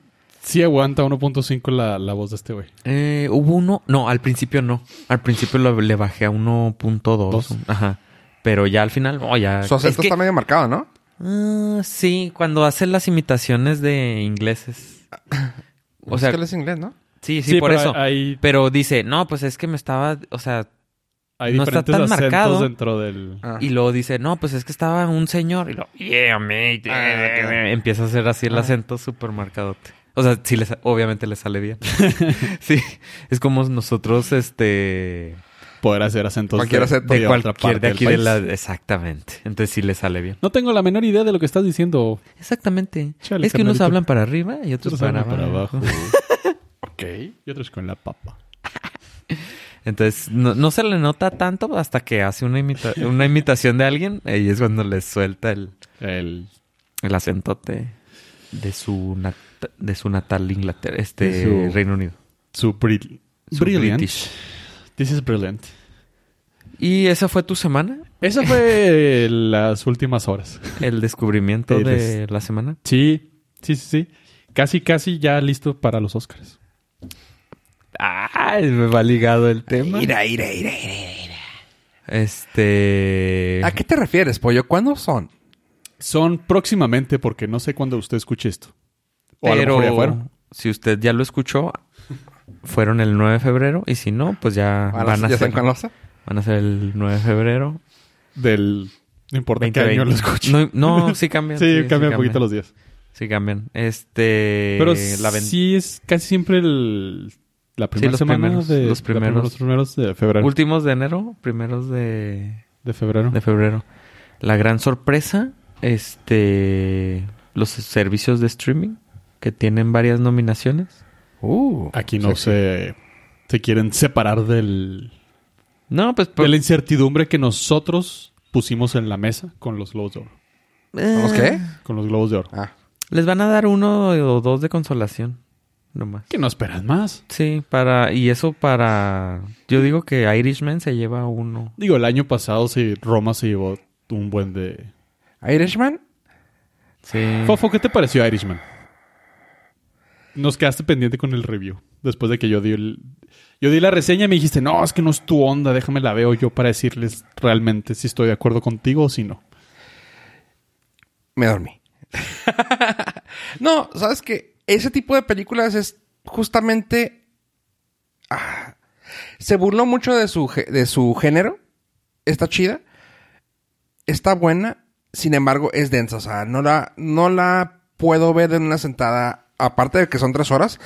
[SPEAKER 2] Sí aguanta 1.5 la, la voz de este güey.
[SPEAKER 3] Eh, Hubo uno. No, al principio no. Al principio lo- le bajé a 1.2.
[SPEAKER 2] Dos.
[SPEAKER 3] Ajá. Pero ya al final, oh, ya.
[SPEAKER 1] Su acento
[SPEAKER 3] Es que-
[SPEAKER 1] está medio marcado, ¿no?
[SPEAKER 3] Ah, sí, cuando hace las imitaciones de ingleses. O sea,
[SPEAKER 1] es que él es inglés, ¿no?
[SPEAKER 3] sí, sí, por
[SPEAKER 2] pero
[SPEAKER 3] eso.
[SPEAKER 2] Hay,
[SPEAKER 3] Pero dice, no, pues es que me estaba, o sea,
[SPEAKER 2] hay
[SPEAKER 3] no está
[SPEAKER 2] diferentes
[SPEAKER 3] tan
[SPEAKER 2] acentos
[SPEAKER 3] marcado.
[SPEAKER 2] dentro del...
[SPEAKER 1] Ah.
[SPEAKER 3] y luego dice, no, pues es que estaba un señor. Y luego, yeah, mate. eh,
[SPEAKER 1] Ah, ok.
[SPEAKER 3] Empieza a hacer así el
[SPEAKER 1] Ah.
[SPEAKER 3] acento súper marcadote. O sea, sí, le sa- obviamente le sale bien. sí, es como nosotros, este,
[SPEAKER 2] Poder hacer acentos
[SPEAKER 1] Cualquier acento
[SPEAKER 3] de
[SPEAKER 2] otra
[SPEAKER 3] cualquier de
[SPEAKER 2] del
[SPEAKER 3] aquí de
[SPEAKER 2] país.
[SPEAKER 3] la... Exactamente. Entonces sí le sale bien.
[SPEAKER 2] No tengo la menor idea de lo que estás diciendo.
[SPEAKER 3] Exactamente.
[SPEAKER 2] Chale,
[SPEAKER 3] es que unos
[SPEAKER 2] carnalito.
[SPEAKER 3] hablan para arriba y otros,
[SPEAKER 2] Otros
[SPEAKER 3] Pues para,
[SPEAKER 2] hablan para
[SPEAKER 3] abajo.
[SPEAKER 2] abajo. ok. Y otros con la papa.
[SPEAKER 3] Entonces no, no se le nota tanto hasta que hace una, imita- una imitación de alguien y es cuando le suelta el...
[SPEAKER 2] El...
[SPEAKER 3] El acentote de su nat- de su natal Inglaterra, este
[SPEAKER 2] De su-
[SPEAKER 3] Reino Unido.
[SPEAKER 2] Su, brill-
[SPEAKER 3] Su
[SPEAKER 2] brilliant.
[SPEAKER 3] British.
[SPEAKER 2] This is brilliant.
[SPEAKER 3] ¿Y esa fue tu semana?
[SPEAKER 2] Esa fue las últimas horas.
[SPEAKER 3] El descubrimiento
[SPEAKER 2] Sí,
[SPEAKER 3] de la semana.
[SPEAKER 2] Sí, sí, sí, sí. Casi, casi ya listo para los Oscars.
[SPEAKER 3] Ah, me va ligado el tema.
[SPEAKER 1] Ira, ira, ira, ira, ira, ira.
[SPEAKER 3] Este
[SPEAKER 1] ¿A qué te refieres, pollo? ¿Cuándo son?
[SPEAKER 2] Son próximamente, porque no sé cuándo usted escuche esto. O a lo mejor ya fueron.
[SPEAKER 3] pero si usted ya lo escuchó, fueron el 9 de febrero y si no, pues ya
[SPEAKER 2] Ah,
[SPEAKER 1] ¿A
[SPEAKER 3] van,
[SPEAKER 1] las-
[SPEAKER 3] a
[SPEAKER 1] ¿Ya
[SPEAKER 3] ser,
[SPEAKER 1] están con Ah, los-
[SPEAKER 3] van a ser el 9 de febrero.
[SPEAKER 2] Del... No importa qué
[SPEAKER 3] 2020.
[SPEAKER 2] año lo escuche.
[SPEAKER 3] No, no, sí cambian.
[SPEAKER 2] sí, cambian un poquito los días.
[SPEAKER 3] Sí cambian. Este
[SPEAKER 2] Pero
[SPEAKER 3] la ven-
[SPEAKER 2] sí es casi siempre el... La primera
[SPEAKER 3] los
[SPEAKER 2] semana
[SPEAKER 3] primeros,
[SPEAKER 2] de...
[SPEAKER 3] los
[SPEAKER 2] la primera-
[SPEAKER 3] primeros.
[SPEAKER 2] los primeros de febrero.
[SPEAKER 3] últimos de enero, primeros de
[SPEAKER 2] De febrero.
[SPEAKER 3] de febrero. La gran sorpresa, este, los servicios de streaming que tienen varias nominaciones.
[SPEAKER 1] Uh,
[SPEAKER 2] Aquí no
[SPEAKER 1] sí, sí.
[SPEAKER 2] se... Se quieren separar del...
[SPEAKER 3] No, pues
[SPEAKER 2] de
[SPEAKER 3] por-
[SPEAKER 2] la incertidumbre que nosotros pusimos en la mesa con los globos de oro.
[SPEAKER 3] eh,
[SPEAKER 1] ¿Vamos qué?
[SPEAKER 2] Con los globos de oro.
[SPEAKER 1] Ah,
[SPEAKER 3] Les van a dar uno o dos de consolación. Nomás.
[SPEAKER 2] Que no esperas más.
[SPEAKER 3] Sí, para. Y eso para. Yo digo que Irishman se lleva uno.
[SPEAKER 2] Digo, el año pasado sí, Roma se llevó un buen de...
[SPEAKER 1] Irishman,
[SPEAKER 3] Sí.
[SPEAKER 2] Fofo, ¿qué te pareció Irishman? Nos quedaste pendiente con el review. Después de que yo di el... Yo di la reseña y me dijiste, no, es que no es tu onda, déjame la veo yo para decirles realmente si estoy de acuerdo contigo o si no.
[SPEAKER 1] me dormí. no, sabes que ese tipo de películas es justamente. ah, se burló mucho de su, gé- de su género. Está chida. Está buena. Sin embargo, es densa. O sea, no la, no la puedo ver en una sentada. Aparte de que son tres horas.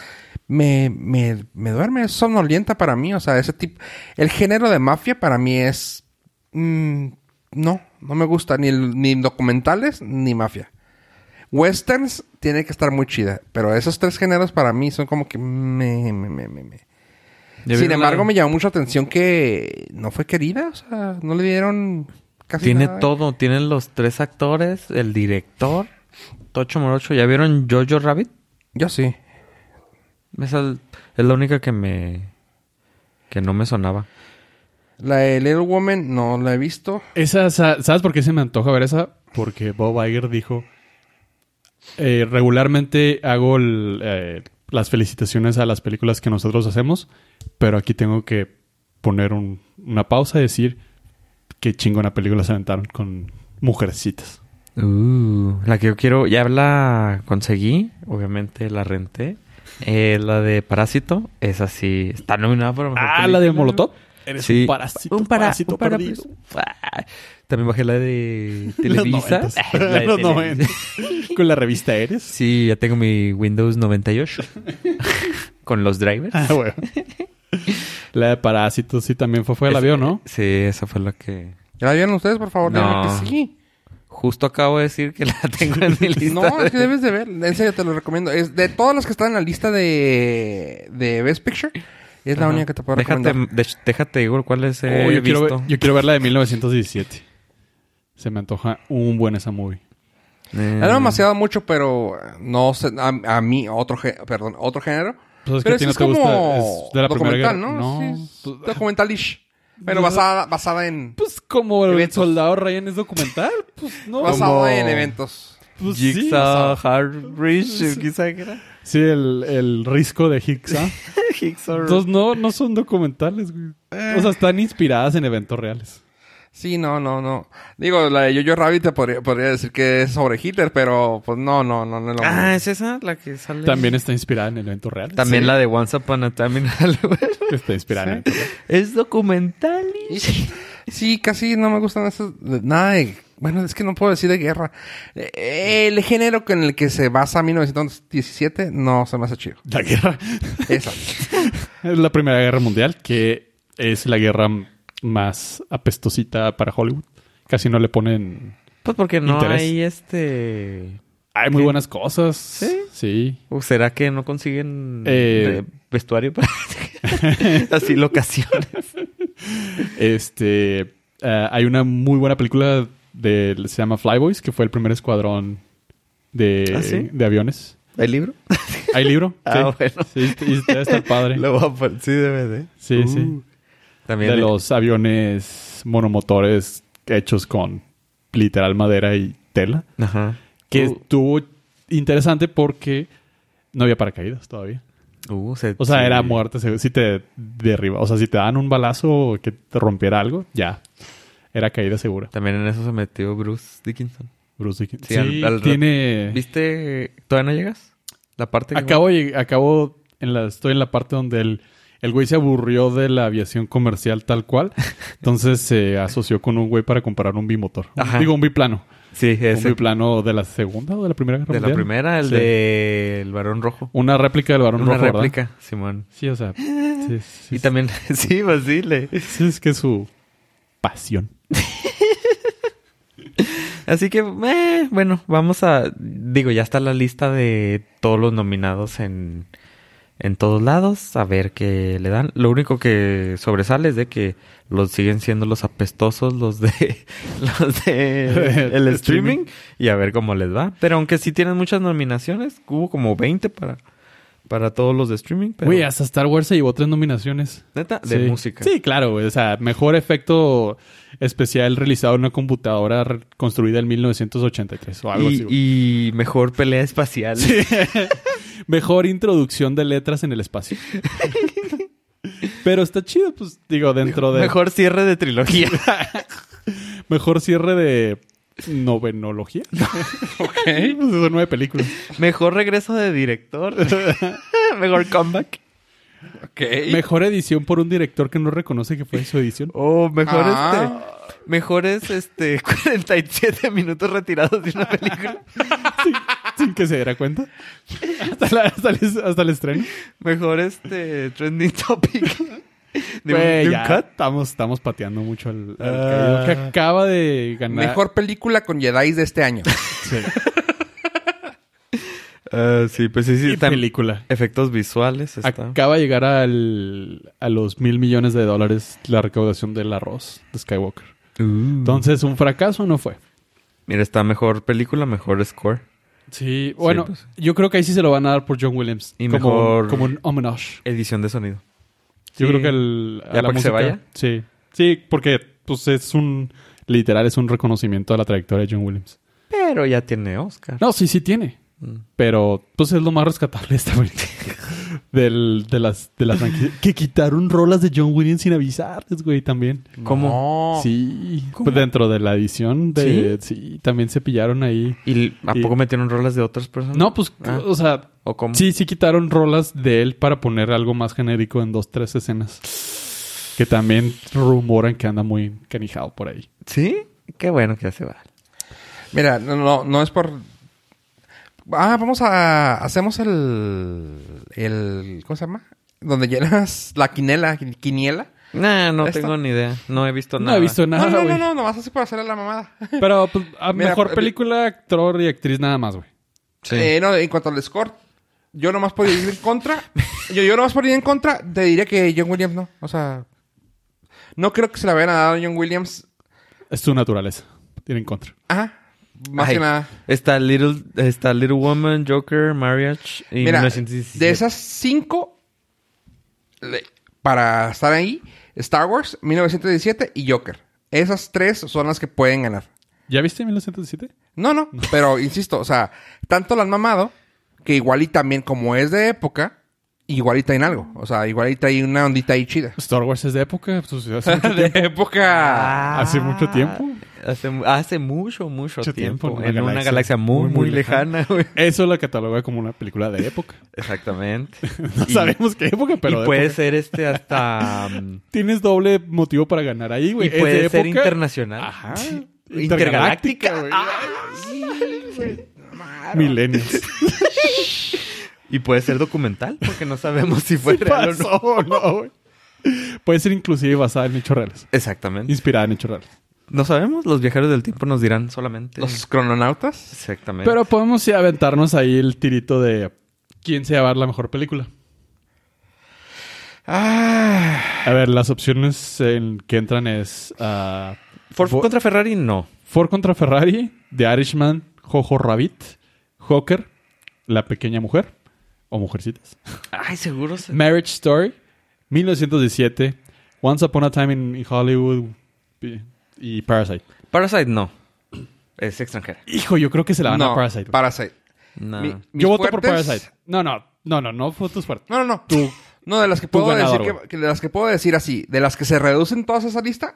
[SPEAKER 1] Me, me, me duerme, es somnolienta para mí. O sea, ese tipo. El género de mafia para mí es. mm, no, no me gusta ni, el- ni documentales ni mafia. Westerns tiene que estar muy chida, pero esos tres géneros para mí son como que me, me, me, me, me. Sin
[SPEAKER 3] ¿Ya vieron la-
[SPEAKER 1] embargo, me llamó mucha atención que no fue querida, o sea, no le dieron casi
[SPEAKER 3] Tiene
[SPEAKER 1] nada.
[SPEAKER 3] todo. Tienen los tres actores, el director, Tocho Morocho. ¿Ya vieron Jojo Rabbit?
[SPEAKER 1] Yo sí.
[SPEAKER 3] Esa es la única que me. que no me sonaba.
[SPEAKER 1] La de Little Woman no la he visto.
[SPEAKER 2] Esa, sa- ¿sabes por qué se me antoja ver esa? Porque Bob Iger dijo, eh, regularmente hago el, eh, las felicitaciones a las películas que nosotros hacemos, pero aquí tengo que poner un- una pausa y decir qué chingona película se aventaron con mujercitas.
[SPEAKER 3] Uh, la que yo quiero, ya la conseguí, obviamente la renté. Eh, la de Parásito, es así, está nominada para mejor
[SPEAKER 2] Ah, la de
[SPEAKER 3] película.
[SPEAKER 2] Molotov. Eres
[SPEAKER 3] Sí.
[SPEAKER 2] un parásito,
[SPEAKER 1] pues,
[SPEAKER 3] para-
[SPEAKER 2] parásito
[SPEAKER 3] un para-
[SPEAKER 2] perdido.
[SPEAKER 3] Ah, También bajé la de
[SPEAKER 2] Los
[SPEAKER 3] Televisa.
[SPEAKER 2] noventas.
[SPEAKER 3] La de
[SPEAKER 2] Los
[SPEAKER 3] Televisa.
[SPEAKER 2] noventas. Con la revista Eres.
[SPEAKER 3] Sí, ya tengo mi Windows 98 con los drivers.
[SPEAKER 2] Ah, bueno. La de Parásito sí también fue, fue el
[SPEAKER 3] Es-
[SPEAKER 2] avión, ¿no?
[SPEAKER 3] Sí, esa fue la que
[SPEAKER 1] ¿Ya la vieron ustedes, por favor?
[SPEAKER 3] No.
[SPEAKER 1] Díganme que sí.
[SPEAKER 3] justo acabo de decir que la tengo en mi lista.
[SPEAKER 1] No, es que
[SPEAKER 3] de-
[SPEAKER 1] debes de ver. En serio, te lo recomiendo. Es de todas las que están en la lista de, de Best Picture, es la
[SPEAKER 3] Ajá.
[SPEAKER 1] única que te puedo
[SPEAKER 3] déjate,
[SPEAKER 1] recomendar.
[SPEAKER 3] de- déjate, digo cuál es
[SPEAKER 2] Oh, yo, quiero ver,
[SPEAKER 3] visto.
[SPEAKER 2] yo quiero ver la de 1917. Se me antoja un buen esa movie.
[SPEAKER 3] Eh,
[SPEAKER 1] Era demasiado mucho, pero no sé, a, a mí, otro, gé- perdón, otro género.
[SPEAKER 2] Pues es que
[SPEAKER 1] pero
[SPEAKER 2] a
[SPEAKER 1] ese
[SPEAKER 2] ti no
[SPEAKER 1] es
[SPEAKER 2] te gusta,
[SPEAKER 1] como
[SPEAKER 2] es de la Primera
[SPEAKER 1] documental, ¿no?
[SPEAKER 2] Guerra. No.
[SPEAKER 1] Sí, es documentalish. Pero basada, basada en...
[SPEAKER 2] Pues como
[SPEAKER 1] el Eventos.
[SPEAKER 2] soldado Ryan es documental, pues no. Pues,
[SPEAKER 1] Basado en eventos.
[SPEAKER 3] Jigsaw,
[SPEAKER 1] pues
[SPEAKER 3] Hardbridge, quizá que era.
[SPEAKER 2] Sí, el, el risco de Hicksa.
[SPEAKER 3] Jigsaw.
[SPEAKER 2] Entonces no, no son documentales, güey.
[SPEAKER 1] Eh.
[SPEAKER 2] O sea, están inspiradas en eventos reales.
[SPEAKER 1] Sí, no, no, no. Digo, la de Jojo Rabbit te podría, podría decir que es sobre Hitler, pero pues no, no, no, no es lo
[SPEAKER 3] Ah,
[SPEAKER 1] mismo.
[SPEAKER 3] es esa la que sale.
[SPEAKER 2] También está inspirada en eventos reales.
[SPEAKER 3] También la de Once Upon a Time in Hollywood.
[SPEAKER 2] Está inspirada en eventos reales.
[SPEAKER 3] es documental.
[SPEAKER 1] Sí, casi no me gustan esas... Nada de... Bueno, es que no puedo decir de guerra. Eh, El género con el que se basa 1917 no se me hace chido.
[SPEAKER 2] La guerra.
[SPEAKER 1] Esa.
[SPEAKER 2] Es la Primera Guerra Mundial, que es la guerra más apestosita para Hollywood. Casi no le ponen
[SPEAKER 3] Pues porque no
[SPEAKER 2] Interés.
[SPEAKER 3] hay este.
[SPEAKER 2] Hay muy buenas cosas.
[SPEAKER 3] ¿Sí?
[SPEAKER 2] Sí.
[SPEAKER 3] ¿O será que no consiguen
[SPEAKER 2] Eh,
[SPEAKER 3] de- vestuario para así locaciones?
[SPEAKER 2] Este. eh, hay una muy buena película de, se llama Flyboys, que fue el primer escuadrón de,
[SPEAKER 3] ¿Ah, sí?
[SPEAKER 2] de aviones.
[SPEAKER 3] ¿El libro?
[SPEAKER 2] ¿Hay libro?
[SPEAKER 3] Ah,
[SPEAKER 2] sí.
[SPEAKER 3] bueno.
[SPEAKER 2] Sí, este- y debe estar padre.
[SPEAKER 3] Lo voy a poner. Sí, Uh. DVD.
[SPEAKER 2] Sí, sí.
[SPEAKER 3] También
[SPEAKER 2] De los aviones monomotores hechos con literal madera y tela.
[SPEAKER 3] Ajá.
[SPEAKER 2] Que
[SPEAKER 3] Uh.
[SPEAKER 2] estuvo interesante porque no había paracaídas todavía.
[SPEAKER 3] Uh, se-
[SPEAKER 2] O sea,
[SPEAKER 3] sí.
[SPEAKER 2] era muerte. seguro. Si te derriba, o sea, si te dan un balazo que te rompiera algo, ya. Era caída segura.
[SPEAKER 3] También en eso se metió Bruce Dickinson.
[SPEAKER 2] Bruce Dickinson.
[SPEAKER 3] Sí,
[SPEAKER 2] Sí,
[SPEAKER 3] al- al-
[SPEAKER 2] tiene...
[SPEAKER 3] ¿Viste? ¿Todavía no llegas? La parte que...
[SPEAKER 2] Acabo, de- acabo en la, estoy en la parte donde el, el güey se aburrió de la aviación comercial tal cual. Entonces se asoció con un güey para comprar un bimotor. Un-
[SPEAKER 3] Ajá.
[SPEAKER 2] Digo, un biplano.
[SPEAKER 3] Sí,
[SPEAKER 2] Un
[SPEAKER 3] ese.
[SPEAKER 2] biplano de la segunda o de la primera guerra
[SPEAKER 3] De la
[SPEAKER 2] mundial.
[SPEAKER 3] primera, el
[SPEAKER 2] Sí.
[SPEAKER 3] de El Varón Rojo.
[SPEAKER 2] Una réplica del varón
[SPEAKER 3] Una
[SPEAKER 2] rojo, ¿verdad?
[SPEAKER 3] réplica, Simón.
[SPEAKER 2] Sí, o sea... sí, sí,
[SPEAKER 3] Y también... sí, Basile.
[SPEAKER 2] sí, es que es su pasión.
[SPEAKER 3] Así que, eh, bueno, vamos a... Digo, ya está la lista de todos los nominados en, en todos lados, a ver qué le dan. Lo único que sobresale es de que los siguen siendo los apestosos los de los de el streaming y a ver cómo les va. Pero aunque sí tienen muchas nominaciones, hubo como 20 para para todos los de streaming, pero
[SPEAKER 2] Güey, hasta Star Wars se llevó tres nominaciones.
[SPEAKER 3] neta de
[SPEAKER 2] Sí.
[SPEAKER 3] música.
[SPEAKER 2] Sí, claro, güey. O sea, mejor efecto especial realizado en una computadora re- construida en 1983 o algo
[SPEAKER 3] y,
[SPEAKER 2] así. güey.
[SPEAKER 3] y mejor pelea espacial.
[SPEAKER 2] Mejor introducción de letras en el espacio. Pero está chido, pues, digo, dentro de...
[SPEAKER 3] Mejor cierre de trilogía.
[SPEAKER 2] Mejor cierre de novenología.
[SPEAKER 3] ¿Eh?
[SPEAKER 1] Ok.
[SPEAKER 2] Pues son nueve películas.
[SPEAKER 3] Mejor regreso de director. Mejor comeback.
[SPEAKER 1] Ok.
[SPEAKER 2] Mejor edición por un director que no reconoce que fue su edición.
[SPEAKER 3] O mejor
[SPEAKER 1] Ah.
[SPEAKER 3] este. Mejores este 47 minutos retirados de una película.
[SPEAKER 2] sin, sin que se diera cuenta. Hasta, la- hasta el, hasta el estreno.
[SPEAKER 3] Mejor este trending topic. De un-
[SPEAKER 2] Güey,
[SPEAKER 3] de un
[SPEAKER 2] ya
[SPEAKER 3] cut.
[SPEAKER 2] Estamos, estamos pateando mucho al, al
[SPEAKER 3] Ah.
[SPEAKER 2] caído que acaba de ganar.
[SPEAKER 1] Mejor película con Jedi de este año.
[SPEAKER 2] Sí.
[SPEAKER 3] Ah, sí, pues sí, sí.
[SPEAKER 2] Y
[SPEAKER 3] tam-
[SPEAKER 2] película.
[SPEAKER 3] Efectos visuales. Está.
[SPEAKER 2] Acaba de llegar al, a los mil millones de dólares la recaudación del arroz de Skywalker.
[SPEAKER 3] Mm.
[SPEAKER 2] Entonces, un fracaso no fue.
[SPEAKER 3] Mira, está mejor película, mejor score.
[SPEAKER 2] Sí, bueno,
[SPEAKER 3] pues.
[SPEAKER 2] yo creo que ahí sí se lo van a dar por John Williams.
[SPEAKER 3] Y
[SPEAKER 2] como,
[SPEAKER 3] mejor-
[SPEAKER 2] como un homenaje.
[SPEAKER 3] Edición de sonido.
[SPEAKER 2] Yo
[SPEAKER 3] Sí.
[SPEAKER 2] creo que el,
[SPEAKER 3] ¿Ya para que se vaya?
[SPEAKER 2] Sí. Sí, porque pues es un literal es un reconocimiento a la trayectoria de John Williams.
[SPEAKER 3] Pero ya tiene Oscar.
[SPEAKER 2] No, sí, sí tiene.
[SPEAKER 3] Mm.
[SPEAKER 2] Pero pues es lo más rescatable de esta película. Del, de las de las franquicias. que quitaron rolas de John Williams sin avisarles, güey, también.
[SPEAKER 3] ¿Cómo?
[SPEAKER 1] No.
[SPEAKER 2] Sí,
[SPEAKER 3] ¿Cómo?
[SPEAKER 2] pues dentro de la edición de sí, también se pillaron ahí.
[SPEAKER 3] ¿Y a
[SPEAKER 2] Y-
[SPEAKER 3] poco metieron rolas de otras personas?
[SPEAKER 2] No, pues
[SPEAKER 3] Ah.
[SPEAKER 2] o sea,
[SPEAKER 3] ¿O cómo?
[SPEAKER 2] Sí, sí quitaron rolas de él para poner algo más genérico en dos, tres escenas. Que también rumoran que anda muy canijado por ahí.
[SPEAKER 3] ¿Sí? Qué bueno que ya se va.
[SPEAKER 1] Mira, no, no, no es por. Ah, vamos a. Hacemos el. el ¿Cómo se llama? Donde llenas la quinela. Quiniela.
[SPEAKER 3] Nah, no
[SPEAKER 1] Esta-
[SPEAKER 3] tengo ni idea. No he visto
[SPEAKER 2] No
[SPEAKER 3] nada.
[SPEAKER 2] he visto
[SPEAKER 1] No,
[SPEAKER 2] nada,
[SPEAKER 1] no, no,
[SPEAKER 2] güey.
[SPEAKER 1] no, nomás así para hacerle la mamada.
[SPEAKER 2] Pero pues, a
[SPEAKER 1] Mira,
[SPEAKER 2] mejor
[SPEAKER 1] eh,
[SPEAKER 2] película, actor y actriz nada más, güey.
[SPEAKER 3] Sí.
[SPEAKER 1] Eh, no, en cuanto al score, yo nomás por ir en contra. yo, yo nomás por ir en contra, te diré que John Williams no. O sea, no creo que se la vayan a dar a John Williams.
[SPEAKER 2] Es su naturaleza. Tiene en contra.
[SPEAKER 1] Ajá. Más
[SPEAKER 3] Ay,
[SPEAKER 1] que nada.
[SPEAKER 3] Está Little, está Little Woman, Joker, Marriage y
[SPEAKER 1] Mira,
[SPEAKER 3] 1917.
[SPEAKER 1] de esas cinco, le- para estar ahí, Star Wars, 1917 y Joker. Esas tres son las que pueden ganar.
[SPEAKER 2] ¿Ya viste 1907?
[SPEAKER 1] No, no, pero insisto, o sea, tanto la han mamado que igual y también como es de época, igual y traen algo. O sea, igual y traen una ondita ahí chida.
[SPEAKER 2] pues, Star Wars es de época. pues, hace mucho
[SPEAKER 1] de época.
[SPEAKER 3] Ah,
[SPEAKER 2] ¿Hace mucho tiempo?
[SPEAKER 3] Hace, mu- hace mucho, mucho,
[SPEAKER 2] Mucho
[SPEAKER 3] tiempo.
[SPEAKER 2] tiempo, en
[SPEAKER 3] en
[SPEAKER 2] una
[SPEAKER 3] una
[SPEAKER 2] galaxia
[SPEAKER 3] galaxia muy, muy,
[SPEAKER 2] muy, muy
[SPEAKER 3] lejana, güey.
[SPEAKER 2] Eso la cataloga como una película de época.
[SPEAKER 3] Exactamente.
[SPEAKER 2] No
[SPEAKER 3] Y-
[SPEAKER 2] sabemos qué época, pero
[SPEAKER 3] y
[SPEAKER 2] de
[SPEAKER 3] puede
[SPEAKER 2] época.
[SPEAKER 3] ser este hasta... um,
[SPEAKER 2] Tienes doble motivo para ganar ahí, güey.
[SPEAKER 3] y
[SPEAKER 2] Es de
[SPEAKER 3] puede ser
[SPEAKER 2] época.
[SPEAKER 3] internacional.
[SPEAKER 2] Ajá.
[SPEAKER 3] Sí. Ah.
[SPEAKER 2] Intergaláctica, güey. Millennials.
[SPEAKER 3] Y puede ser documental, porque no sabemos si fue
[SPEAKER 2] Sí
[SPEAKER 3] real o no.
[SPEAKER 2] pasó o no, güey. Puede ser inclusive basada en hechos reales.
[SPEAKER 3] Exactamente.
[SPEAKER 2] Inspirada en hechos reales.
[SPEAKER 3] No sabemos, los viajeros del tiempo nos dirán solamente.
[SPEAKER 1] Los crononautas.
[SPEAKER 3] Exactamente.
[SPEAKER 2] Pero podemos sí, aventarnos ahí el tirito de quién se va a dar la mejor película.
[SPEAKER 3] Ah.
[SPEAKER 2] A ver, las opciones en que entran es ah,
[SPEAKER 3] Ford
[SPEAKER 2] Vo-
[SPEAKER 3] contra Ferrari, no.
[SPEAKER 2] Ford contra Ferrari, The Irishman, Jojo Rabbit, Joker, La Pequeña Mujer o Mujercitas,
[SPEAKER 3] Ay, seguro. se-
[SPEAKER 2] Marriage Story, 1917, Once Upon a Time in Hollywood y- y Parasite.
[SPEAKER 3] Parasite, no. Es extranjera.
[SPEAKER 2] Hijo, yo creo que se la van a
[SPEAKER 1] No,
[SPEAKER 2] Parasite. güey.
[SPEAKER 1] Parasite.
[SPEAKER 3] No.
[SPEAKER 1] Mi- mis
[SPEAKER 2] Yo voto por
[SPEAKER 1] fuertes-
[SPEAKER 2] Parasite. No, no, no, no, no fue tus fuertes.
[SPEAKER 1] No, no, no.
[SPEAKER 2] Tú.
[SPEAKER 1] No, de las que
[SPEAKER 2] Tu
[SPEAKER 1] puedo
[SPEAKER 2] ganador,
[SPEAKER 1] decir que,
[SPEAKER 2] güey.
[SPEAKER 1] que de las que puedo decir así, de las que se reducen todas esa lista,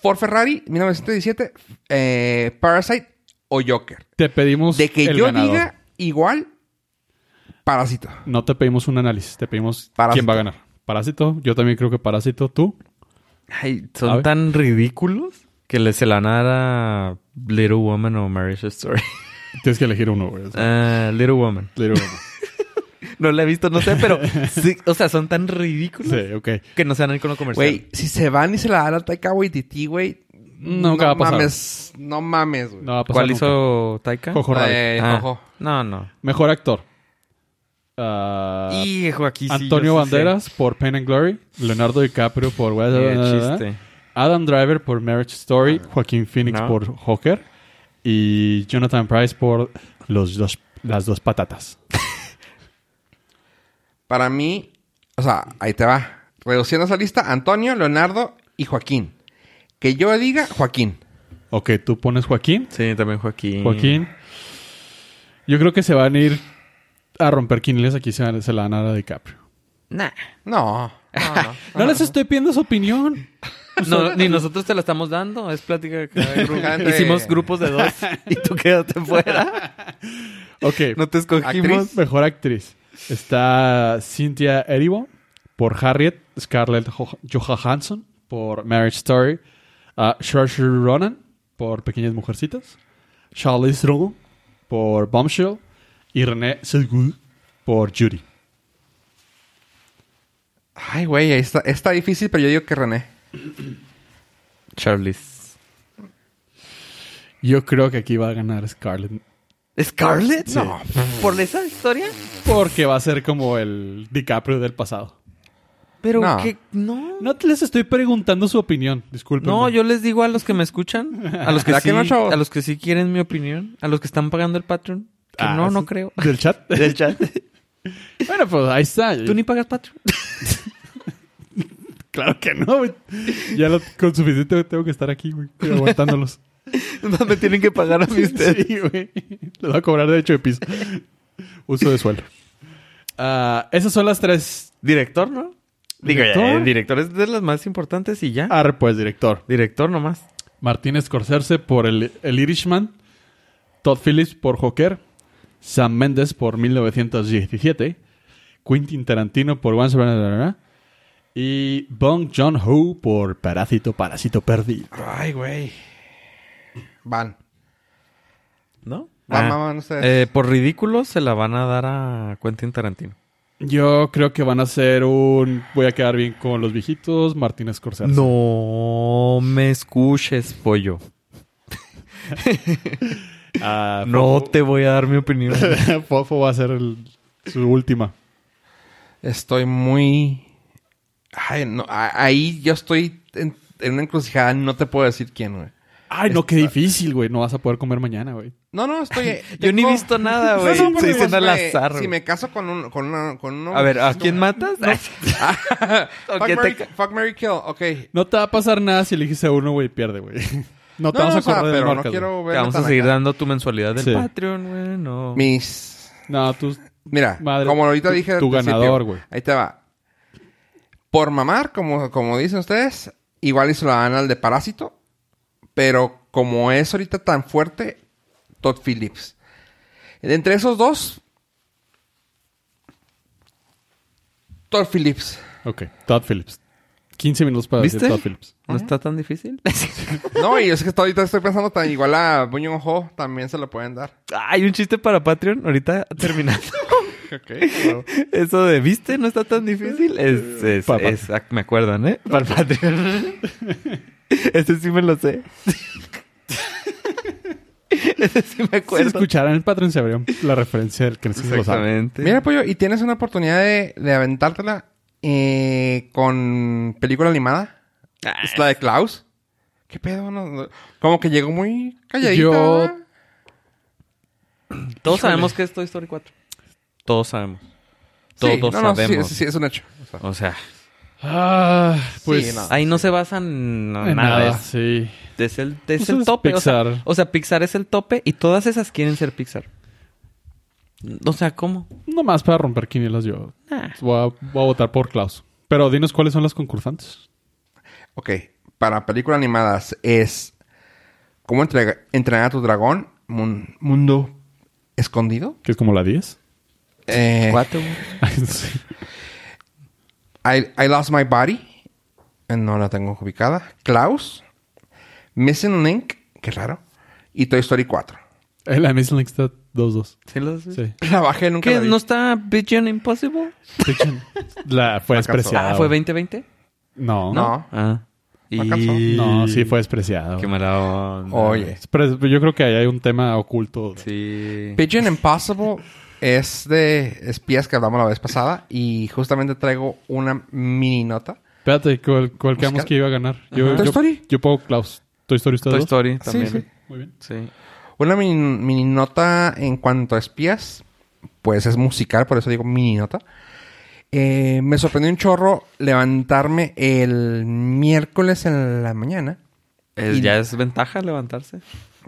[SPEAKER 1] Ford Ferrari, 1917, eh, Parasite o Joker.
[SPEAKER 2] Te pedimos
[SPEAKER 1] De que
[SPEAKER 2] el
[SPEAKER 1] yo
[SPEAKER 2] ganador.
[SPEAKER 1] diga igual, Parásito.
[SPEAKER 2] No te pedimos un análisis, te pedimos
[SPEAKER 1] Parásito.
[SPEAKER 2] quién va a ganar. Parásito, yo también creo que Parásito, tú.
[SPEAKER 3] Ay,
[SPEAKER 2] A
[SPEAKER 3] son
[SPEAKER 2] ver.
[SPEAKER 3] tan ridículos que les se la van a dar a Little Woman o Marriage Story.
[SPEAKER 2] Tienes que elegir uno, güey. o sea,
[SPEAKER 3] Ah, Little Woman.
[SPEAKER 2] le digo uno.
[SPEAKER 3] No la he visto, no sé, pero sí, o sea, son tan ridículos
[SPEAKER 2] Sí, ok.
[SPEAKER 3] que no sean el cono comercial.
[SPEAKER 1] Güey, si se van y se la dan a Taika Waititi, güey.
[SPEAKER 2] Nunca va a pasar.
[SPEAKER 1] Mames, no mames, güey.
[SPEAKER 2] No Ah. va a pasar
[SPEAKER 3] ¿Cuál
[SPEAKER 2] nunca.
[SPEAKER 3] hizo Taika?
[SPEAKER 2] Jojo Rabbit.
[SPEAKER 1] Eh,
[SPEAKER 3] Ah,
[SPEAKER 1] ojo.
[SPEAKER 3] No, no.
[SPEAKER 2] Mejor actor. ah,
[SPEAKER 3] Hijo, aquí sí.
[SPEAKER 2] Antonio
[SPEAKER 3] yo sí sé.
[SPEAKER 2] Banderas por Pain and Glory, Leonardo DiCaprio por Wes-
[SPEAKER 3] Qué chiste. Ah,
[SPEAKER 2] Adam Driver por Marriage Story, Joaquín Phoenix
[SPEAKER 3] No.
[SPEAKER 2] por Joker y Jonathan Price por los dos, las dos patatas.
[SPEAKER 1] Para mí, o sea, ahí te va. Reduciendo esa lista, Antonio, Leonardo y Joaquín. Que yo diga Joaquín.
[SPEAKER 2] Ok, tú pones Joaquín.
[SPEAKER 3] Sí, también Joaquín.
[SPEAKER 2] Joaquín. Yo creo que se van a ir a romper quiniles aquí, se, van- se la van a dar a DiCaprio.
[SPEAKER 3] Nah.
[SPEAKER 1] No. No, no.
[SPEAKER 2] No les estoy pidiendo su opinión.
[SPEAKER 3] Ah. No, ni nosotros te la estamos dando. Es plática de cada grupo.
[SPEAKER 1] Gente-
[SPEAKER 3] Hicimos grupos de dos y tú quédate fuera.
[SPEAKER 2] Ok,
[SPEAKER 3] No te escogimos.
[SPEAKER 1] Actriz.
[SPEAKER 2] mejor actriz. Está Cynthia Erivo por Harriet, Scarlett Jo- Johansson por Marriage Story, uh, Saoirse Ronan por Pequeñas Mujercitas, Charlize Theron por Bombshell y René Zellweger por Judy.
[SPEAKER 1] Ay, güey, ahí está, está difícil, pero yo digo que René.
[SPEAKER 3] Charlize.
[SPEAKER 2] Yo creo que aquí va a ganar Scarlett
[SPEAKER 3] ¿Scarlett?
[SPEAKER 2] Sí.
[SPEAKER 3] No. ¿Por esa historia?
[SPEAKER 2] porque va a ser como el DiCaprio del pasado.
[SPEAKER 3] Pero
[SPEAKER 1] No.
[SPEAKER 3] que no.
[SPEAKER 2] No te- les estoy preguntando su opinión, disculpen.
[SPEAKER 3] No, yo les digo a los que me escuchan, a los que,
[SPEAKER 1] ¿Verdad
[SPEAKER 3] sí,
[SPEAKER 1] que no, chavo?
[SPEAKER 3] a los que sí quieren mi opinión, a los que están pagando el Patreon, que
[SPEAKER 2] Ah,
[SPEAKER 3] no,
[SPEAKER 2] sí.
[SPEAKER 3] no creo.
[SPEAKER 2] ¿Del chat?
[SPEAKER 3] Del chat.
[SPEAKER 2] bueno, pues ahí está.
[SPEAKER 3] Tú ni pagas Patreon.
[SPEAKER 2] Claro que no, güey. Ya lo- con suficiente tengo que estar aquí, güey, aguantándolos.
[SPEAKER 3] No me tienen que pagar a mí ustedes.
[SPEAKER 2] Sí, güey. Les voy a cobrar derecho de piso. Uso de suelo. Ah, esas son las tres.
[SPEAKER 3] Director, ¿no? Digo, ya,
[SPEAKER 2] ¿Director?
[SPEAKER 3] eh, director es de las más importantes y ya.
[SPEAKER 2] Arre, pues, director.
[SPEAKER 3] Director nomás.
[SPEAKER 2] Martín Scorsese por el, el Irishman. Todd Phillips por Joker. Sam Mendes por 1917. Quentin Tarantino por Once Upon a Time. Y Bong Joon-ho por Parásito, Parásito Perdido.
[SPEAKER 1] Ay, güey. Van.
[SPEAKER 3] ¿No?
[SPEAKER 1] Van, van, van ustedes.
[SPEAKER 3] Eh, por ridículo se la van a dar a Quentin Tarantino.
[SPEAKER 2] Yo creo que van a ser un. Voy a quedar bien con los viejitos, Martín Scorsese.
[SPEAKER 3] No me escuches, pollo.
[SPEAKER 2] Ah,
[SPEAKER 3] No
[SPEAKER 2] Fofo-
[SPEAKER 3] te voy a dar mi opinión.
[SPEAKER 2] Fofo va a ser el- su última.
[SPEAKER 1] Estoy muy. Ay, no, a- ahí yo estoy en, en una encrucijada, no te puedo decir quién, güey.
[SPEAKER 2] Ay, no, qué difícil, güey. No vas a poder comer mañana, güey.
[SPEAKER 1] No, no, estoy.
[SPEAKER 3] Yo ni he
[SPEAKER 1] tengo-
[SPEAKER 3] visto nada,
[SPEAKER 1] No,
[SPEAKER 3] güey.
[SPEAKER 1] no, porque
[SPEAKER 3] Estoy diciendo al
[SPEAKER 1] me-
[SPEAKER 3] azar.
[SPEAKER 1] Si
[SPEAKER 3] güey.
[SPEAKER 1] me caso con un, con una, con uno.
[SPEAKER 3] A ver, ¿a quién matas? ¿O
[SPEAKER 1] fuck,
[SPEAKER 3] qué te
[SPEAKER 1] Mary,
[SPEAKER 3] ca-
[SPEAKER 1] fuck, Mary, Kill, ok.
[SPEAKER 2] No te va a pasar nada si eliges a uno, güey, pierde, güey. No te
[SPEAKER 1] No,
[SPEAKER 2] vas
[SPEAKER 1] no,
[SPEAKER 2] a
[SPEAKER 1] o sea,
[SPEAKER 2] correr de
[SPEAKER 1] pero no
[SPEAKER 2] marcas, güey.
[SPEAKER 1] quiero
[SPEAKER 3] Te
[SPEAKER 1] ver.
[SPEAKER 3] vamos a seguir dando tu mensualidad del
[SPEAKER 2] Sí.
[SPEAKER 3] Patreon, güey. No.
[SPEAKER 1] Mis.
[SPEAKER 2] No, tú.
[SPEAKER 1] Mira,
[SPEAKER 2] Madre,
[SPEAKER 1] como ahorita
[SPEAKER 2] tu-
[SPEAKER 1] dije. al
[SPEAKER 2] tu
[SPEAKER 1] principio,
[SPEAKER 2] ganador, güey.
[SPEAKER 1] Ahí te va. Por mamar, como, como dicen ustedes, igual hizo la dan al de Parásito. Pero como es ahorita tan fuerte, Todd Phillips. Entre esos dos. Todd Phillips.
[SPEAKER 2] Ok, Todd Phillips. 15 minutos para decir
[SPEAKER 3] ¿Viste?
[SPEAKER 2] Todd Phillips.
[SPEAKER 3] No está tan difícil.
[SPEAKER 1] No, y es que ahorita estoy pensando tan igual a Buño Ojo, también se lo pueden dar.
[SPEAKER 3] Hay un chiste para Patreon ahorita terminando.
[SPEAKER 1] Ok.
[SPEAKER 3] Eso de, ¿viste? No está tan difícil. Es, es-
[SPEAKER 2] Para
[SPEAKER 3] es- ah, me acuerdan, ¿eh? Para el Patreon. Ese sí me lo sé. Ese sí me
[SPEAKER 2] Si
[SPEAKER 3] acuerdo.
[SPEAKER 2] escucharan el Patreon, se verían la referencia del que no se lo sabe.
[SPEAKER 3] Exactamente.
[SPEAKER 1] Mira, Pollo, y tienes una oportunidad de, de aventártela eh, con película animada.
[SPEAKER 3] Ah.
[SPEAKER 1] Es la de Klaus. ¿Qué pedo? No, no. Como que llegó muy calladita.
[SPEAKER 2] Yo-
[SPEAKER 1] ¿verdad?
[SPEAKER 3] Todos sabemos que es Toy Story 4. Todos sabemos. Todos
[SPEAKER 1] Sí, no, no, sí,
[SPEAKER 3] sabemos.
[SPEAKER 1] Sí, sí, es un hecho. O sea,
[SPEAKER 3] O sea,
[SPEAKER 2] Ah, pues.
[SPEAKER 1] Sí, no.
[SPEAKER 3] ahí no se basan
[SPEAKER 2] en
[SPEAKER 3] nada.
[SPEAKER 2] nada,
[SPEAKER 3] Es-
[SPEAKER 2] sí.
[SPEAKER 3] Es el, es
[SPEAKER 2] Pues
[SPEAKER 3] el
[SPEAKER 2] es
[SPEAKER 3] tope. o sea- O, sea,
[SPEAKER 2] Pixar.
[SPEAKER 3] Pixar es el tope y todas esas quieren ser Pixar. O sea, ¿cómo?
[SPEAKER 2] Nomás para romper quinielas, yo
[SPEAKER 3] Ah.
[SPEAKER 2] Voy a, voy a votar por Klaus. Pero dinos cuáles son las concursantes.
[SPEAKER 1] ok, para películas animadas es ¿Cómo entrega- entrenar a tu dragón? Mun- mundo escondido.
[SPEAKER 2] Que es como la 10.
[SPEAKER 1] Eh,
[SPEAKER 3] Cuatro.
[SPEAKER 2] Sí.
[SPEAKER 1] I, I Lost My Body. Eh, No la tengo ubicada. Klaus. Missing Link. Qué raro. Y Toy Story 4.
[SPEAKER 2] Eh, La Miss Link está 2-2.
[SPEAKER 3] ¿Sí los-
[SPEAKER 2] Sí.
[SPEAKER 1] La bajé nunca.
[SPEAKER 3] ¿Qué?
[SPEAKER 1] la vi.
[SPEAKER 3] ¿No está Vision Impossible?
[SPEAKER 2] Fiction. La fue
[SPEAKER 1] Alcanzó.
[SPEAKER 2] despreciada.
[SPEAKER 3] Ah, ¿fue
[SPEAKER 2] güey.
[SPEAKER 3] 2020?
[SPEAKER 2] No.
[SPEAKER 1] No.
[SPEAKER 3] Ah.
[SPEAKER 1] No alcanzó.
[SPEAKER 2] No, sí fue despreciada.
[SPEAKER 3] Qué
[SPEAKER 2] güey.
[SPEAKER 3] mala onda.
[SPEAKER 1] Oye.
[SPEAKER 2] Pero yo creo que ahí hay un tema oculto.
[SPEAKER 3] Sí.
[SPEAKER 1] Pigeon Impossible es de espías que hablamos la vez pasada y justamente traigo una mini nota.
[SPEAKER 2] Espérate, ¿cuál, cuál quedamos que iba a ganar? Yo,
[SPEAKER 1] Toy
[SPEAKER 2] yo,
[SPEAKER 1] Story.
[SPEAKER 2] yo pongo Klaus. Toy Story está
[SPEAKER 3] Toy
[SPEAKER 2] dos.
[SPEAKER 3] Story
[SPEAKER 1] Sí,
[SPEAKER 3] también.
[SPEAKER 1] sí.
[SPEAKER 2] Muy bien.
[SPEAKER 3] Sí.
[SPEAKER 1] Una mini, mini nota en cuanto a espías, pues es musical, por eso digo mini nota. Eh, me sorprendió un chorro levantarme el miércoles en la mañana.
[SPEAKER 3] Es-
[SPEAKER 1] Y-
[SPEAKER 3] ya es ventaja levantarse.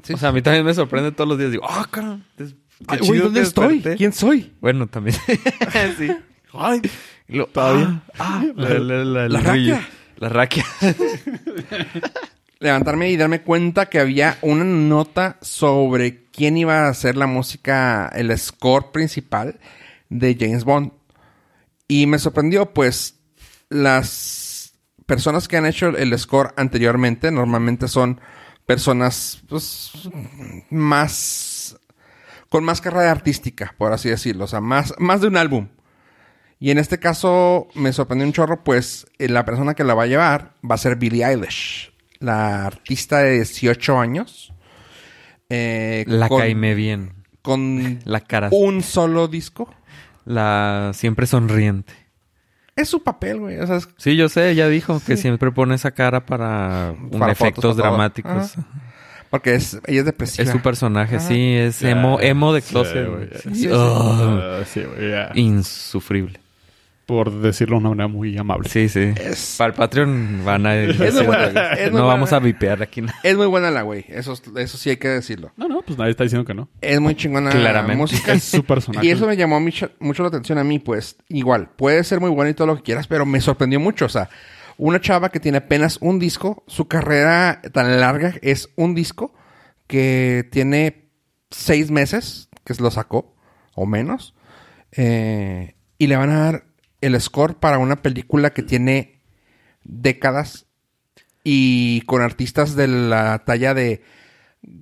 [SPEAKER 1] Sí,
[SPEAKER 3] o sea, a mí también me sorprende todos los días. Digo, ah, caramba. es- qué
[SPEAKER 1] Ay,
[SPEAKER 3] chido
[SPEAKER 1] güey, ¿dónde
[SPEAKER 3] que
[SPEAKER 1] estoy?
[SPEAKER 3] desperté".
[SPEAKER 1] ¿Quién soy?
[SPEAKER 3] Bueno, también. sí. Ay. Lo, Todavía. Ah, la, la, la,
[SPEAKER 1] La
[SPEAKER 3] el
[SPEAKER 1] raquia.
[SPEAKER 3] brillo. La raquia.
[SPEAKER 1] Levantarme y darme cuenta que había una nota sobre quién iba a hacer la música, el score principal de James Bond. Y me sorprendió, pues, las personas que han hecho el score anteriormente normalmente son personas pues, más. con más carrera artística, por así decirlo. O sea, más, más de un álbum. Y en este caso me sorprendió un chorro, pues eh, la persona que la va a llevar va a ser Billie Eilish, la artista de 18 años. eh,
[SPEAKER 3] La
[SPEAKER 1] con-
[SPEAKER 3] caime bien.
[SPEAKER 1] Con
[SPEAKER 3] La cara.
[SPEAKER 1] un solo disco.
[SPEAKER 3] La siempre sonriente.
[SPEAKER 1] Es su papel, güey. O sea, es
[SPEAKER 3] Sí, yo sé, ella dijo que siempre pone esa cara para, un
[SPEAKER 1] Para fotos,
[SPEAKER 3] efectos
[SPEAKER 1] para todo.
[SPEAKER 3] dramáticos.
[SPEAKER 1] Ajá. Porque es, ella es depresiva.
[SPEAKER 3] Es su personaje,
[SPEAKER 1] Ajá.
[SPEAKER 3] sí, es
[SPEAKER 2] Ya,
[SPEAKER 3] emo, emo de
[SPEAKER 2] sí,
[SPEAKER 3] closet.
[SPEAKER 2] güey,
[SPEAKER 3] güey.
[SPEAKER 2] ya.
[SPEAKER 3] Sí,
[SPEAKER 1] Sí, sí,
[SPEAKER 3] oh,
[SPEAKER 2] Ah, sí, güey, ya.
[SPEAKER 3] Insufrible.
[SPEAKER 2] Por decirlo de una manera muy amable.
[SPEAKER 3] Sí, sí.
[SPEAKER 1] Es-
[SPEAKER 3] Para el Patreon van a...
[SPEAKER 1] Es muy buena, es muy
[SPEAKER 3] no
[SPEAKER 1] buena.
[SPEAKER 3] vamos a vipear aquí nada.
[SPEAKER 1] Es muy buena la güey. Eso, es- eso sí hay que decirlo.
[SPEAKER 2] No, no, pues nadie está diciendo que no.
[SPEAKER 1] Es muy chingona la
[SPEAKER 3] Claramente.
[SPEAKER 1] música.
[SPEAKER 2] Es su personaje.
[SPEAKER 1] Y eso me llamó mucho, mucho la atención a mí, pues. Igual, puede ser muy bueno y todo lo que quieras, pero me sorprendió mucho. O sea, una chava que tiene apenas un disco, su carrera tan larga es un disco que tiene seis meses, que lo sacó, o menos. eh, y le van a dar el score para una película que tiene décadas y con artistas de la talla de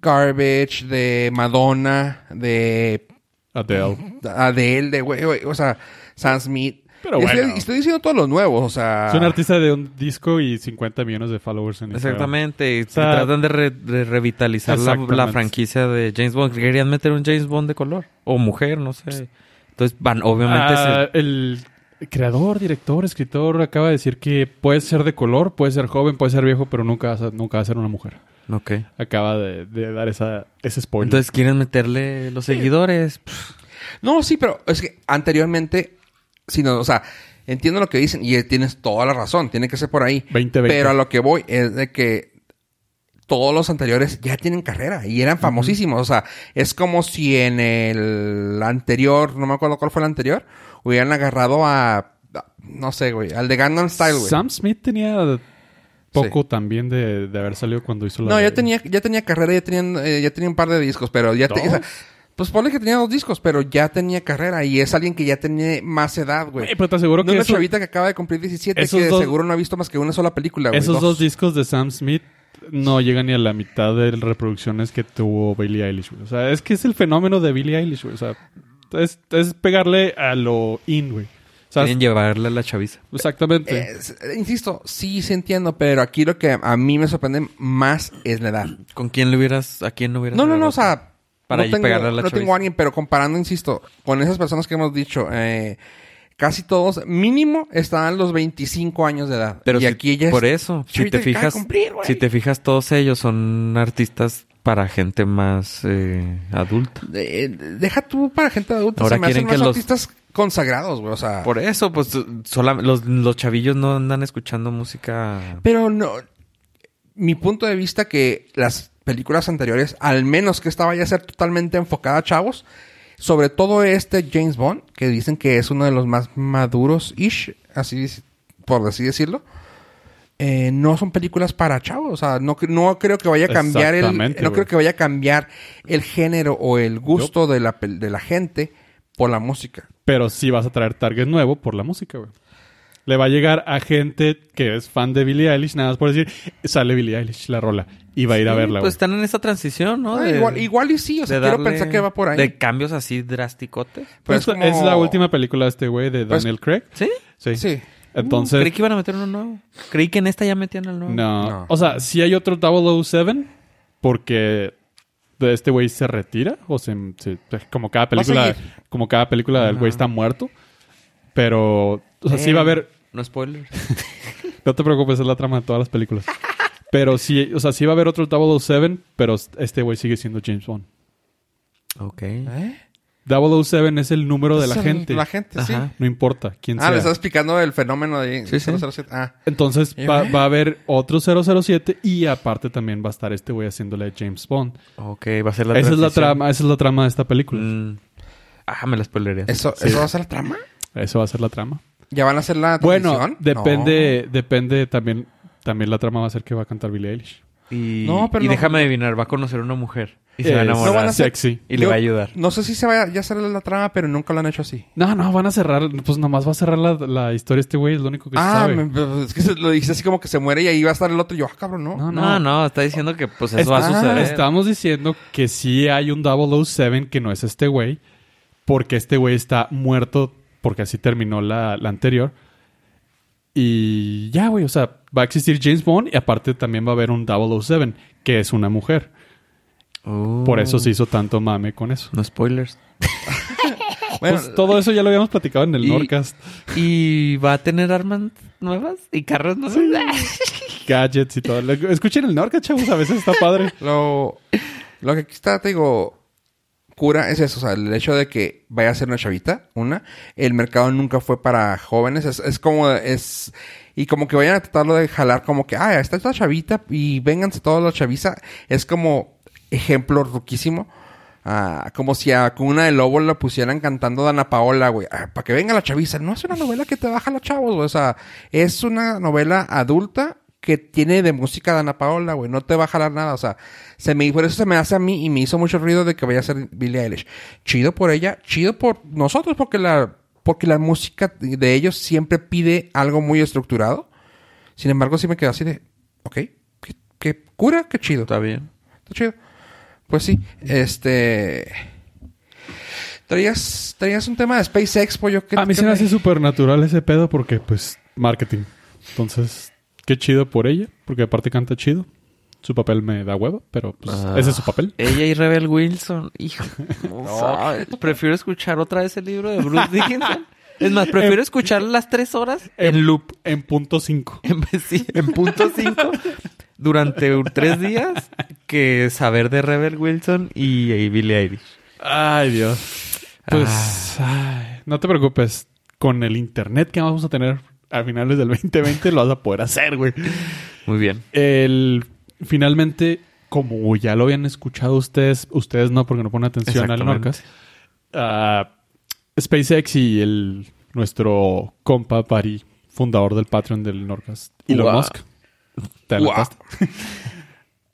[SPEAKER 1] Garbage, de Madonna, de
[SPEAKER 2] Adele.
[SPEAKER 1] Adele, de güey, güey, o sea, Sam Smith.
[SPEAKER 2] Pero
[SPEAKER 1] Y estoy-
[SPEAKER 2] bueno.
[SPEAKER 1] Estoy diciendo todos los nuevos, o sea.
[SPEAKER 2] Es un artista de un disco y 50 millones de followers en Instagram.
[SPEAKER 3] Exactamente. y
[SPEAKER 2] sea,
[SPEAKER 3] tratan de, re- de revitalizar la,
[SPEAKER 2] exactamente.
[SPEAKER 3] la franquicia de James Bond. Querían meter un James Bond de color. O mujer, no sé. Entonces van, obviamente...
[SPEAKER 2] Ah, El creador, director, escritor acaba de decir que puede ser de color, puede ser joven, puede ser viejo, pero nunca va a, nunca va a ser una mujer.
[SPEAKER 3] se- Ok.
[SPEAKER 2] Acaba de, de dar esa, ese spoiler.
[SPEAKER 3] Entonces quieren meterle los seguidores. pues,
[SPEAKER 1] No, sí, pero es que anteriormente, si no, o sea, entiendo lo que dicen y eh, tienes toda la razón, tiene que ser por ahí.
[SPEAKER 2] 20-20.
[SPEAKER 1] Pero a lo que voy es de que todos los anteriores ya tienen carrera y eran famosísimos. O sea, es como si en el anterior, no me acuerdo cuál fue el anterior, hubieran agarrado a, a- no sé, güey, al de Gangnam Style, güey.
[SPEAKER 2] Sam Smith tenía poco también de, de haber salido cuando hizo la
[SPEAKER 1] No,
[SPEAKER 2] de-
[SPEAKER 1] ya tenía, ya tenía carrera, ya tenía, eh, ya tenía un par de discos, pero ya te- o sea,
[SPEAKER 2] ¿Dos?
[SPEAKER 1] Pues ponle que tenía dos discos, pero ya tenía carrera y es alguien que ya tiene más edad, güey.
[SPEAKER 2] Güey, pero te aseguro
[SPEAKER 1] No
[SPEAKER 2] que
[SPEAKER 1] una
[SPEAKER 2] eso-
[SPEAKER 1] chavita que acaba de cumplir 17
[SPEAKER 2] esos
[SPEAKER 1] que de
[SPEAKER 2] dos-
[SPEAKER 1] seguro no ha visto más que una sola película, güey.
[SPEAKER 2] esos dos. discos de Sam Smith no llegan ni a la mitad de reproducciones que tuvo Billie Eilish. güey. O sea, es que es el fenómeno de Billie Eilish. güey. O sea, es, es pegarle a lo in, güey. O sea,
[SPEAKER 3] Quieren llevarle a la chaviza.
[SPEAKER 2] exactamente.
[SPEAKER 1] Eh, s- eh, insisto, sí, sí entiendo, pero aquí lo que a mí me sorprende más es la edad.
[SPEAKER 3] ¿Con quién le hubieras... ¿A quién le hubieras...
[SPEAKER 1] No, no, no,
[SPEAKER 3] agarrado?
[SPEAKER 1] o sea...
[SPEAKER 3] Para
[SPEAKER 1] no
[SPEAKER 3] ir
[SPEAKER 1] tengo,
[SPEAKER 3] pegarle a la
[SPEAKER 1] no
[SPEAKER 3] chaviza.
[SPEAKER 1] tengo a alguien, pero comparando, insisto, con esas personas que hemos dicho, eh, casi todos, mínimo, están a los 25 años de edad.
[SPEAKER 3] Pero
[SPEAKER 1] y
[SPEAKER 3] si-
[SPEAKER 1] aquí ella es-
[SPEAKER 3] por eso, si
[SPEAKER 1] Chavita
[SPEAKER 3] te
[SPEAKER 1] que acaba de
[SPEAKER 3] fijas,
[SPEAKER 1] cumplir, güey.
[SPEAKER 3] si te fijas todos ellos son artistas para gente más eh, adulta.
[SPEAKER 1] Eh, deja tú para gente adulta.
[SPEAKER 3] Ahora
[SPEAKER 1] se me hacen
[SPEAKER 3] quieren
[SPEAKER 1] más
[SPEAKER 3] que los-
[SPEAKER 1] artistas consagrados, güey. O sea,
[SPEAKER 3] Por eso, pues sola- los, los chavillos no andan escuchando música.
[SPEAKER 1] pero no. Mi punto de vista que las películas anteriores, al menos que esta vaya a ser totalmente enfocada a chavos, sobre todo este James Bond, que dicen que es uno de los más maduros ish, así dice- por así decirlo. eh, no son películas para chavos, o sea, no, cre- no creo que vaya a cambiar el,
[SPEAKER 2] Exactamente,
[SPEAKER 1] no creo
[SPEAKER 2] güey.
[SPEAKER 1] que vaya a cambiar el género o el gusto de la, pel- de la gente por la música.
[SPEAKER 2] Pero sí vas a traer target nuevo por la música, güey. Le va a llegar a gente que es fan de Billie Eilish, nada más por decir, sale Billie Eilish la rola y va a ir a
[SPEAKER 3] Sí,
[SPEAKER 2] verla, güey.
[SPEAKER 3] Pues están en esa transición, ¿no?
[SPEAKER 1] Ah,
[SPEAKER 3] De-
[SPEAKER 1] igual, igual y sí, o sea,
[SPEAKER 3] de
[SPEAKER 1] quiero
[SPEAKER 3] darle-
[SPEAKER 1] pensar que va por ahí.
[SPEAKER 3] De cambios así drasticotes.
[SPEAKER 1] Pero
[SPEAKER 2] es, es
[SPEAKER 1] pues, como-
[SPEAKER 2] la última película de este güey de
[SPEAKER 1] Pues-
[SPEAKER 2] Daniel Craig.
[SPEAKER 3] ¿Sí?
[SPEAKER 2] Sí.
[SPEAKER 1] Sí.
[SPEAKER 2] Entonces,
[SPEAKER 3] Creí que iban a meter uno nuevo. Creí que en esta ya metían el nuevo.
[SPEAKER 2] no.
[SPEAKER 1] No.
[SPEAKER 2] O sea, sí hay otro 007 porque de este güey se retira o se, se- como cada película,
[SPEAKER 1] seguir.
[SPEAKER 2] como cada película el güey está muerto, pero o sea, sí
[SPEAKER 3] Eh,
[SPEAKER 2] va a haber,
[SPEAKER 3] No spoilers.
[SPEAKER 2] no te preocupes, es la trama de todas las películas. Pero sí, o sea, sí va a haber otro 007, pero este güey sigue siendo James Bond.
[SPEAKER 3] ok.
[SPEAKER 1] ¿Eh?
[SPEAKER 2] 007 es el número de la
[SPEAKER 1] Es el-
[SPEAKER 2] gente.
[SPEAKER 1] La gente, sí.
[SPEAKER 3] Ajá.
[SPEAKER 2] No importa quién
[SPEAKER 1] Ah, le
[SPEAKER 2] sea.
[SPEAKER 1] estás explicando el fenómeno de
[SPEAKER 3] Sí, sí.
[SPEAKER 1] 007. Ah,
[SPEAKER 2] Entonces
[SPEAKER 1] Eh,
[SPEAKER 2] va,
[SPEAKER 1] güey.
[SPEAKER 2] va a haber otro 007 y aparte también va a estar este güey haciéndole a James Bond.
[SPEAKER 3] Ok, va a ser la
[SPEAKER 2] Esa es la
[SPEAKER 3] transición.
[SPEAKER 2] trama, esa es la trama de esta película.
[SPEAKER 3] Mm. Ah, me la spoileré.
[SPEAKER 1] ¿eso,
[SPEAKER 2] Sí.
[SPEAKER 1] ¿eso va a ser la trama?
[SPEAKER 2] Eso va a ser la trama.
[SPEAKER 1] ¿Ya van a hacer la
[SPEAKER 2] Bueno,
[SPEAKER 1] transición?
[SPEAKER 2] depende, depende también, también la trama va a ser que va a cantar Billie Eilish.
[SPEAKER 3] Y,
[SPEAKER 1] No, pero
[SPEAKER 3] y
[SPEAKER 1] no-
[SPEAKER 3] déjame adivinar, va a conocer a una mujer. Y se va a
[SPEAKER 2] Es
[SPEAKER 3] enamorar.
[SPEAKER 1] No van a ser-
[SPEAKER 2] sexy.
[SPEAKER 3] Y le
[SPEAKER 1] Yo-
[SPEAKER 3] va a ayudar.
[SPEAKER 1] No. no sé si se va a ya hacer la trama, pero nunca lo han hecho así.
[SPEAKER 2] No, no, van a cerrar, pues nomás va a cerrar la, la historia este güey, es lo único que se
[SPEAKER 1] ah,
[SPEAKER 2] sabe.
[SPEAKER 1] me- es que se lo dijiste así como que se muere y ahí va a estar el otro. Y yo, ah, cabrón, ¿no?
[SPEAKER 2] No,
[SPEAKER 3] No,
[SPEAKER 2] no.
[SPEAKER 3] no, está diciendo que pues eso
[SPEAKER 2] Es-
[SPEAKER 3] va a
[SPEAKER 1] Ah,
[SPEAKER 3] suceder.
[SPEAKER 2] Estamos diciendo que sí hay un 007 que no es este güey, porque este güey está muerto, porque así terminó la, la anterior. Y ya, güey, o sea, va a existir James Bond y aparte también va a haber un 007, que es una mujer.
[SPEAKER 3] Oh.
[SPEAKER 2] Por eso se hizo tanto mame con eso.
[SPEAKER 3] No spoilers.
[SPEAKER 1] Bueno,
[SPEAKER 2] Pues, todo eso ya lo habíamos platicado en el
[SPEAKER 3] y-
[SPEAKER 2] Nordcast.
[SPEAKER 3] ¿Y va a tener armas nuevas? ¿Y carros nuevos?
[SPEAKER 2] Gadgets y todo. Lo- Escuchen el Nordcast, chavos, a veces está padre.
[SPEAKER 1] lo, lo que aquí está, te digo, cura es eso. O sea, el hecho de que vaya a ser una chavita, una. El mercado nunca fue para jóvenes. Es, es como, es... Y como que vayan a tratarlo de jalar como que, ah, está esta chavita y vénganse todos los chaviza. Es como ejemplo ruquísimo. Ah, como si a Cuna de Lobo la pusieran cantando Dana Paola, güey. para que venga la chaviza. No es una novela que te baja los chavos, güey. O sea, es una novela adulta que tiene de música Dana Paola, güey. No te va a jalar nada. O sea, se me, por eso se me hace a mí y me hizo mucho ruido de que vaya a ser Billie Eilish. Chido por ella, chido por nosotros, porque la, porque la música de ellos siempre pide algo muy estructurado. Sin embargo, sí me quedo así de, ok, qué, qué cura, qué chido.
[SPEAKER 3] Está bien.
[SPEAKER 1] Está chido. Pues sí, este. Traías, traías un tema de SpaceX, pollo. ¿qué-
[SPEAKER 2] A mí
[SPEAKER 1] qué
[SPEAKER 2] se me
[SPEAKER 1] tra-
[SPEAKER 2] hace súper natural ese pedo porque, pues, marketing. Entonces, qué chido por ella, porque aparte canta chido. Su papel me da huevo, pero pues,
[SPEAKER 3] Ah.
[SPEAKER 2] ese es su papel.
[SPEAKER 3] Ella y Rebel Wilson. Hijo. no sabes. Prefiero escuchar otra vez el libro de Bruce Dickinson. Es más, prefiero escuchar las tres horas en loop.
[SPEAKER 2] En punto 5.
[SPEAKER 3] En, vez- sí, en punto cinco. Durante un- tres días. Que saber de Rebel Wilson y, y Billie Eilish.
[SPEAKER 2] Ay, Dios. Pues, ay, no te preocupes. Con el internet que vamos a tener a finales del 2020 lo vas a poder hacer, güey.
[SPEAKER 3] Muy bien.
[SPEAKER 2] El, finalmente, como ya lo habían escuchado ustedes, ustedes no porque no ponen atención al
[SPEAKER 3] Exactamente.
[SPEAKER 2] Norcas, ah, SpaceX y el nuestro compa Pari, fundador del Patreon del Norcas, Elon
[SPEAKER 3] Guau.
[SPEAKER 2] Musk. Te adelantaste.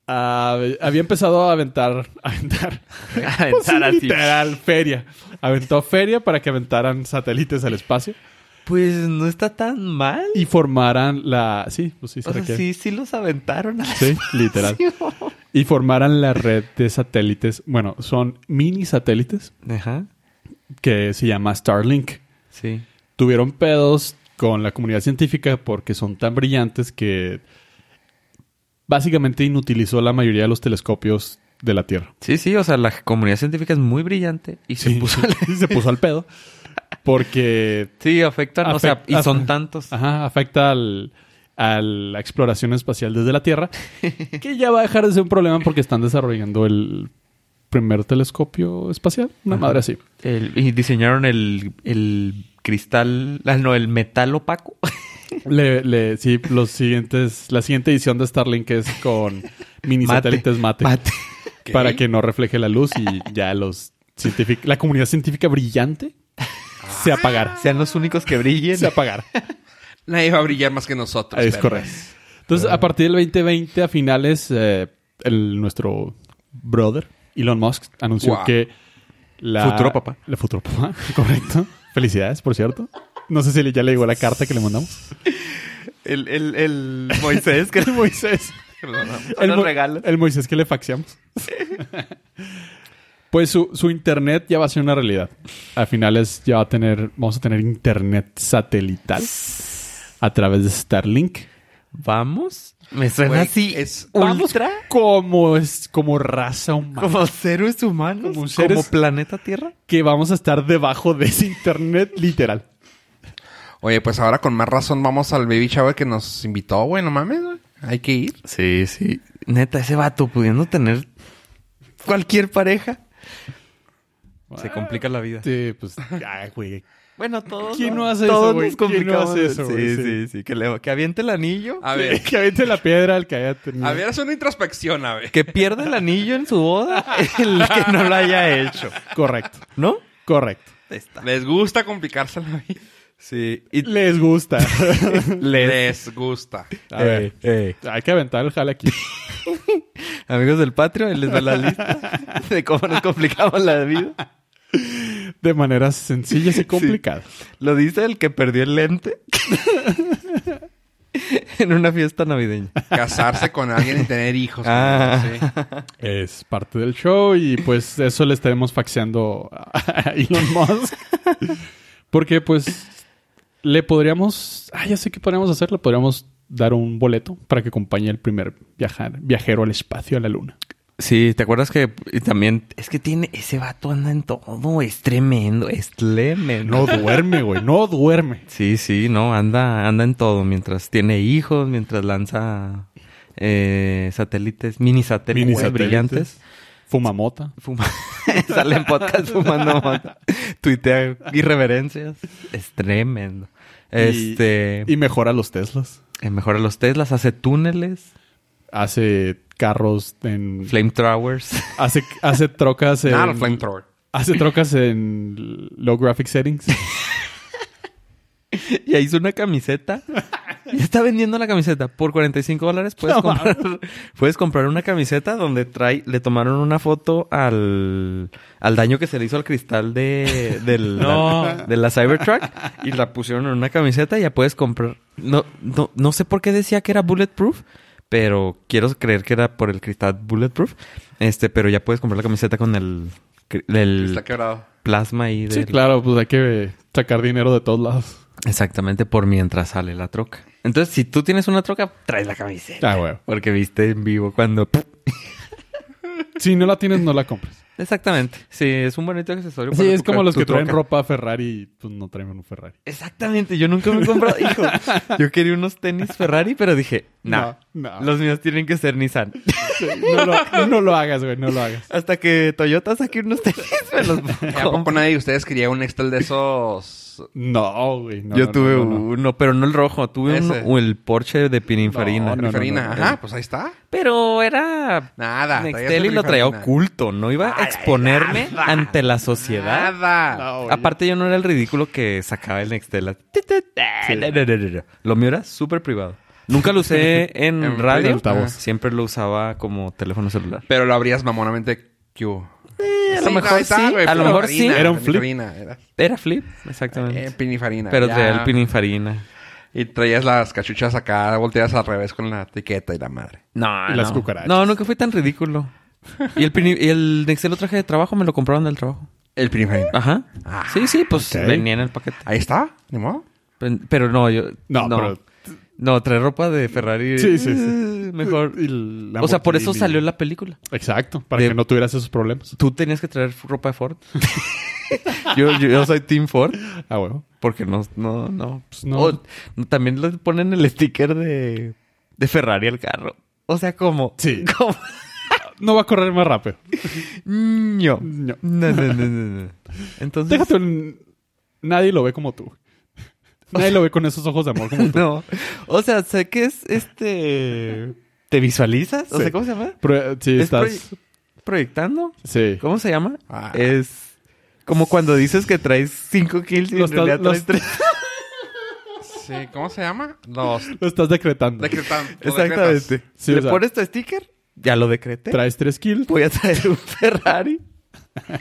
[SPEAKER 2] Ah, había empezado a aventar, a aventar, pues,
[SPEAKER 3] Aventar así.
[SPEAKER 2] literal, feria. Aventó feria para que aventaran satélites al espacio
[SPEAKER 3] Pues no está tan mal.
[SPEAKER 2] y formaran la... Sí, pues sí se
[SPEAKER 3] O sea,
[SPEAKER 2] requiere.
[SPEAKER 3] sí, sí los aventaron. a la-
[SPEAKER 2] Sí, literal. y formaran la red de satélites. Bueno, son mini satélites
[SPEAKER 3] Ajá.
[SPEAKER 2] que se llama Starlink.
[SPEAKER 3] Sí.
[SPEAKER 2] Tuvieron pedos con la comunidad científica porque son tan brillantes que básicamente inutilizó la mayoría de los telescopios de la Tierra.
[SPEAKER 3] Sí, sí, o sea, la comunidad científica es muy brillante y
[SPEAKER 2] Sí,
[SPEAKER 3] se puso.
[SPEAKER 2] sí, sí, se puso al pedo. Porque
[SPEAKER 3] Sí, afectan, o sea,
[SPEAKER 2] Afect-
[SPEAKER 3] y son
[SPEAKER 2] af-
[SPEAKER 3] tantos.
[SPEAKER 2] ajá, afecta al- a la exploración espacial desde la Tierra, que ya va a dejar de ser un problema porque están desarrollando el primer telescopio espacial. Una madre así.
[SPEAKER 3] El- y diseñaron el, el cristal, ah, no, el metal opaco.
[SPEAKER 2] Le, le- sí, los siguientes, la siguiente edición de Starlink es con mini
[SPEAKER 3] Mate.
[SPEAKER 2] satélites mate,
[SPEAKER 3] Mate.
[SPEAKER 2] para que no refleje la luz y ya los científic- la comunidad científica brillante se apagara.
[SPEAKER 3] Sean los únicos que brillen.
[SPEAKER 2] Se apagara.
[SPEAKER 1] Nadie va a brillar más que nosotros.
[SPEAKER 2] Es
[SPEAKER 1] pero-
[SPEAKER 2] correcto. Pues Entonces, a partir del 2020, a finales, eh, el, nuestro brother, Elon Musk, anunció
[SPEAKER 1] Wow.
[SPEAKER 2] que la...
[SPEAKER 3] Futuro papá.
[SPEAKER 2] La futuro papá, correcto. Felicidades, por cierto. No sé si le- ya le llegó la carta que le mandamos.
[SPEAKER 3] El, el, el Moisés que
[SPEAKER 2] El Moisés.
[SPEAKER 3] el
[SPEAKER 2] Mo-
[SPEAKER 3] regalo.
[SPEAKER 2] El Moisés que le faxeamos. pues su, su internet ya va a ser una realidad. A finales ya va a tener... Vamos a tener internet satelital a través de Starlink.
[SPEAKER 3] ¿Vamos? Me suena
[SPEAKER 1] Güey,
[SPEAKER 3] Pues así.
[SPEAKER 1] es-
[SPEAKER 3] ultra.
[SPEAKER 2] Como, es, como raza humana.
[SPEAKER 3] Como seres humanos.
[SPEAKER 2] Como
[SPEAKER 3] Como,
[SPEAKER 2] seres-
[SPEAKER 3] planeta Tierra.
[SPEAKER 2] Que vamos a estar debajo de ese internet, literal.
[SPEAKER 1] Oye, pues ahora con más razón vamos al baby shower que nos invitó, güey, no mames, güey. Hay que ir.
[SPEAKER 3] Sí, sí. Neta, ese vato pudiendo tener cualquier pareja. Se complica la vida.
[SPEAKER 2] Sí, pues, ah, güey.
[SPEAKER 3] Bueno, todos.
[SPEAKER 2] ¿Quién no hace
[SPEAKER 3] todos
[SPEAKER 2] eso, güey?
[SPEAKER 3] nos
[SPEAKER 2] ¿Quién no
[SPEAKER 3] complicamos. Ah.
[SPEAKER 2] hace eso,
[SPEAKER 3] sí,
[SPEAKER 2] güey?
[SPEAKER 3] sí, sí, Que, le- que aviente el anillo.
[SPEAKER 1] A ver,
[SPEAKER 2] Que aviente la piedra al que haya tenido.
[SPEAKER 1] a ver, haz una introspección, a ver.
[SPEAKER 3] Que pierda el anillo en su boda. El que no lo haya hecho.
[SPEAKER 2] Correcto,
[SPEAKER 3] ¿No?
[SPEAKER 2] correcto.
[SPEAKER 3] Ahí está.
[SPEAKER 1] Les gusta complicarse la vida.
[SPEAKER 3] Sí. Y
[SPEAKER 2] Les gusta.
[SPEAKER 1] Les gusta.
[SPEAKER 2] A ver,
[SPEAKER 3] eh,
[SPEAKER 2] hay que aventar el jale aquí.
[SPEAKER 3] Amigos del Patreon, ahí les doy la lista de cómo nos complicamos la vida.
[SPEAKER 2] De maneras sencillas y complicadas.
[SPEAKER 3] Lo dice el que perdió el lente en una fiesta navideña.
[SPEAKER 1] Casarse con alguien y tener hijos.
[SPEAKER 3] Ah.
[SPEAKER 1] güey, sí.
[SPEAKER 2] Es parte del show y pues eso le estaremos faxeando a Elon Musk. Porque pues le podríamos... Ah, ya sé qué podríamos hacer. Le podríamos dar un boleto para que acompañe el primer viajar, viajero al espacio, a la luna.
[SPEAKER 3] Sí, ¿te acuerdas que y también es que tiene ese vato anda en todo? Es tremendo, es
[SPEAKER 2] No
[SPEAKER 3] tremendo.
[SPEAKER 2] duerme, güey. No duerme.
[SPEAKER 3] Sí, sí, no, anda, anda en todo. Mientras tiene hijos, mientras lanza eh, satélites, mini satélites,
[SPEAKER 2] Mini satélites.
[SPEAKER 3] brillantes.
[SPEAKER 2] Fuma mota.
[SPEAKER 3] Fuma. Sale en podcast fumando mota. Tuitea irreverencias. Es tremendo. Este.
[SPEAKER 2] Y mejora los Teslas.
[SPEAKER 3] eh, mejora los Teslas, hace túneles,
[SPEAKER 2] Hace carros en...
[SPEAKER 3] flamethrowers.
[SPEAKER 2] Hace, hace trocas en...
[SPEAKER 1] Nada, flamethrower.
[SPEAKER 2] Hace trocas en low graphic settings.
[SPEAKER 3] ya hizo una camiseta. Ya está vendiendo la camiseta. Por 45 dólares puedes,
[SPEAKER 2] No
[SPEAKER 3] comprar, puedes comprar una camiseta donde trae, le tomaron una foto al, al daño que se le hizo al cristal de, del- la, de la Cybertruck y la pusieron en una camiseta y ya puedes comprar. No, no, no sé por qué decía que era bulletproof, pero quiero creer que era por el cristal bulletproof. Este, pero ya puedes comprar la camiseta con el, cri- el
[SPEAKER 1] Está quebrado.
[SPEAKER 3] plasma ahí.
[SPEAKER 2] Sí,
[SPEAKER 3] del-
[SPEAKER 2] claro, pues hay que sacar dinero de todos lados.
[SPEAKER 3] Exactamente, por mientras sale la troca. Entonces, si tú tienes una troca, traes la camiseta.
[SPEAKER 2] Ah, güey.
[SPEAKER 3] Porque viste en vivo cuando...
[SPEAKER 2] Si no la tienes, no la compres.
[SPEAKER 3] Exactamente. Sí, es un bonito accesorio.
[SPEAKER 2] Sí,
[SPEAKER 3] para
[SPEAKER 2] es
[SPEAKER 3] tu-
[SPEAKER 2] como los
[SPEAKER 3] tu
[SPEAKER 2] que traen
[SPEAKER 3] troca.
[SPEAKER 2] ropa Ferrari y pues no traen un Ferrari.
[SPEAKER 3] Exactamente, yo nunca me he comprado... Hijo, yo quería unos tenis Ferrari, pero dije, nah,
[SPEAKER 2] No, no.
[SPEAKER 3] los míos tienen que ser Nissan.
[SPEAKER 2] Sí, no, lo, no lo hagas, güey, no lo hagas.
[SPEAKER 3] Hasta que Toyota saque unos tenis, me los
[SPEAKER 1] ¿A poco nadie de ustedes quería un Excel de esos?
[SPEAKER 2] No, güey. no,
[SPEAKER 3] Yo
[SPEAKER 2] no,
[SPEAKER 3] tuve
[SPEAKER 2] no, no, no.
[SPEAKER 3] uno, pero no el rojo. Tuve
[SPEAKER 1] Ese.
[SPEAKER 3] uno, el Porsche de Pininfarina.
[SPEAKER 2] No, no, no.
[SPEAKER 1] Riferina. Ajá, pues ahí está.
[SPEAKER 3] Pero era...
[SPEAKER 1] Nada. traías
[SPEAKER 3] Nextel y
[SPEAKER 1] un
[SPEAKER 3] lo traía
[SPEAKER 1] riferina.
[SPEAKER 3] oculto. No iba a
[SPEAKER 1] Ay,
[SPEAKER 3] exponerme
[SPEAKER 1] nada.
[SPEAKER 3] ante la sociedad.
[SPEAKER 1] Nada.
[SPEAKER 2] No, güey,
[SPEAKER 3] Aparte, yo no era el ridículo que sacaba el Nextel. Ti, ti, ti. No, no, no, no, no. Lo mío era súper privado. Nunca lo usé en,
[SPEAKER 1] En
[SPEAKER 3] radio.
[SPEAKER 1] altavoz.
[SPEAKER 3] Siempre lo usaba como teléfono celular. Eh,
[SPEAKER 1] Pero lo abrías mamonamente Q.
[SPEAKER 3] a lo mejor sí, a lo mejor sí.
[SPEAKER 2] Era un flip.
[SPEAKER 1] Era
[SPEAKER 3] Era flip,
[SPEAKER 1] eh,
[SPEAKER 3] exactamente.
[SPEAKER 1] pinifarina.
[SPEAKER 3] Pero
[SPEAKER 1] ya.
[SPEAKER 3] traía el pininfarina.
[SPEAKER 1] Y traías las cachuchas acá volteadas al revés con la etiqueta y la madre.
[SPEAKER 3] No,
[SPEAKER 2] Y las
[SPEAKER 3] no.
[SPEAKER 2] cucarachas.
[SPEAKER 3] No, nunca fui tan ridículo. Y el, pini- y el Nextel lo traje de trabajo, me lo compraron del trabajo.
[SPEAKER 1] El pinifarina.
[SPEAKER 3] Ajá.
[SPEAKER 1] Ah,
[SPEAKER 3] Sí, sí, pues
[SPEAKER 2] ok.
[SPEAKER 3] venía en el paquete.
[SPEAKER 1] Ahí está. Ni modo.
[SPEAKER 3] Pero- Pero no, yo.
[SPEAKER 2] No,
[SPEAKER 3] No, no.
[SPEAKER 2] pero-
[SPEAKER 3] traer ropa de Ferrari.
[SPEAKER 2] Sí, sí, sí.
[SPEAKER 3] eh, Mejor.
[SPEAKER 2] Y el
[SPEAKER 3] O sea, por eso
[SPEAKER 2] Lamborghini.
[SPEAKER 3] salió la película.
[SPEAKER 2] Exacto, para
[SPEAKER 3] De-
[SPEAKER 2] que no tuvieras esos problemas.
[SPEAKER 3] Tú tenías que traer ropa de Ford. yo, yo, yo soy Team Ford.
[SPEAKER 2] Ah, huevo.
[SPEAKER 3] Porque no, no, no.
[SPEAKER 2] Pues no.
[SPEAKER 3] O- también le ponen el sticker de, de Ferrari al carro. O sea, como.
[SPEAKER 2] Sí.
[SPEAKER 3] Como.
[SPEAKER 2] No va a correr más rápido.
[SPEAKER 3] ño.
[SPEAKER 2] No.
[SPEAKER 3] No, no, no, no, no. Entonces.
[SPEAKER 2] Déjate un... Nadie lo ve como tú. Nadie lo ve con esos ojos de amor como tú.
[SPEAKER 3] No. O sea, sé que es este. ¿Te visualizas? O
[SPEAKER 2] Sí.
[SPEAKER 3] sea, ¿cómo se llama?
[SPEAKER 2] Pero, eh, sí,
[SPEAKER 3] Es
[SPEAKER 2] estás...
[SPEAKER 3] proye- proyectando.
[SPEAKER 2] Sí.
[SPEAKER 3] ¿Cómo se llama?
[SPEAKER 1] Ah.
[SPEAKER 3] Es como cuando dices que traes 5 kills y
[SPEAKER 2] Los
[SPEAKER 3] en realidad
[SPEAKER 2] tal- los-
[SPEAKER 3] traes tres.
[SPEAKER 1] Sí, ¿cómo se llama? Los
[SPEAKER 2] Lo estás decretando.
[SPEAKER 1] decretan. los
[SPEAKER 3] Exactamente.
[SPEAKER 1] decretas.
[SPEAKER 2] Sí,
[SPEAKER 3] ¿Le
[SPEAKER 2] o sea-
[SPEAKER 3] pones tu sticker? Ya lo decreté.
[SPEAKER 2] Traes tres kills.
[SPEAKER 3] Voy a traer un Ferrari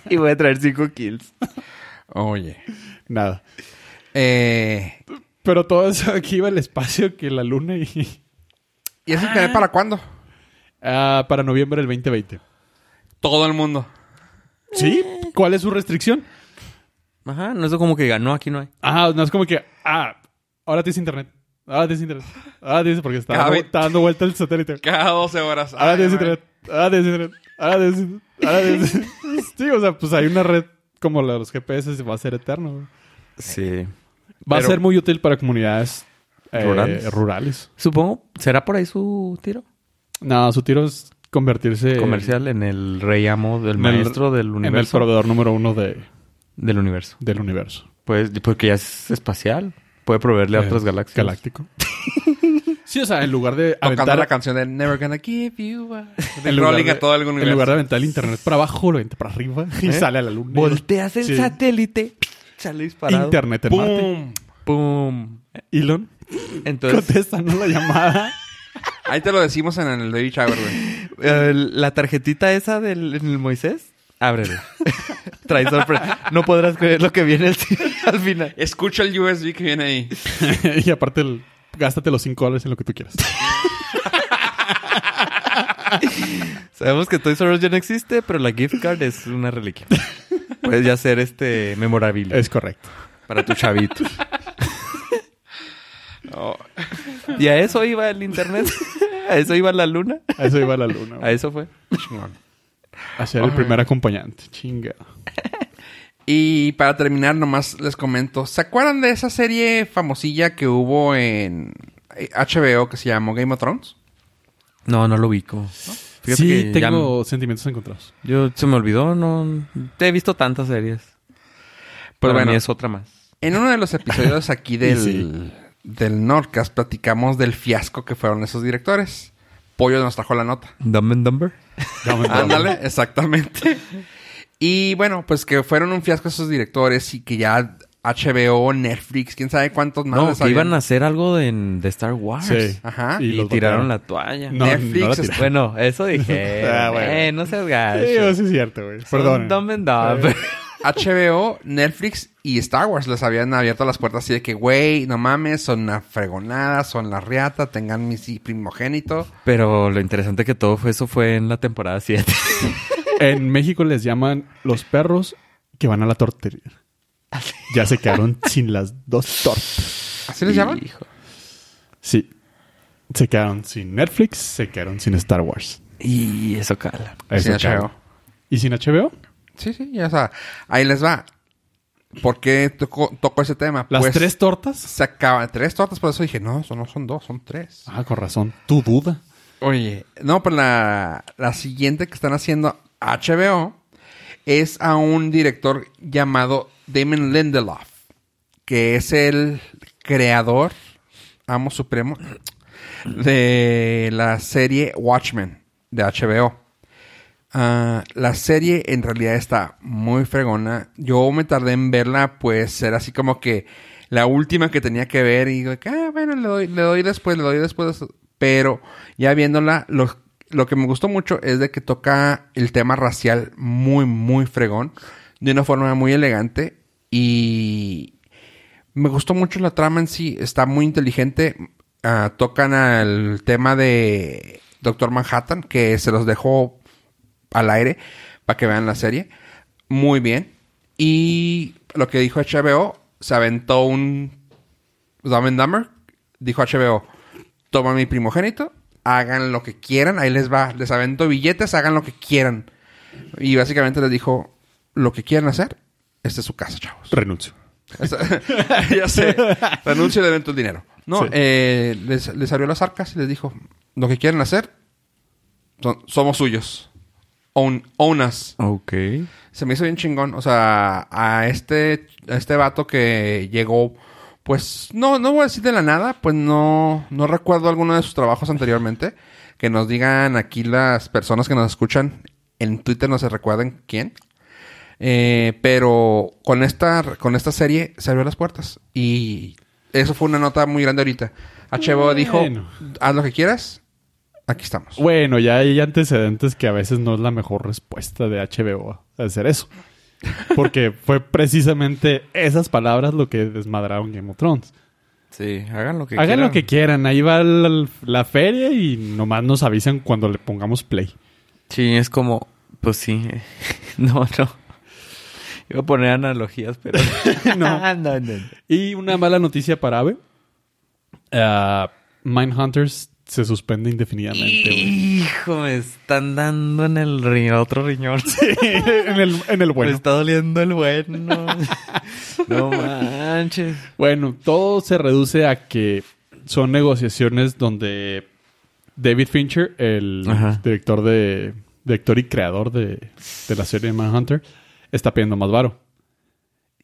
[SPEAKER 3] y voy a traer 5 kills.
[SPEAKER 1] Oye.
[SPEAKER 2] Nada.
[SPEAKER 1] Eh,
[SPEAKER 2] Pero todo eso aquí iba al espacio que la luna y...
[SPEAKER 1] ¿Y ese internet para cuándo?
[SPEAKER 2] Ah, para noviembre del 2020.
[SPEAKER 1] Todo el mundo.
[SPEAKER 2] ¿Sí? ¿Cuál es su restricción?
[SPEAKER 3] Ajá, no es como que diga, no, aquí no hay.
[SPEAKER 2] Ah, no es como que... Ah, ahora tienes internet. Ahora tienes internet. Ahora tienes porque está,
[SPEAKER 1] Cada
[SPEAKER 2] dando-
[SPEAKER 1] ve-
[SPEAKER 2] está dando vuelta el satélite.
[SPEAKER 1] Cada 12 horas.
[SPEAKER 2] Ahora
[SPEAKER 1] Ay,
[SPEAKER 2] tienes
[SPEAKER 1] güey.
[SPEAKER 2] internet. Ahora tienes internet. Ahora tienes internet. Ahora tienes Sí, o sea, pues hay una red como la de los GPS va a ser eterno. güey.
[SPEAKER 3] Sí.
[SPEAKER 2] Va a
[SPEAKER 1] Pero-
[SPEAKER 2] ser muy útil para comunidades eh,
[SPEAKER 3] Rurales.
[SPEAKER 2] rurales.
[SPEAKER 3] Supongo, ¿será por ahí su tiro?
[SPEAKER 2] No, su tiro es convertirse
[SPEAKER 3] Comercial en el rey amo del
[SPEAKER 2] en el-
[SPEAKER 3] maestro
[SPEAKER 2] en
[SPEAKER 3] del
[SPEAKER 2] el
[SPEAKER 3] universo.
[SPEAKER 2] proveedor número uno de,
[SPEAKER 3] del universo.
[SPEAKER 2] del universo.
[SPEAKER 3] Pues, porque ya es espacial. Puede proveerle a
[SPEAKER 2] Eh,
[SPEAKER 3] otras galaxias.
[SPEAKER 2] Galáctico. sí, o sea, en lugar de
[SPEAKER 1] Tocando
[SPEAKER 2] aventar
[SPEAKER 1] la canción de Never Gonna Give You Up. De
[SPEAKER 2] en lugar
[SPEAKER 1] Rolling
[SPEAKER 2] de-
[SPEAKER 1] a todo el universo.
[SPEAKER 2] En lugar de aventar el internet para abajo, lo avienta para arriba y
[SPEAKER 3] ¿Eh?
[SPEAKER 2] sale a la luna.
[SPEAKER 3] Volteas el
[SPEAKER 2] Sí.
[SPEAKER 3] satélite. Sale disparado.
[SPEAKER 2] Internet en Marte.
[SPEAKER 1] ¡Pum!
[SPEAKER 3] Pum.
[SPEAKER 2] Elon,
[SPEAKER 3] Entonces,
[SPEAKER 2] contestanos la llamada.
[SPEAKER 1] Ahí te lo decimos en el David Shower, güey.
[SPEAKER 3] eh, la tarjetita esa del en el Moisés, ábrela. Trae sorpresa. No podrás creer lo que viene al, al final.
[SPEAKER 1] Escucha el USB que viene ahí.
[SPEAKER 2] y aparte, el- gástate los 5 dólares en lo que tú quieras.
[SPEAKER 3] Sabemos que Toys R Us ya no existe, pero la gift card es una reliquia. Puedes ya ser este memorabilia
[SPEAKER 2] es correcto.
[SPEAKER 3] para tu chavito.
[SPEAKER 1] Oh.
[SPEAKER 3] Y a eso iba el internet. A eso iba la luna.
[SPEAKER 2] A eso iba la luna.
[SPEAKER 3] A eso fue.
[SPEAKER 2] A ser el primer acompañante. Chinga.
[SPEAKER 1] Y para terminar, nomás les comento. ¿Se acuerdan de esa serie famosilla que hubo en eh, HBO que se llamó Game of Thrones?
[SPEAKER 3] No, no lo ubico. Fíjate
[SPEAKER 2] Sí,
[SPEAKER 3] que ya
[SPEAKER 2] tengo sentimientos encontrados.
[SPEAKER 3] me- yo se me olvidó, no. Te he visto tantas series.
[SPEAKER 1] Pero
[SPEAKER 3] Pero
[SPEAKER 1] bueno.
[SPEAKER 3] bueno, es otra más.
[SPEAKER 1] En uno de los episodios aquí del,
[SPEAKER 2] sí.
[SPEAKER 1] del Nordcast platicamos del fiasco que fueron esos directores. Pollo nos trajo la nota.
[SPEAKER 3] Dumb and Dumber.
[SPEAKER 1] Ándale, exactamente. Y bueno, pues que fueron un fiasco esos directores y que ya HBO, Netflix, quién sabe cuántos más.
[SPEAKER 3] No,
[SPEAKER 1] les
[SPEAKER 3] que
[SPEAKER 1] habían-
[SPEAKER 3] iban a hacer algo de, de Star Wars.
[SPEAKER 2] Sí.
[SPEAKER 1] Ajá.
[SPEAKER 3] Y,
[SPEAKER 2] los botaron.
[SPEAKER 3] tiraron la toalla.
[SPEAKER 2] No,
[SPEAKER 1] Netflix
[SPEAKER 2] no la
[SPEAKER 1] está-
[SPEAKER 2] tiraron.
[SPEAKER 3] Bueno, eso dije.
[SPEAKER 2] Ah, bueno.
[SPEAKER 3] Eh, no seas gacho.
[SPEAKER 2] Sí, eso es cierto, güey.
[SPEAKER 3] Son
[SPEAKER 2] Perdón.
[SPEAKER 3] Dumb and Dumber.
[SPEAKER 1] HBO, Netflix y Star Wars les habían abierto las puertas así de que, güey, no mames, son una fregonada, son la reata, tengan mi si- primogénito.
[SPEAKER 3] Pero lo interesante que todo fue eso fue en la temporada 7.
[SPEAKER 2] En México les llaman los perros que van a la tortería. Ya se quedaron sin las dos tortas.
[SPEAKER 1] ¿Así les llaman?
[SPEAKER 3] Hijo.
[SPEAKER 2] Sí. Se quedaron sin Netflix, se quedaron sin Star Wars.
[SPEAKER 3] Y eso cala.
[SPEAKER 1] Sí,
[SPEAKER 2] Eso,
[SPEAKER 1] HBO.
[SPEAKER 2] cabrón. ¿Y sin HBO?
[SPEAKER 1] Sí, sí, ya, o sea, ahí les va. ¿Por qué toco, toco ese tema?
[SPEAKER 2] ¿Las
[SPEAKER 1] Pues,
[SPEAKER 2] tres tortas?
[SPEAKER 1] Se acaban tres tortas, por eso dije, no, eso no son dos, son tres.
[SPEAKER 2] Ah, con razón. Tu duda.
[SPEAKER 1] Oye, no, pero la, la siguiente que están haciendo HBO es a un director llamado Damon Lindelof, que es el creador, amo supremo, de la serie Watchmen de HBO. Ah, la serie en realidad está muy fregona. Yo me tardé en verla, pues era así como que la última que tenía que ver. Y digo, ah, bueno, le doy, le doy después, le doy después. Pero ya viéndola, lo, lo que me gustó mucho es de que toca el tema racial muy, muy fregón. De una forma muy elegante. Y me gustó mucho la trama en sí. Está muy inteligente. Ah, tocan al tema de Doctor Manhattan, que se los dejó al aire para que vean la serie. Muy bien. Y lo que dijo HBO, se aventó un Dumb and Dumber. Dijo HBO, toma mi primogénito, hagan lo que quieran, ahí les va, les avento billetes, hagan lo que quieran. Y básicamente les dijo, lo que quieran hacer, esta es su casa, chavos.
[SPEAKER 2] Renuncio.
[SPEAKER 1] O sea, ya sé. Renuncio y le vendo el dinero. No,
[SPEAKER 2] Sí.
[SPEAKER 1] eh, les, les abrió las arcas y les dijo, lo que quieren hacer, son- somos suyos. Own, own us.
[SPEAKER 3] Ok.
[SPEAKER 1] Se me hizo bien chingón. O sea, a este, a este vato que llegó, pues, no, no voy a decir de la nada, pues no, no recuerdo alguno de sus trabajos anteriormente. Que nos digan aquí las personas que nos escuchan en Twitter, no se recuerden quién. Eh, pero con esta, con esta serie se abrió las puertas. Y eso fue una nota muy grande ahorita. HBO dijo,
[SPEAKER 2] Bueno.
[SPEAKER 1] haz lo que quieras, aquí estamos.
[SPEAKER 2] Bueno, ya hay antecedentes que a veces no es la mejor respuesta de HBO a hacer eso. Porque fue precisamente esas palabras lo que desmadraron Game of Thrones.
[SPEAKER 3] Sí, hagan lo que
[SPEAKER 2] Hagan
[SPEAKER 3] quieran.
[SPEAKER 2] lo que quieran, ahí va la, la feria y nomás nos avisan cuando le pongamos play.
[SPEAKER 3] Sí, es como, pues sí. eh. No, no. Iba a poner analogías, pero.
[SPEAKER 2] No.
[SPEAKER 3] no, no, no.
[SPEAKER 2] Y una mala noticia para Ave. Ah, Mindhunters se suspende indefinidamente, güey.
[SPEAKER 3] Hijo, me están dando en el ri- otro riñón.
[SPEAKER 2] en, el, en el
[SPEAKER 3] Me
[SPEAKER 2] bueno.
[SPEAKER 3] está doliendo el bueno. no manches.
[SPEAKER 2] Bueno, todo se reduce a que son negociaciones donde David Fincher, el
[SPEAKER 3] Ajá.
[SPEAKER 2] director de director y creador de, de la serie Manhunter, está pidiendo más varo.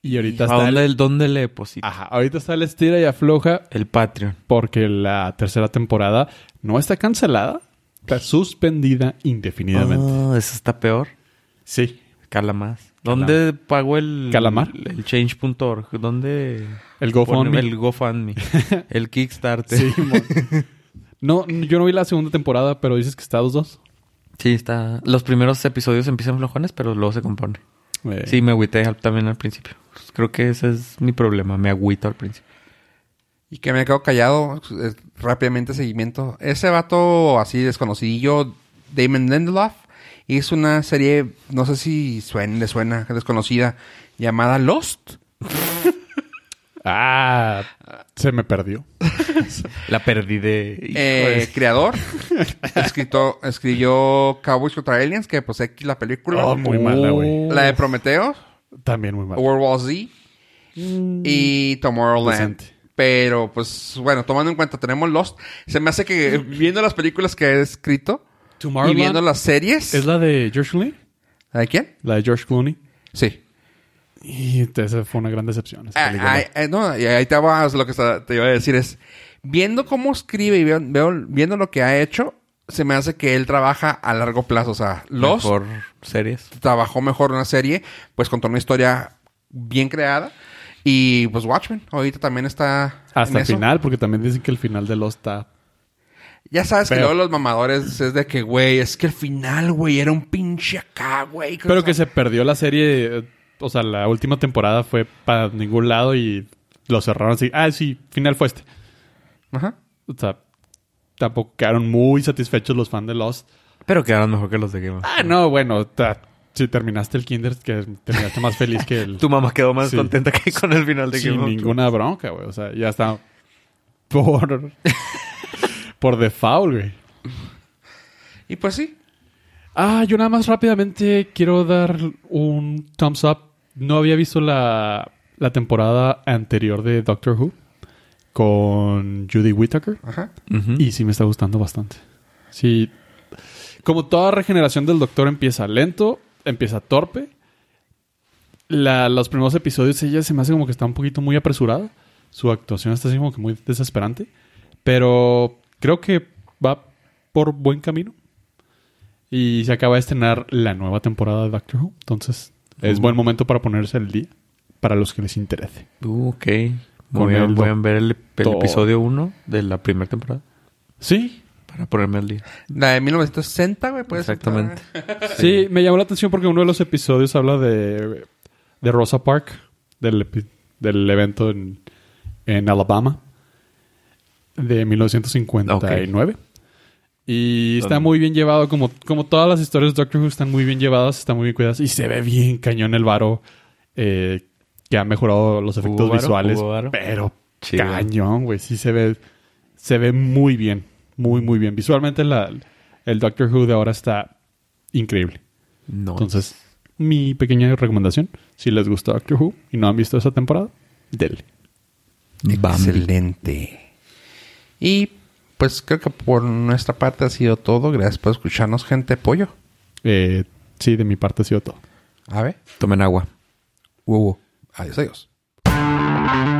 [SPEAKER 2] Y ahorita
[SPEAKER 3] ¿A
[SPEAKER 2] está el,
[SPEAKER 3] dónde, dónde le deposito?
[SPEAKER 2] ajá, ahorita está el estira y afloja
[SPEAKER 3] El Patreon.
[SPEAKER 2] porque la tercera temporada no está cancelada, está suspendida indefinidamente.
[SPEAKER 3] Oh, eso está peor.
[SPEAKER 2] Sí,
[SPEAKER 3] Cala más. ¿Dónde pagó el...
[SPEAKER 2] ¿Calamar?
[SPEAKER 3] El change.org. ¿Dónde...
[SPEAKER 2] el GoFundMe.
[SPEAKER 3] pone El GoFundMe. el Kickstarter.
[SPEAKER 2] Sí, mon. no, yo no vi la segunda temporada, pero dices que está 2-2.
[SPEAKER 3] Sí, está. Los primeros episodios empiezan flojones, pero luego se compone.
[SPEAKER 2] Eh,
[SPEAKER 3] Sí, me agüité al- también al principio. Creo que ese es mi problema. Me agüito al principio.
[SPEAKER 1] Y que me quedo callado, eh, rápidamente seguimiento. Ese vato así desconocidillo, Damon Lindelof, hizo una serie, no sé si suena, le suena, desconocida, llamada Lost.
[SPEAKER 2] Ah, se me perdió.
[SPEAKER 3] La perdí de.
[SPEAKER 1] Eh,
[SPEAKER 3] Híjole.
[SPEAKER 1] creador, escrito, escribió Cowboys contra Aliens, que pues aquí la película. Uh.
[SPEAKER 2] Oh, muy mala, güey.
[SPEAKER 1] la de Prometeo,
[SPEAKER 2] También muy mala.
[SPEAKER 1] World War Z Mm. y Tomorrowland.
[SPEAKER 2] Mm. Decente.
[SPEAKER 1] Pero pues bueno, tomando en cuenta, tenemos Lost. Se me hace que viendo las películas que he escrito y viendo las series.
[SPEAKER 2] ¿Es la de George Clooney?
[SPEAKER 1] ¿De quién?
[SPEAKER 2] La de George Clooney.
[SPEAKER 1] Sí.
[SPEAKER 2] Y esa fue una gran decepción. esa
[SPEAKER 1] Ah,
[SPEAKER 2] película.
[SPEAKER 1] ah, ah, no, y ahí te vas, lo que está- te iba a decir es, viendo cómo escribe y veo- veo- viendo lo que ha hecho, se me hace que él trabaja a largo plazo. O sea, Lost
[SPEAKER 3] Mejor series.
[SPEAKER 1] trabajó mejor una serie, pues contó una historia bien creada. Y pues Watchmen, ahorita también está... en
[SPEAKER 2] Hasta el
[SPEAKER 1] eso.
[SPEAKER 2] final, porque también dicen que el final de Lost está...
[SPEAKER 1] Ya sabes que
[SPEAKER 2] Pero-
[SPEAKER 1] luego los mamadores es de que, güey, es que el final, güey, era un pinche acá, güey.
[SPEAKER 2] Pero que se perdió la serie. eh, O sea, la última temporada fue para ningún lado y lo cerraron así. Ah, sí, final fue este.
[SPEAKER 1] Ajá.
[SPEAKER 2] O sea, tampoco quedaron muy satisfechos los fans de Lost.
[SPEAKER 3] Pero quedaron mejor que los de Game of
[SPEAKER 2] Ah, no, bueno, ta- si terminaste el kinder, que terminaste más feliz que el...
[SPEAKER 3] Tu mamá quedó más
[SPEAKER 2] Sí.
[SPEAKER 3] contenta que con el final de
[SPEAKER 2] sin
[SPEAKER 3] Game of
[SPEAKER 2] ninguna bronca, güey. O sea, ya está por por default, güey.
[SPEAKER 1] Y pues sí.
[SPEAKER 2] Ah, yo nada más rápidamente quiero dar un thumbs up. No había visto la, la temporada anterior de Doctor Who con Judy Whittaker
[SPEAKER 1] Ajá.
[SPEAKER 3] Ujú.
[SPEAKER 2] y sí me está gustando bastante. Sí, como toda regeneración del Doctor empieza lento, empieza torpe. La- los primeros episodios ella se me hace como que está un poquito muy apresurada. Su actuación está así como que muy desesperante. Pero creo que va por buen camino. Y se acaba de estrenar la nueva temporada de Doctor Who. Entonces es buen momento para ponerse al día. Para los que les interese.
[SPEAKER 3] Uh, ok.
[SPEAKER 2] Con
[SPEAKER 3] Voy a,
[SPEAKER 2] el
[SPEAKER 3] voy a ver el, el
[SPEAKER 2] doctor.
[SPEAKER 3] episodio 1 de la primera temporada
[SPEAKER 2] Sí,
[SPEAKER 3] para ponerme al día.
[SPEAKER 1] La de 1960, güey, pues.
[SPEAKER 3] Exactamente.
[SPEAKER 2] Sí, me llamó la atención porque uno de los episodios habla de, de Rosa Park, del, epi- del evento en, en Alabama de 1959. Y está
[SPEAKER 3] ¿Dónde?
[SPEAKER 2] muy bien llevado, como, como todas las historias de Doctor Who están muy bien llevadas, están muy bien cuidadas y se ve bien cañón el varo eh, que ha mejorado los efectos
[SPEAKER 3] varo?
[SPEAKER 2] visuales.
[SPEAKER 3] ¿Hubo varo?
[SPEAKER 2] Pero
[SPEAKER 3] Chido.
[SPEAKER 2] cañón, güey, sí se ve, se ve muy bien, muy, muy bien. Visualmente la, el Doctor Who de ahora está increíble.
[SPEAKER 3] No.
[SPEAKER 2] Entonces, mi pequeña recomendación, si les gusta Doctor Who y no han visto esa temporada, denle.
[SPEAKER 1] Excelente. Y pues creo que por nuestra parte ha sido todo. Gracias por escucharnos, gente pollo.
[SPEAKER 2] Eh, sí, de mi parte ha sido todo.
[SPEAKER 1] A ver.
[SPEAKER 3] Tomen agua.
[SPEAKER 1] Huevo. Adiós, adiós.